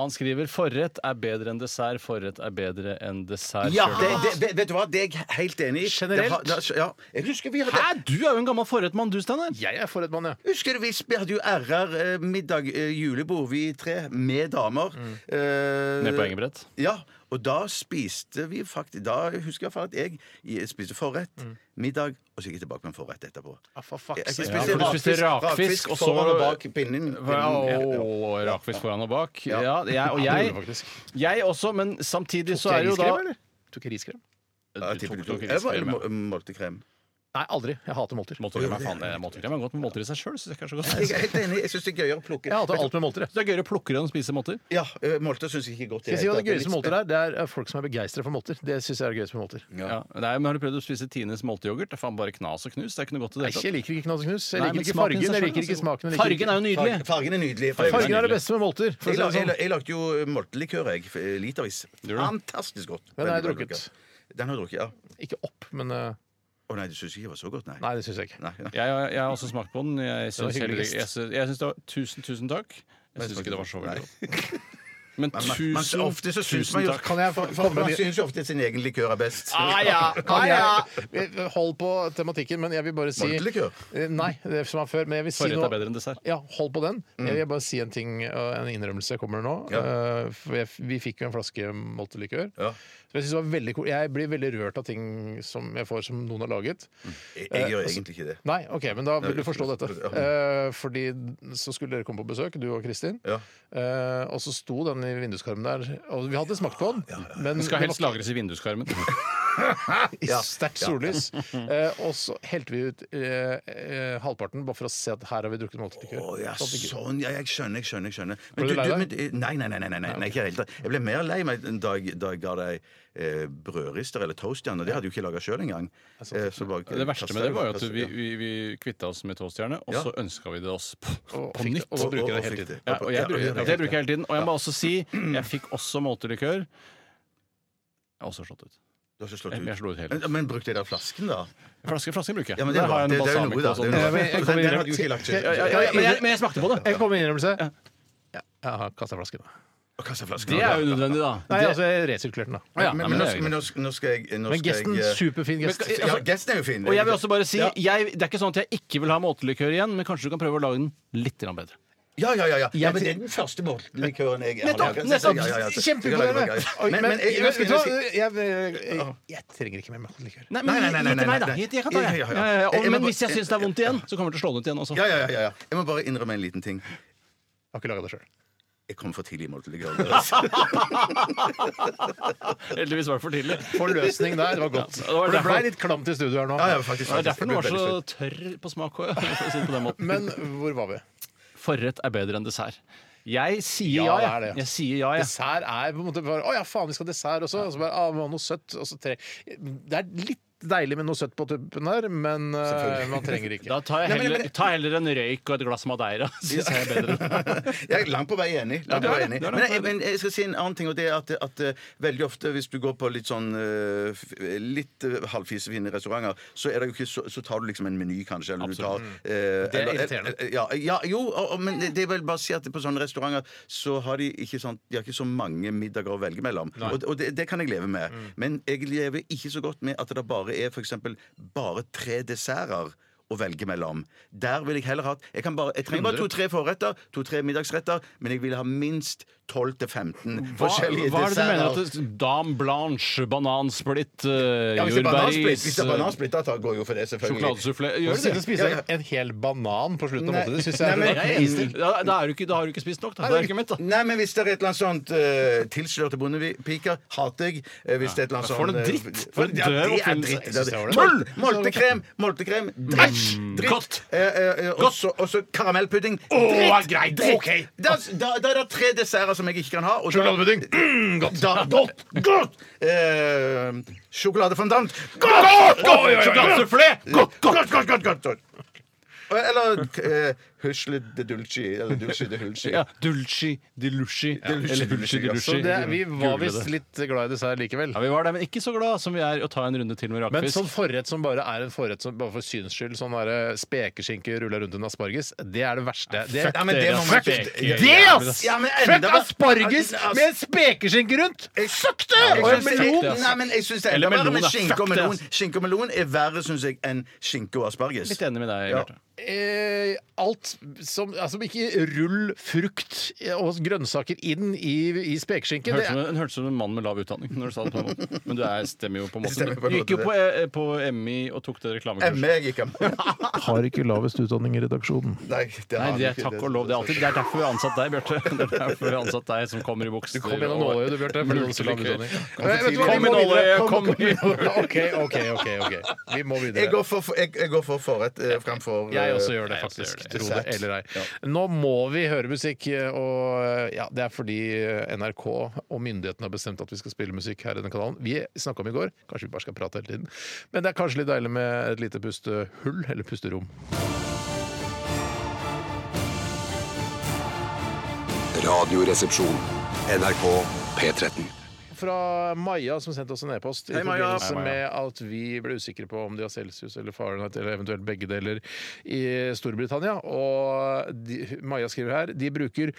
Speaker 3: Han skriver forrett er bedre enn dessert, forrett er bedre enn dessert.
Speaker 4: Ja,
Speaker 3: Sjøl-
Speaker 4: det, det, vet- vet du hva, det er jeg helt enig i.
Speaker 2: Generelt?
Speaker 4: Det har- det har- ja. Jeg husker vi hadde
Speaker 3: Hæ, du er jo en gammel forrettmann, du, Steinar.
Speaker 2: Jeg er for et mann, ja.
Speaker 4: Husker du vi sp- hadde jo RR eh, middag, eh, julebord, vi tre, med damer. Eh,
Speaker 3: Ned Mm. på Engebrett.
Speaker 4: Ja, og da spiste vi faktisk Da husker jeg iallfall at jeg i- spiste forrett,
Speaker 3: Mm.
Speaker 4: middag, og så gikk jeg tilbake med en forrett etterpå.
Speaker 2: Ah, for
Speaker 4: Jeg- jeg
Speaker 2: fuck's
Speaker 4: spiste
Speaker 2: sake.
Speaker 3: for du spiste rakfisk, og så-
Speaker 4: foran og bak pinnen.
Speaker 3: Ja,
Speaker 4: pinnen.
Speaker 3: og rakfisk foran og bak. Ja,
Speaker 4: Ja.
Speaker 3: jeg, og
Speaker 2: Ja, det
Speaker 3: jeg,
Speaker 2: gjorde du faktisk.
Speaker 3: jeg også, men samtidig så
Speaker 2: Tok
Speaker 3: er
Speaker 2: jeg
Speaker 3: jo
Speaker 2: riskrem,
Speaker 3: da
Speaker 2: eller? Tok jeg riskrem?
Speaker 4: Ja,
Speaker 3: Du
Speaker 4: tipper
Speaker 3: tok-
Speaker 4: du
Speaker 3: tok
Speaker 4: tok-
Speaker 3: riskrem,
Speaker 4: Jeg
Speaker 3: ja.
Speaker 4: må- målte krem.
Speaker 2: Nei, aldri. Jeg hater molter.
Speaker 3: Måltøy gjør meg faen det. Måltøy gjør meg godt, men måltøy i seg sjøl syns jeg ikke er så godt.
Speaker 4: Jeg er helt enig. Jeg syns det er gøyere å plukke.
Speaker 2: Jeg hater alt med molter. jeg.
Speaker 3: Så det er gøyere å plukke det enn å spise måltøy.
Speaker 4: Ja, ø, Molter syns jeg ikke er godt.
Speaker 2: Skal jeg si
Speaker 4: i hele
Speaker 2: hva
Speaker 4: tatt.
Speaker 2: det gøyeste med
Speaker 4: litt
Speaker 2: molter er? Det er eh, folk som er begeistra for molter. Det syns jeg er gøyest med molter.
Speaker 4: Ja.
Speaker 3: Ja. Nei, men har du prøvd å spise Tines molteyoghurt? Det er faen bare knas og knus. Det er ikke noe godt i det
Speaker 2: Nei, Jeg liker ikke Knas og Knus. Jeg
Speaker 3: Nei,
Speaker 2: liker
Speaker 3: men
Speaker 2: ikke
Speaker 3: smaken i seg
Speaker 2: fargen. Jeg
Speaker 3: selv,
Speaker 2: liker ikke
Speaker 3: altså.
Speaker 2: smaken. jeg liker
Speaker 3: Fargen er jo
Speaker 4: spe-
Speaker 3: nydelig.
Speaker 4: Fargen- Fargen er nydelig.
Speaker 2: ikke- Fargen er det beste med molter. For å
Speaker 4: Jeg,
Speaker 2: si
Speaker 4: la,
Speaker 2: det
Speaker 4: jeg, la,
Speaker 2: sånn.
Speaker 4: jeg lagde jo moltelikør, jeg. f- Litervis.
Speaker 3: du det?
Speaker 4: Fantastisk godt.
Speaker 2: Den har jeg
Speaker 4: Veldig bra
Speaker 2: drukket.
Speaker 4: likør. Den har du drukket, ja.
Speaker 2: Ikke opp, men eh,
Speaker 4: Å nei, du syns ikke det var så godt, nei?
Speaker 2: Nei, det syns jeg ikke.
Speaker 4: Nei, nei.
Speaker 3: Jeg, jeg, jeg har også smakt på den. Jeg
Speaker 2: var
Speaker 3: syns heller
Speaker 2: hyggeligst.
Speaker 3: ikke jeg syns- jeg syns det var Tusen, tusen takk. Jeg syns ikke det var så veldig godt. Men
Speaker 4: Men- men- men så
Speaker 3: tusen,
Speaker 4: ofte så syns man
Speaker 3: tusen
Speaker 4: jo
Speaker 3: takk.
Speaker 2: Kan jeg få
Speaker 4: For
Speaker 2: komme
Speaker 4: Man
Speaker 2: med
Speaker 4: syns jo ofte sin egen likør er best.
Speaker 7: Ah, ja.
Speaker 2: kan
Speaker 7: Ah, ja.
Speaker 2: jeg, Hold på tematikken, men jeg vil bare si
Speaker 4: Moltelikør?
Speaker 2: Eh, Nei, det er som er før. Men jeg vil si
Speaker 3: Forrett
Speaker 2: noe
Speaker 3: er bedre enn dessert.
Speaker 2: Ja, hold på den.
Speaker 4: Mm.
Speaker 2: Jeg vil bare si en ting, og en innrømmelse kommer nå. Eh, for jeg, vi fikk jo en flaske moltelikør.
Speaker 4: Ja.
Speaker 2: Så jeg, synes det var veldig, ko- jeg blir veldig rørt av ting som jeg får som noen har laget.
Speaker 4: Jeg, jeg
Speaker 2: Eh,
Speaker 4: gjør egentlig ikke det.
Speaker 2: Nei, ok, men da vil du forstå dette.
Speaker 4: Mm. Ja.
Speaker 2: Eh, fordi så skulle dere komme på besøk, du og Kristin.
Speaker 4: Ja.
Speaker 2: Eh, og så sto den i vinduskarmen der, og vi hadde smakt på den. Men
Speaker 3: Den skal
Speaker 2: det
Speaker 3: helst
Speaker 2: var
Speaker 3: lagres i vinduskarmen.
Speaker 2: i sterkt sollys. Eh, og så helte vi ut eh, eh, halvparten bare for å se at her har vi drukket måltidslikør.
Speaker 4: Å ja,
Speaker 2: Sånn at ikke-
Speaker 4: sånn. Ja, jeg skjønner, jeg skjønner. jeg skjønner.
Speaker 2: Ble du lei deg?
Speaker 4: men- nei, nei, nei, nei, nei, nei, nei, ikke helt. Jeg ble mer lei meg da jeg, da jeg ga deg eh, brødrister eller toast igjen, og det hadde jeg jo ikke laga sjøl engang. Eh, så bare-
Speaker 3: Det verste med det var jo at vi,
Speaker 4: Ja.
Speaker 3: vi, vi kvitta oss med toastjerne, og
Speaker 4: Ja.
Speaker 3: så ønska vi det oss på,
Speaker 2: Og
Speaker 3: på
Speaker 2: fikk-
Speaker 3: nytt.
Speaker 2: og så bruker jeg
Speaker 4: og
Speaker 2: det hele
Speaker 4: fikk
Speaker 2: tiden.
Speaker 4: det.
Speaker 3: Ja, og jeg,
Speaker 4: Ja,
Speaker 3: bruker,
Speaker 4: ja, ja, ja.
Speaker 3: det bruker jeg hele tiden. Og jeg må også si jeg fikk også måltidslikør. Jeg har også slått ut.
Speaker 4: Du har ikke slått
Speaker 3: Jeg, jeg
Speaker 4: ut.
Speaker 3: slo ut hele.
Speaker 4: Men, men bruk det der flasken, da.
Speaker 3: Flaske, flaske bruker jeg.
Speaker 4: Ja, men det, er
Speaker 3: Der
Speaker 4: bra.
Speaker 3: har jeg en
Speaker 4: det, det er jo noe,
Speaker 3: balsamico og
Speaker 4: da. Det er
Speaker 2: Ja,
Speaker 3: sånn.
Speaker 4: jo noe.
Speaker 2: men jeg
Speaker 4: Den-
Speaker 2: kommer
Speaker 4: Den
Speaker 2: inn-
Speaker 4: hadde du ikke lagt
Speaker 2: Ja, ja,
Speaker 4: ut.
Speaker 2: ja.
Speaker 3: Ja, ja, men, jeg, men jeg smakte på det.
Speaker 2: Jeg kom med en innrømmelse. Jeg har kasta flasken. da.
Speaker 4: Og kastet flasken,
Speaker 3: Det
Speaker 4: ja.
Speaker 3: er jo unødvendig, da.
Speaker 2: Nei,
Speaker 3: Det-
Speaker 2: altså, jeg resirkulerte den, da.
Speaker 3: Ja,
Speaker 4: Men,
Speaker 3: nei, men det er
Speaker 4: men, nå, skal-
Speaker 3: jo
Speaker 4: men
Speaker 3: greit.
Speaker 4: nå, skal- nå skal jeg nå
Speaker 2: Men
Speaker 4: skal
Speaker 2: gesten,
Speaker 4: jeg, eh,
Speaker 2: superfin gest.
Speaker 3: Men-
Speaker 4: Ja, gesten er jo fin.
Speaker 3: Og jeg vil også bare si, jeg, Det er ikke sånn at jeg ikke vil ha måtelikør igjen, men kanskje du kan prøve å lage den litt grann bedre.
Speaker 4: Ja, ja, ja. ja. ja men det er den første mållikøren jeg har
Speaker 3: Nettopp,
Speaker 4: laget.
Speaker 3: nettopp.
Speaker 4: Ja, ja, ja.
Speaker 2: Kjempeimponerende! Oi,
Speaker 4: Men,
Speaker 2: Men
Speaker 4: men jeg,
Speaker 2: jeg-
Speaker 4: jeg,
Speaker 2: vet
Speaker 4: jeg,
Speaker 2: du hva, jeg jeg- jeg trenger ikke mer måltidslikør.
Speaker 3: Nei,
Speaker 4: Nei, nei, nei, nei,
Speaker 3: gi til meg, da.
Speaker 4: nei, nei.
Speaker 3: Gi til- Jeg kan ta det.
Speaker 4: Ja, ja,
Speaker 3: Ja,
Speaker 4: ja.
Speaker 3: ja, ja. Og-
Speaker 4: Jeg må
Speaker 3: Men
Speaker 4: bare-
Speaker 3: hvis jeg syns det er vondt igjen, så kommer jeg til å slå den ut igjen. også.
Speaker 4: ja, ja, ja, ja. jeg må bare innrømme en liten ting.
Speaker 2: Har ikke laga det sjøl.
Speaker 4: Jeg kom for tidlig i måltillikøren. Altså.
Speaker 3: Heldigvis var det for tidlig.
Speaker 2: Forløsning der, det var godt.
Speaker 3: det var
Speaker 2: For det
Speaker 3: derfor-
Speaker 2: blei litt klamt i studio her nå.
Speaker 4: Ja, ja,
Speaker 3: Det
Speaker 4: faktisk,
Speaker 3: er
Speaker 4: faktisk.
Speaker 3: derfor den var
Speaker 4: ble veldig
Speaker 3: så
Speaker 4: søt.
Speaker 3: tørr på smak òg. for å si det på den måten.
Speaker 2: Men hvor var vi?
Speaker 3: Forrett er bedre enn dessert. Jeg sier
Speaker 2: Ja,
Speaker 3: ja,
Speaker 2: det er det.
Speaker 3: jeg. Jeg sier ja, jeg.
Speaker 2: Dessert er på en måte bare Å ja, faen, vi skal ha dessert også. Og så bare, ah, vi må ha noe søtt. Og så tre. Det er litt deilig med noe søtt på tuppen der, men eh, man trenger ikke.
Speaker 3: Da tar jeg
Speaker 4: Nei, men-
Speaker 3: heller, ta heller en røyk og et glass Madeira. Synes jeg er bedre.
Speaker 4: Jeg er langt på vei enig.
Speaker 3: Ja,
Speaker 4: Langt på
Speaker 3: det
Speaker 4: vei
Speaker 3: er det.
Speaker 4: enig.
Speaker 3: Det er
Speaker 4: Men,
Speaker 3: langt på
Speaker 4: jeg,
Speaker 3: vei.
Speaker 4: men jeg skal si en annen ting, og det er at, at eh, veldig ofte hvis du går på litt sånn eh, f- litt eh, halvfisefine restauranter, så, er det jo ikke, så, så tar du liksom en meny, kanskje. Eller du tar,
Speaker 3: Mm.
Speaker 4: eh,
Speaker 2: Det er
Speaker 4: eller-
Speaker 2: irriterende.
Speaker 4: Ja, ja, jo, og, og, men det er vel bare å si at på sånne restauranter så har de ikke, sånn, de har ikke så mange middager å velge mellom. Og, og det, det kan jeg leve med.
Speaker 3: Mm.
Speaker 4: Men jeg lever ikke så godt med at det bare er for eksempel bare tre desserter å velge mellom. Der vil jeg heller ha Jeg, kan bare, jeg trenger bare to-tre forretter, to-tre middagsretter, men jeg vil ha minst 12-15
Speaker 3: Hva,
Speaker 4: forskjellige
Speaker 3: hva er det du mener?
Speaker 4: desserter.
Speaker 3: At det- Dame blanche, banansplitt, eh,
Speaker 4: Ja, hvis det er banansplitt,
Speaker 3: jordbæris,
Speaker 4: hvis det er
Speaker 3: eh,
Speaker 4: banansplitt, da tar- går jeg jo for det, selvfølgelig.
Speaker 3: sjokoladesufflé
Speaker 2: Å
Speaker 3: Gjør
Speaker 2: sitte
Speaker 3: det
Speaker 2: og
Speaker 3: det?
Speaker 2: spise
Speaker 4: Ja, ja.
Speaker 2: en hel banan på slutten av
Speaker 4: Nei.
Speaker 2: måltidet, syns jeg er
Speaker 4: Nei, men-
Speaker 2: rart.
Speaker 4: Nei,
Speaker 3: Da, da, er du ikke, da har du ikke spist nok, da. Da er du ikke mett, da.
Speaker 4: Nei, men hvis det er et eller annet sånt uh, tilslørte bondepiker, hater jeg. Eh, hvis det er et eller
Speaker 3: Ja,
Speaker 4: annet sånt
Speaker 3: for noe
Speaker 4: eh,
Speaker 3: dritt. For en
Speaker 4: ja,
Speaker 3: døv
Speaker 4: det er
Speaker 3: oppfinnelse.
Speaker 4: dritt.
Speaker 2: Jeg synes
Speaker 4: Det
Speaker 2: det
Speaker 4: er
Speaker 2: var
Speaker 4: dritt.
Speaker 2: det.
Speaker 4: Tull! Moltekrem! Moltekrem! Dæsj! Dritt!
Speaker 3: Godt.
Speaker 4: Eh, eh, eh, og så- og så karamellpudding.
Speaker 7: Å,
Speaker 4: Dritt!
Speaker 7: greit.
Speaker 4: dritt.
Speaker 7: Ok.
Speaker 4: Da, da, da er det tre desserter som jeg ikke kan ha. og da-
Speaker 2: Sjokoladepudding.
Speaker 4: Mm, godt. Da, godt! Godt! Eh, sjokoladefondant. Godt!
Speaker 7: Sjokoladesufflé!
Speaker 4: Godt, godt, godt, godt, godt, godt. Eller uh, husle de dulci. Eller dulci de hulci.
Speaker 3: Ja, Dulci di Luci.
Speaker 4: Luci
Speaker 3: Eller
Speaker 4: di
Speaker 3: Hulci di
Speaker 4: Luci,
Speaker 3: Luci.
Speaker 2: Så altså. det, vi var
Speaker 3: Google det.
Speaker 2: visst litt glad i dessert likevel.
Speaker 3: Ja, Vi var der, men ikke så glad som vi er i å ta en runde til med
Speaker 2: Men
Speaker 3: rakfisk.
Speaker 2: sånn forrett som bare er en forrett som bare for syns skyld, sånn der spekeskinke rulla rundt en asparges, det er det verste. Det,
Speaker 4: Ja, men det
Speaker 3: Dere
Speaker 4: må man ikke-
Speaker 3: steker-
Speaker 2: det, ass!
Speaker 4: Ja, men
Speaker 2: Fuck
Speaker 4: enda-
Speaker 2: asparges
Speaker 4: Altså,
Speaker 2: med en spekeskinke rundt! Søkte!
Speaker 4: Jeg
Speaker 2: Og en
Speaker 4: synes-
Speaker 2: melon!
Speaker 4: Nei, men jeg syns det er
Speaker 3: Eller
Speaker 4: enda verre
Speaker 3: melon,
Speaker 4: med
Speaker 3: da.
Speaker 4: skinke og
Speaker 3: Fuck det,
Speaker 4: melon.
Speaker 3: ass.
Speaker 4: Skinke og melon er verre, syns jeg, enn skinke og asparges.
Speaker 3: Litt enig med deg,
Speaker 4: Ja.
Speaker 3: Bjarte.
Speaker 2: Eh, alt Sett som, altså, ikke rull frukt og grønnsaker inn i, i spekeskinken. Det
Speaker 3: Hørtes
Speaker 2: er-
Speaker 3: som, en- hørtes som en mann med lav utdanning. Når du sa det på en måte. Men du er, stemmer jo på en måte.
Speaker 4: Stemmer på en
Speaker 3: Du gikk jo
Speaker 4: måte,
Speaker 3: på, eh, på MI og tok det reklamekurset.
Speaker 4: Meg ikke
Speaker 2: Har ikke lavest utdanning i redaksjonen.
Speaker 4: Nei,
Speaker 3: Nei,
Speaker 4: det har
Speaker 3: det
Speaker 4: han
Speaker 3: er
Speaker 4: ikke.
Speaker 3: takk og lov. Det er, alltid, det er derfor vi har ansatt deg, Bjarte. Det er derfor vi har ansatt deg som kommer i bukser.
Speaker 2: Kom igjen og
Speaker 3: og-
Speaker 2: nåle, du, Bjarte. for du har så lav utdanning. Eh, vet du hva, vi
Speaker 3: Kom i
Speaker 2: må videre.
Speaker 3: nåløyet,
Speaker 2: Kom-
Speaker 3: kom i
Speaker 2: OK, OK, OK. ok. Vi må
Speaker 4: Jeg
Speaker 2: videre.
Speaker 4: går for, for, jeg, jeg går for forrett eh, fremfor
Speaker 2: Jeg også
Speaker 4: eh,
Speaker 2: gjør det,
Speaker 3: jeg også
Speaker 2: faktisk.
Speaker 3: gjør
Speaker 4: det.
Speaker 2: Tro det eller ei. Nå må vi høre musikk, og ja, det er fordi NRK og myndighetene har bestemt at vi skal spille musikk her i denne kanalen. Vi snakka om i går, kanskje vi bare skal prate hele tiden. Men det er kanskje litt deilig med et lite pustehull, eller pusterom.
Speaker 8: Radioresepsjon. NRK P13.
Speaker 2: fra Maja, som sendte oss en e-post i
Speaker 4: Hei, Maja.
Speaker 2: forbindelse
Speaker 3: Hei, Maja.
Speaker 2: med at vi ble usikre på om de har celsius eller Fahrenheit eller eventuelt begge deler i Storbritannia. Og de, Maja skriver her de bruker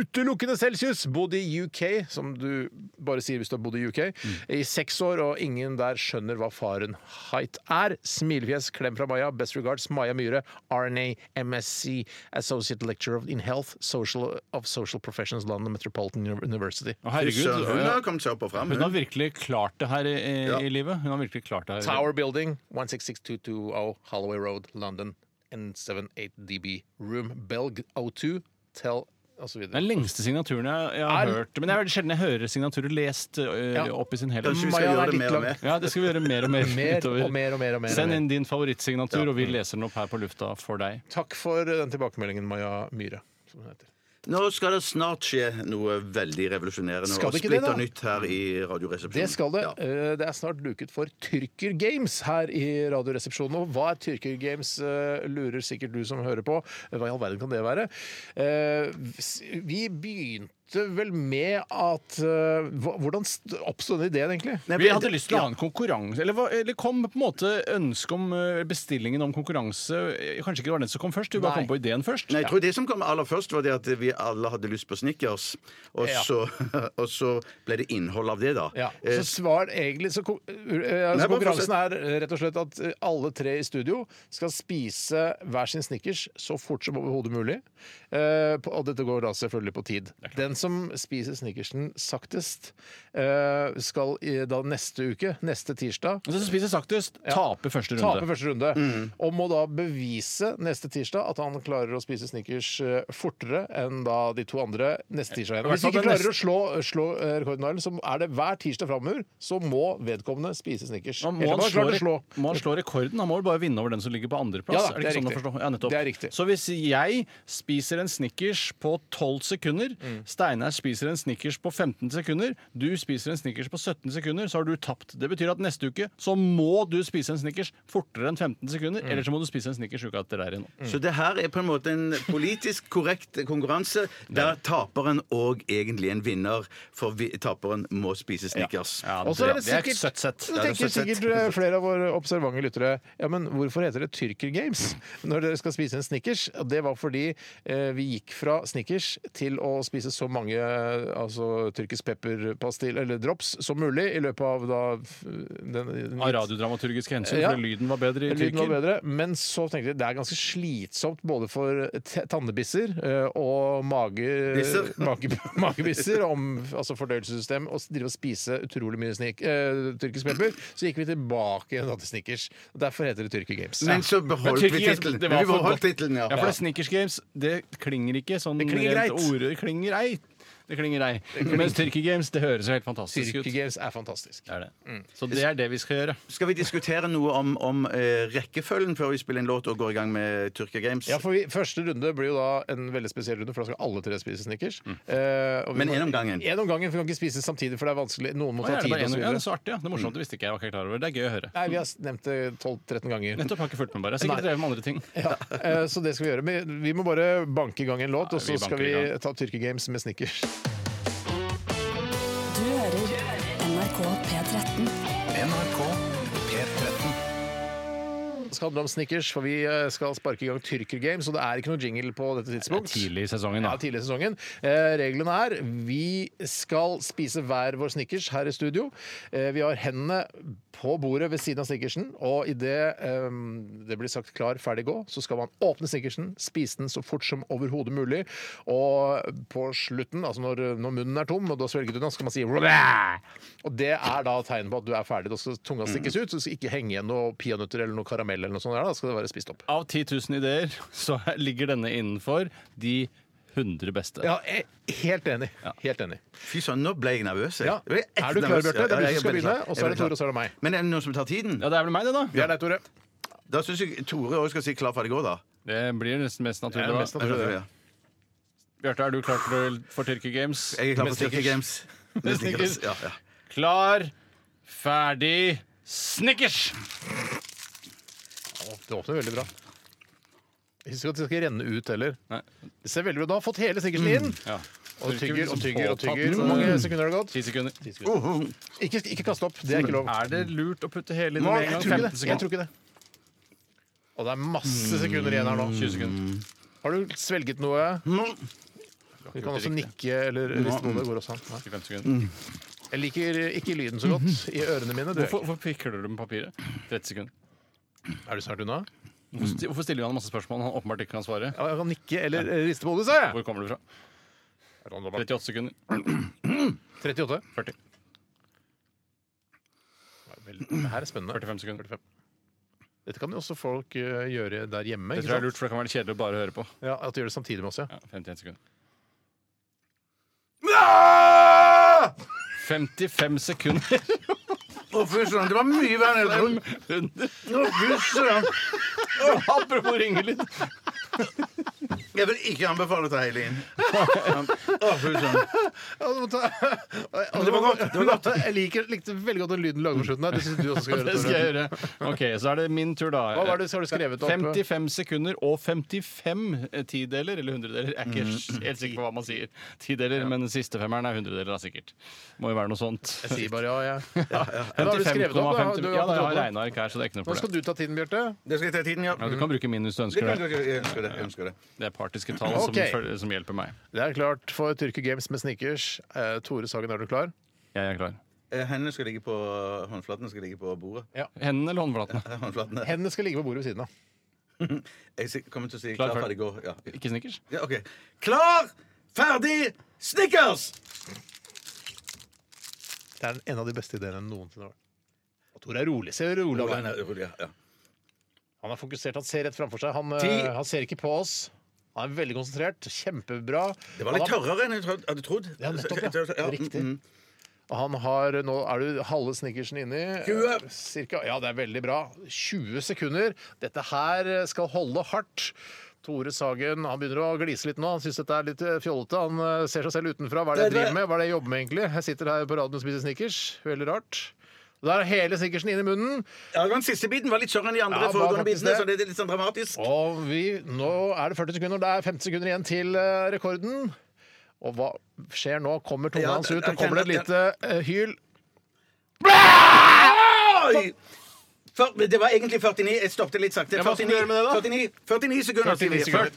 Speaker 2: utelukkende celsius! Bodd i UK, som du bare sier hvis du har bodd i UK,
Speaker 3: Mm.
Speaker 2: i seks år, og ingen der skjønner hva Fahrenheit er. Smilefjes, klem fra Maja. Best regards, Maja Myhre, RNA MSc, Associate Lecturer in Health Social, of Social Professions, London Metropolitan University.
Speaker 3: Å,
Speaker 4: Søren, Hun
Speaker 3: Herregud.
Speaker 4: har kommet seg opp og fram.
Speaker 3: Hun
Speaker 4: Hun.
Speaker 3: har virkelig klart det her i, i livet. Hun har virkelig klart det her.
Speaker 2: Tower Building, 166220 oh, Holloway Road, London, N78DB, Room Belg 02, Tell osv.
Speaker 3: Den lengste signaturen jeg, jeg har
Speaker 2: Er-
Speaker 3: hørt. Men det er veldig sjelden jeg hører signaturer lest øh,
Speaker 2: Ja.
Speaker 3: opp i sin helhet.
Speaker 4: Kanskje vi skal
Speaker 2: Maja, det er
Speaker 4: gjøre det
Speaker 2: litt
Speaker 4: mer og
Speaker 2: langt.
Speaker 4: mer.
Speaker 3: Ja, det skal vi gjøre mer og mer.
Speaker 2: Mer
Speaker 3: utover.
Speaker 2: og mer og mer. og mer, og
Speaker 3: Send
Speaker 2: mer.
Speaker 3: inn din favorittsignatur, og vi leser den opp her på lufta for deg.
Speaker 2: Takk for eh, den tilbakemeldingen, Maja Myhre. Som hun heter.
Speaker 4: Nå skal det snart skje noe veldig revolusjonerende
Speaker 2: Skal
Speaker 4: og
Speaker 2: det ikke det, da?
Speaker 4: splitter nytt her i Radioresepsjonen.
Speaker 2: Det skal det.
Speaker 4: Ja.
Speaker 2: Eh, Det er snart duket for Tyrker Games her i Radioresepsjonen. Og hva er Tyrker Games, eh, lurer sikkert du som hører på. Hva i all verden kan det være? Eh, s- Vi begynte vel med at eh, hva- Hvordan st- oppstod den ideen, egentlig?
Speaker 4: Nei,
Speaker 3: Vi
Speaker 4: men-
Speaker 3: hadde lyst til å ha en konkurranse Eller, hva- eller kom på en måte ønske om øh, bestillingen om konkurranse Eh, Kanskje ikke det var den som kom først, du bare
Speaker 2: Nei.
Speaker 3: kom på ideen først
Speaker 4: Nei, jeg tror det som kom aller først, var det at vi alle hadde lyst på Snickers. Og,
Speaker 2: Ja.
Speaker 4: så, og så ble det innhold av det, da.
Speaker 2: Ja,
Speaker 4: Eh,
Speaker 2: så svar egentlig så, kon- eh, altså,
Speaker 4: Nei, bare
Speaker 2: Konkurransen er eh, rett og slett at eh, alle tre i studio skal spise hver sin Snickers så fort som overhodet mulig. Eh, på- Og dette går da selvfølgelig på tid. Den som spiser Snickersen saktest, eh, skal i, da neste uke, neste tirsdag
Speaker 3: Og så spiser saktest, taper første runde
Speaker 2: Tape første runde. Og må da bevise neste tirsdag at han klarer å spise Snickers eh, fortere enn da de to andre neste tirsdag. igjen.
Speaker 3: I hvert
Speaker 2: Hvis
Speaker 3: fall
Speaker 2: ikke
Speaker 3: den
Speaker 2: klarer å slå, slå eh, rekorden, Arlen, så er det hver tirsdag framover så må vedkommende spise Snickers.
Speaker 3: Nå må
Speaker 2: Eller
Speaker 3: han,
Speaker 2: må
Speaker 3: slå,
Speaker 2: klart å slå.
Speaker 3: re- må han slå rekorden? Han må vel bare vinne over den som ligger på
Speaker 2: Ja
Speaker 3: andreplass?
Speaker 2: da,
Speaker 3: er det, ikke
Speaker 2: det er
Speaker 3: sånn å
Speaker 2: riktig.
Speaker 3: forstå? Ja, nettopp.
Speaker 2: Det er riktig.
Speaker 3: Så hvis jeg spiser en Snickers på 12 sekunder,
Speaker 2: Mm.
Speaker 3: Steinar spiser en Snickers på 15 sekunder, du spiser en Snickers på 17 sekunder, så har du tapt. Det betyr at neste uke så må du spise en Snickers fortere enn 15 sekunder,
Speaker 2: Mm.
Speaker 3: eller så må du spise en Snickers uka etter der igjen.
Speaker 4: Så det her er på en måte en politisk korrekt konkurranse der taperen og egentlig en vinner, for vi, taperen må spise Snickers.
Speaker 2: Og så er det sikkert-
Speaker 3: et søtt sett.
Speaker 2: Så tenker sikkert eh, flere av våre observante lyttere Ja, men hvorfor heter det Tyrker Games når dere skal spise en Snickers? Og Det var fordi eh, vi gikk fra Snickers til å spise så mange eh, altså, tyrkisk pepperpastill eller drops som mulig i løpet av da f- den,
Speaker 3: Av radiodramaturgiske hensyn,
Speaker 2: Ja.
Speaker 3: for lyden var bedre i
Speaker 2: Lyden var
Speaker 3: Tyrkia.
Speaker 2: bedre, men så tenkte jeg det er ganske slitsomt både for t- tannebisser eh, og mage,
Speaker 4: Bisser.
Speaker 2: mage, magebisser, om, altså fordøyelsessystem, å s- drive og spise utrolig mye snik, eh, tyrkisk pepper. Så gikk vi tilbake igjen da til Snickers. Derfor heter det Tyrkia Games.
Speaker 4: Men så beholdt vi
Speaker 3: Tyrkia-
Speaker 4: tittelen.
Speaker 3: det
Speaker 4: Vi
Speaker 3: var for
Speaker 4: beholdt
Speaker 3: godt.
Speaker 4: tittelen, ja.
Speaker 3: Ja, for det er Snickers Games. Det klinger ikke sånn
Speaker 2: Det klinger
Speaker 3: rent
Speaker 2: greit.
Speaker 3: ord- det klinger ei. Det klinger ei. Mens Tyrkia Games, det høres jo helt fantastisk
Speaker 2: Tyrkia
Speaker 3: ut.
Speaker 2: Games er fantastisk.
Speaker 3: Det er det. Så det er det vi skal gjøre.
Speaker 4: Skal vi diskutere noe om, om eh, rekkefølgen før vi spiller en låt og går i gang med Tyrkia Games?
Speaker 2: Ja, for vi, Første runde blir jo da en veldig spesiell runde, for da skal alle tre spise Snickers.
Speaker 3: Mm.
Speaker 2: Eh, og vi
Speaker 4: Men
Speaker 2: må-
Speaker 4: en om gangen.
Speaker 2: En om gangen, for vi kan ikke spise samtidig, for det er vanskelig. Noen må
Speaker 3: Å, ja,
Speaker 2: ta
Speaker 3: det, er
Speaker 2: tid.
Speaker 3: bare
Speaker 2: og så
Speaker 3: en, ja, det er sånn.
Speaker 2: videre.
Speaker 3: så artig. Ja. Det er morsomt, det visste ikke jeg. jeg var ikke klar over. Det er gøy å høre.
Speaker 2: Nei, vi har nevnt det 12-13 ganger.
Speaker 3: Nettopp har ikke fulgt med, bare. Jeg har sikkert
Speaker 2: Nei.
Speaker 3: drevet med andre ting.
Speaker 2: Ja, eh, så det skal vi gjøre. Men vi må bare banke i gang en låt,
Speaker 3: Ja,
Speaker 2: og så
Speaker 3: vi
Speaker 2: skal
Speaker 3: banker
Speaker 2: vi
Speaker 3: i gang.
Speaker 2: ta Tyrkia Games med Snickers.
Speaker 5: Du hører NRK P13.
Speaker 1: NRK P13.
Speaker 2: Så skal handle om snickers, for vi eh, skal sparke i gang Tyrker Games, og det er ikke noe jingle på dette tidspunkt.
Speaker 3: Tidlig i sesongen,
Speaker 2: Ja,
Speaker 3: da.
Speaker 2: tidlig i sesongen. Eh, reglene er vi skal spise hver vår snickers her i studio. Eh, vi har hendene på bordet ved siden av snickersen, og idet eh, det blir sagt klar, ferdig, gå, så skal man åpne snickersen, spise den så fort som overhodet mulig, og på slutten, altså når, når munnen er tom, og du har svelget den, så skal man si «Rrrr!» Og det er da tegn på at du er ferdig. Da skal tunga stikkes ut, så det skal ikke henge igjen noe peanøtter eller noe karamell eller noe sånt der, da skal det være spist opp.
Speaker 3: Av 10 000 ideer så ligger denne innenfor de 100 beste.
Speaker 2: Ja, jeg er helt enig. Helt enig.
Speaker 4: Fy søren, nå ble jeg nervøs. jeg.
Speaker 2: Ja.
Speaker 4: Jeg ble ekte
Speaker 2: Er du klar,
Speaker 4: nervøs.
Speaker 2: Bjarte? Det er
Speaker 4: Ja,
Speaker 2: du som
Speaker 4: jeg
Speaker 2: skal
Speaker 4: veldig
Speaker 2: begynne,
Speaker 4: klar.
Speaker 2: og så er det
Speaker 4: Jeg
Speaker 2: Tore, og så er det meg.
Speaker 4: Men er det noen som tar tiden?
Speaker 3: Ja, det er vel meg, det, da.
Speaker 2: Det er deg, Tore.
Speaker 4: Da syns jeg Tore òg skal si 'klar, ferdig, gå', da.
Speaker 3: Det blir nesten mest
Speaker 2: Det
Speaker 3: naturlig.
Speaker 2: er
Speaker 3: da.
Speaker 2: mest naturlig. det.
Speaker 4: Ja.
Speaker 3: Bjarte, er du klar for, for Tyrkia Games?
Speaker 4: Jeg er klar
Speaker 3: Med
Speaker 4: for Tyrkia
Speaker 3: snickers.
Speaker 4: Games. Med snickers. Ja, ja.
Speaker 3: Klar, ferdig, snickers!
Speaker 2: Å, Det åpner veldig bra. Husk at det skal ikke renne ut heller.
Speaker 3: Nei.
Speaker 2: Det ser veldig bra ut. Da har fått hele sikkerheten inn.
Speaker 3: Ja.
Speaker 2: Og
Speaker 3: Så ikke
Speaker 2: tygger og
Speaker 3: liksom
Speaker 2: tygger og
Speaker 3: påtatt
Speaker 2: tygger.
Speaker 3: noe.
Speaker 2: Hvor mange sekunder har det gått?
Speaker 3: Ti sekunder.
Speaker 2: Ikke, ikke kast opp. Det er ikke lov.
Speaker 3: Er det lurt å putte hele inn
Speaker 2: Nei,
Speaker 3: med en
Speaker 2: jeg
Speaker 3: gang?
Speaker 2: tror ikke
Speaker 3: 15
Speaker 2: det. Jeg
Speaker 3: sekunder.
Speaker 2: tror ikke det. Og det er masse sekunder igjen her nå.
Speaker 3: 20 sekunder.
Speaker 2: Har du svelget noe?
Speaker 4: Nå-
Speaker 2: Du kan også nikke eller riste på det. går også an. Nei.
Speaker 3: 25 sekunder.
Speaker 2: Jeg liker ikke lyden så godt i ørene mine. Du,
Speaker 3: Hvorfor, hvorfor pikler du med papiret? 30 sekunder.
Speaker 2: er du snart unna?
Speaker 3: Hvorfor, sti- hvorfor stiller han masse spørsmål han åpenbart ikke kan svare?
Speaker 2: Ja, jeg kan nikke eller riste på hodet, sa jeg.
Speaker 3: Hvor kommer du fra? 38 sekunder.
Speaker 2: 38.
Speaker 3: 40.
Speaker 2: Vel, Det her er spennende.
Speaker 3: 45 sekunder.
Speaker 2: Dette kan jo også folk eh, gjøre der hjemme.
Speaker 3: Det
Speaker 2: ikke
Speaker 3: tror jeg
Speaker 2: sant?
Speaker 3: er lurt, for det kan være kjedelig å bare høre på.
Speaker 2: Ja, At de gjør det samtidig med oss, ja.
Speaker 3: Ja, 51 sekunder. 55 sekunder.
Speaker 4: Å, fy søren, det var mye verre enn jeg trodde.
Speaker 3: 100.
Speaker 4: Å, fy søren.
Speaker 3: Apropos ringelyd.
Speaker 4: Jeg vil ikke anbefale å ta hele inn. Å, fy søren.
Speaker 2: Det
Speaker 4: var godt, det var godt.
Speaker 2: Jeg liker, likte veldig godt den lyden du lager på slutten der. Det syns du også skal gjøre.
Speaker 3: Det skal jeg
Speaker 2: Tore.
Speaker 3: gjøre. Ok, Så er det min tur, da.
Speaker 2: Hva var det, så har du skrevet opp?
Speaker 3: 55 sekunder og 55 tideler, eller hundredeler. Jeg er ikke
Speaker 2: Mm.
Speaker 3: helt sikker på hva man sier. Tideler, Men den siste femmeren er hundredeler, da, sikkert. Må jo være noe sånt.
Speaker 2: Jeg sier bare ja, jeg. Men har du skrevet opp? da?
Speaker 3: 55,50
Speaker 2: Du
Speaker 3: Ja, da, jeg
Speaker 2: har
Speaker 3: har
Speaker 2: regnet.
Speaker 3: regneark her, så det er ikke noe
Speaker 2: Nå skal
Speaker 3: problem.
Speaker 2: du ta tiden, Bjarte.
Speaker 4: Det skal jeg ta tiden, ja.
Speaker 3: Ja, du kan bruke min hvis du ønsker
Speaker 4: Jeg
Speaker 3: det.
Speaker 4: ønsker det. Jeg ønsker det.
Speaker 3: Det er partiske tall som,
Speaker 2: Ok.
Speaker 3: føl- som hjelper meg.
Speaker 2: Det er klart for Tyrker Games med snickers. Eh, Tore Sagen, er du klar?
Speaker 3: Jeg er klar.
Speaker 4: Eh, Hendene skal ligge på Håndflatene skal ligge på bordet.
Speaker 3: Hendene eller håndflatene?
Speaker 4: Eh, Håndflatene.
Speaker 2: Hendene skal ligge på bordet ved siden av.
Speaker 4: Jeg si- kommer til å si
Speaker 3: Klar,
Speaker 4: klar,
Speaker 3: ferdig.
Speaker 4: ferdig, gå. Ja.
Speaker 3: Ikke snickers?
Speaker 4: ja, OK. Klar, ferdig, snickers!
Speaker 2: Det er en av de beste ideene noensinne har vært. Og Tore er rolig. Ser rolig
Speaker 4: Rolig,
Speaker 2: han er.
Speaker 4: nei, rolig, ja, ja.
Speaker 2: Han er fokusert, han ser rett framfor seg. Han, eh,
Speaker 4: Ti.
Speaker 2: han ser ikke på oss. Han er veldig konsentrert. Kjempebra.
Speaker 4: Det var litt
Speaker 2: Han har-
Speaker 4: tørrere enn jeg trodde- hadde trodd.
Speaker 2: Ja, nettopp, ja. Riktig.
Speaker 4: mm, mm.
Speaker 2: Og Han har, eh, Nå er du halve snickersen inni.
Speaker 4: 20.
Speaker 2: Cirka, ja, det er veldig bra. 20 sekunder. Dette her eh, skal holde hardt. Tore Sagen han begynner å glise litt nå. Han syns dette er litt eh, fjollete. Han eh, ser seg selv utenfra. Hva er det jeg
Speaker 4: Det er
Speaker 2: driver med? Hva er det jeg jobber med, egentlig? Jeg sitter her på radioen og spiser snickers. Veldig rart. Og Der er hele snickersen inni munnen.
Speaker 4: Ja, den siste biten var litt større enn de andre
Speaker 2: Ja, det var
Speaker 4: foregående
Speaker 2: faktisk
Speaker 4: bitene, så
Speaker 2: det.
Speaker 4: det er litt sånn dramatisk.
Speaker 2: Og vi, nå er det 40 sekunder. Det er 50 sekunder igjen til eh, rekorden. Og hva skjer nå? Kommer tunga
Speaker 4: Ja,
Speaker 2: hans ut?
Speaker 4: jeg
Speaker 2: Og kommer det et
Speaker 4: kjenner-
Speaker 2: lite eh, hyl?
Speaker 4: Oi! Fyr- det var egentlig 49. Jeg stoppet litt sakte.
Speaker 3: Ja, hva skal du gjøre med det da?
Speaker 4: 49, 49 sekunder. sier
Speaker 2: 49
Speaker 4: vi.
Speaker 2: sekunder.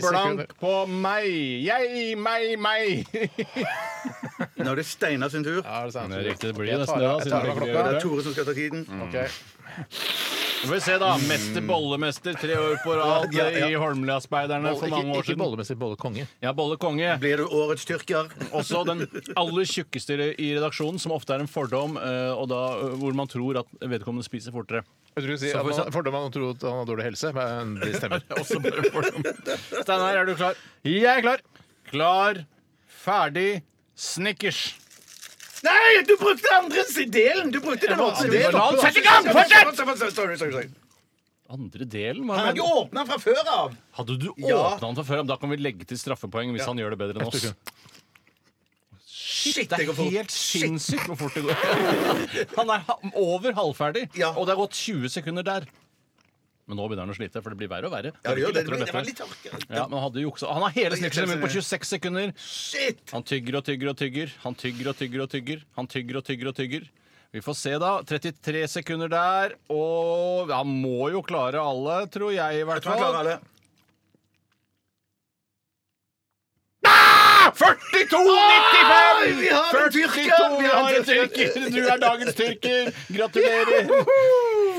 Speaker 3: 49
Speaker 2: sekunder.
Speaker 3: blank på meg! Jeg, meg, meg!
Speaker 4: Nå er det Steinar sin tur.
Speaker 2: Ja, det er sant.
Speaker 3: Det er riktig, det blir
Speaker 2: Jeg tar-
Speaker 3: nesten det, da,
Speaker 2: jeg
Speaker 3: siden
Speaker 2: tar av
Speaker 3: det Mm. ikke
Speaker 2: klokka.
Speaker 3: blir
Speaker 4: Det er Tore som skal ta tiden.
Speaker 2: Ok.
Speaker 3: Får vi se, da. Mester bollemester tre år på rad
Speaker 4: Ja, ja.
Speaker 3: i Holmlia-speiderne for mange år siden.
Speaker 2: bollemester, bollekonge.
Speaker 3: Ja, bollekonge.
Speaker 4: Blir du årets tyrker?
Speaker 3: Også den aller tjukkeste i redaksjonen, som ofte er en fordom, eh, og da, eh, hvor man tror at vedkommende spiser fortere.
Speaker 2: Jeg tror du sier
Speaker 3: Så får vi
Speaker 2: at
Speaker 3: se.
Speaker 2: han- Fordom han tror at han har dårlig helse, men det stemmer.
Speaker 3: Også bare en fordom. Steinar, er du klar? Jeg er klar. Klar, ferdig, snickers.
Speaker 4: Nei, du brukte andre si- delen! Du brukte den
Speaker 2: det
Speaker 4: åpne delen.
Speaker 2: var-
Speaker 4: Sett i gang! Fortsett! Sorry, sorry, sorry.
Speaker 3: Andre delen?
Speaker 4: Han
Speaker 3: Hva
Speaker 4: hadde
Speaker 3: mener
Speaker 4: jo
Speaker 3: du?
Speaker 4: åpna fra før av.
Speaker 3: Hadde du åpna
Speaker 4: Ja.
Speaker 3: den fra før? Da kan vi legge til straffepoeng hvis han gjør det bedre enn oss. Shit, det
Speaker 4: det går
Speaker 3: er
Speaker 4: fort.
Speaker 3: helt sinnssykt hvor fort det går. Han er ha- over halvferdig,
Speaker 4: Ja.
Speaker 3: og det har gått 20 sekunder der. Men nå begynner han å slite, for det blir verre og verre.
Speaker 4: Ja, det,
Speaker 3: blir
Speaker 4: gjør det,
Speaker 3: lettere og
Speaker 4: det var
Speaker 3: lettere.
Speaker 4: litt tørke.
Speaker 3: Ja, men Han hadde juksa. Han har hele
Speaker 4: sånn
Speaker 3: snikselen min på 26 sekunder.
Speaker 4: Shit!
Speaker 3: Han tygger og tygger og tygger. Han tygger og tygger og tygger. Han tygger og tygger og tygger. Vi får se, da. 33 sekunder der. Og han må jo klare alle, tror jeg, i hvert
Speaker 4: tror jeg klarer
Speaker 3: fall.
Speaker 4: alle.
Speaker 7: 92,95!
Speaker 4: Vi har en
Speaker 7: 42,
Speaker 4: tyrker!
Speaker 7: vi har en tyrker! Du er dagens tyrker! Gratulerer!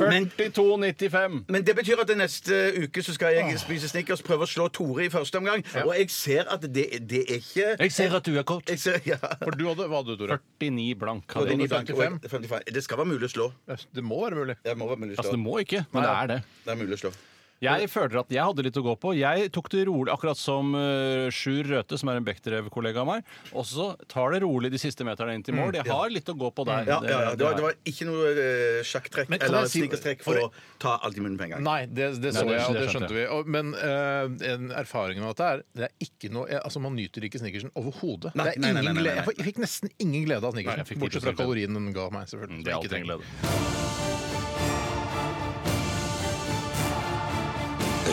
Speaker 4: Men-
Speaker 3: 42,95.
Speaker 4: Men det betyr at neste uke så skal jeg spise snickers, prøve å slå Tore i første omgang. Og jeg ser at det, det er ikke
Speaker 3: Jeg ser at du er kort.
Speaker 4: jeg ser, ja.
Speaker 2: For du hadde, Hva hadde du, Tore?
Speaker 3: 49 blank.
Speaker 4: Og det er
Speaker 3: hadde jeg.
Speaker 2: 55.
Speaker 4: 55. Det skal være mulig å slå.
Speaker 2: Det må være mulig.
Speaker 4: Det må være mulig å
Speaker 3: Altså, Mm, det
Speaker 4: slå.
Speaker 3: må ikke, men det er det.
Speaker 4: Det er mulig å slå.
Speaker 3: Jeg føler at jeg hadde litt å gå på. Jeg tok det rolig, akkurat som eh, Sjur Røthe, som er en Bechterew-kollega av meg. Også tar det rolig de siste meterne inn til mål. Jeg har litt å gå på der.
Speaker 4: Mm, Ja, ja, ja. Det, var, det
Speaker 3: er-
Speaker 4: var ikke noe eh, sjakktrekk
Speaker 2: Men kan
Speaker 4: eller
Speaker 2: jeg si-
Speaker 4: snickerstrekk for å ta alt i munnen på en gang.
Speaker 2: Nei, det, det så
Speaker 3: Nei, det-
Speaker 2: jeg, og
Speaker 3: det
Speaker 2: det
Speaker 3: skjønte
Speaker 2: skjønte vi. Og, men eh, en erfaringen med dette er det er ikke noe, jeg, altså Man nyter ikke snickersen overhodet.
Speaker 4: Nei,
Speaker 2: Det er
Speaker 4: nei, nei,
Speaker 2: ingen
Speaker 4: nei, nei,
Speaker 2: glede-
Speaker 4: nei.
Speaker 2: Jeg fikk- jeg fikk nesten ingen glede av
Speaker 3: Nei, jeg
Speaker 2: snickersen.
Speaker 3: fikk ikke
Speaker 2: Bortsett fra
Speaker 3: så mye
Speaker 2: kalorien den ga meg, selvfølgelig.
Speaker 3: Mm,
Speaker 2: som
Speaker 3: Det er
Speaker 2: jeg ikke
Speaker 3: alltid en
Speaker 2: trenger.
Speaker 3: glede.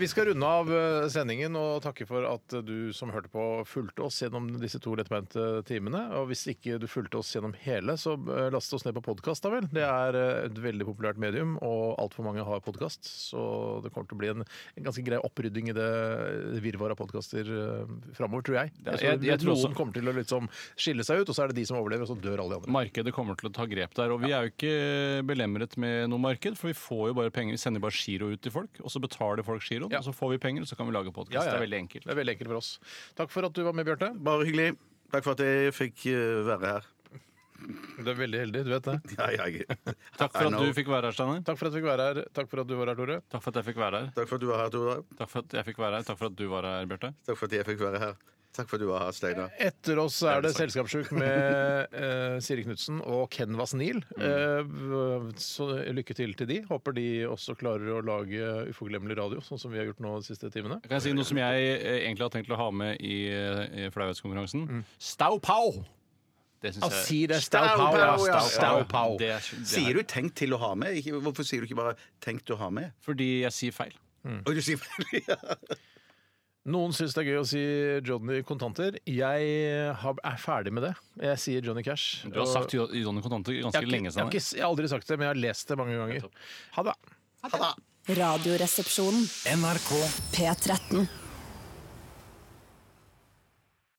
Speaker 2: Vi skal runde av eh, sendingen og takke for at eh, du som hørte på, fulgte oss gjennom disse to lettbeinte timene. Og hvis ikke du fulgte oss gjennom hele, så eh, last oss ned på podkast, da vel. Det er eh, et veldig populært medium, og altfor mange har podkast. Så det kommer til å bli en, en ganske grei opprydding i det eh, virvaret av podkaster framover, tror jeg.
Speaker 3: Ja,
Speaker 2: jeg,
Speaker 3: jeg- jeg tror
Speaker 2: tror
Speaker 3: også-
Speaker 2: Noen kommer til å liksom skille seg ut, og så er det de som overlever, og så dør alle de andre.
Speaker 3: Markedet kommer til å ta grep der. Og vi er jo ikke belemret med noe marked, for vi får jo bare penger. Vi sender bare giro ut til folk, og så betaler folk giroen.
Speaker 2: Ja.
Speaker 3: Og så får vi penger, og så kan vi lage podkast.
Speaker 2: Ja, ja.
Speaker 3: Det er veldig enkelt.
Speaker 2: Det er veldig enkelt for oss. Takk for at du var med, Bjarte.
Speaker 4: Bare hyggelig. Takk for at jeg fikk eh, være her.
Speaker 2: Du er veldig heldig, du vet det.
Speaker 4: Ja, jeg,
Speaker 3: Takk
Speaker 4: I
Speaker 3: for at
Speaker 4: know.
Speaker 3: du fikk være her, Steinar.
Speaker 2: Takk for at jeg fikk være her. Takk for at du var her, Tore.
Speaker 3: Takk for at jeg fikk være her.
Speaker 4: Takk for at du var her, Tore.
Speaker 3: Takk for at jeg fikk være her. Takk for at du var her, Bjarte.
Speaker 4: Takk for at jeg fikk være her. Takk for at du var her, Steinar.
Speaker 2: Etter oss er det Selskapssjuk med eh, Siri Knutsen og Kenvas Neil.
Speaker 3: Mm.
Speaker 2: Eh, så lykke til til de. Håper de også klarer å lage uforglemmelig radio, sånn som vi har gjort nå de siste timene.
Speaker 3: Kan jeg si noe som jeg eh, egentlig har tenkt til å ha med i, eh, i flauhetskonkurransen? Stau pow! Det syns jeg
Speaker 2: det.
Speaker 4: Staupau, ja,
Speaker 2: ja.
Speaker 4: Staupau.
Speaker 2: Staupau.
Speaker 3: Det er, det er,
Speaker 4: Sier du 'tenkt til å ha med'? Ikke, hvorfor sier du ikke bare 'tenkt å ha med'?
Speaker 3: Fordi jeg sier feil.
Speaker 4: Oi, du sier feil. Ja.
Speaker 2: Noen syns det er gøy å si Johnny Kontanter. Jeg har, er ferdig med det. Jeg sier Johnny Cash.
Speaker 3: Du har sagt jo- Johnny Kontanter
Speaker 2: jeg
Speaker 3: ganske
Speaker 2: har, ikke-
Speaker 3: lenge
Speaker 2: jeg, har
Speaker 3: siden.
Speaker 2: ikke, s- jeg har aldri sagt det, men jeg har lest det mange ganger. Ha det.
Speaker 5: Radioresepsjonen.
Speaker 1: NRK
Speaker 5: P13.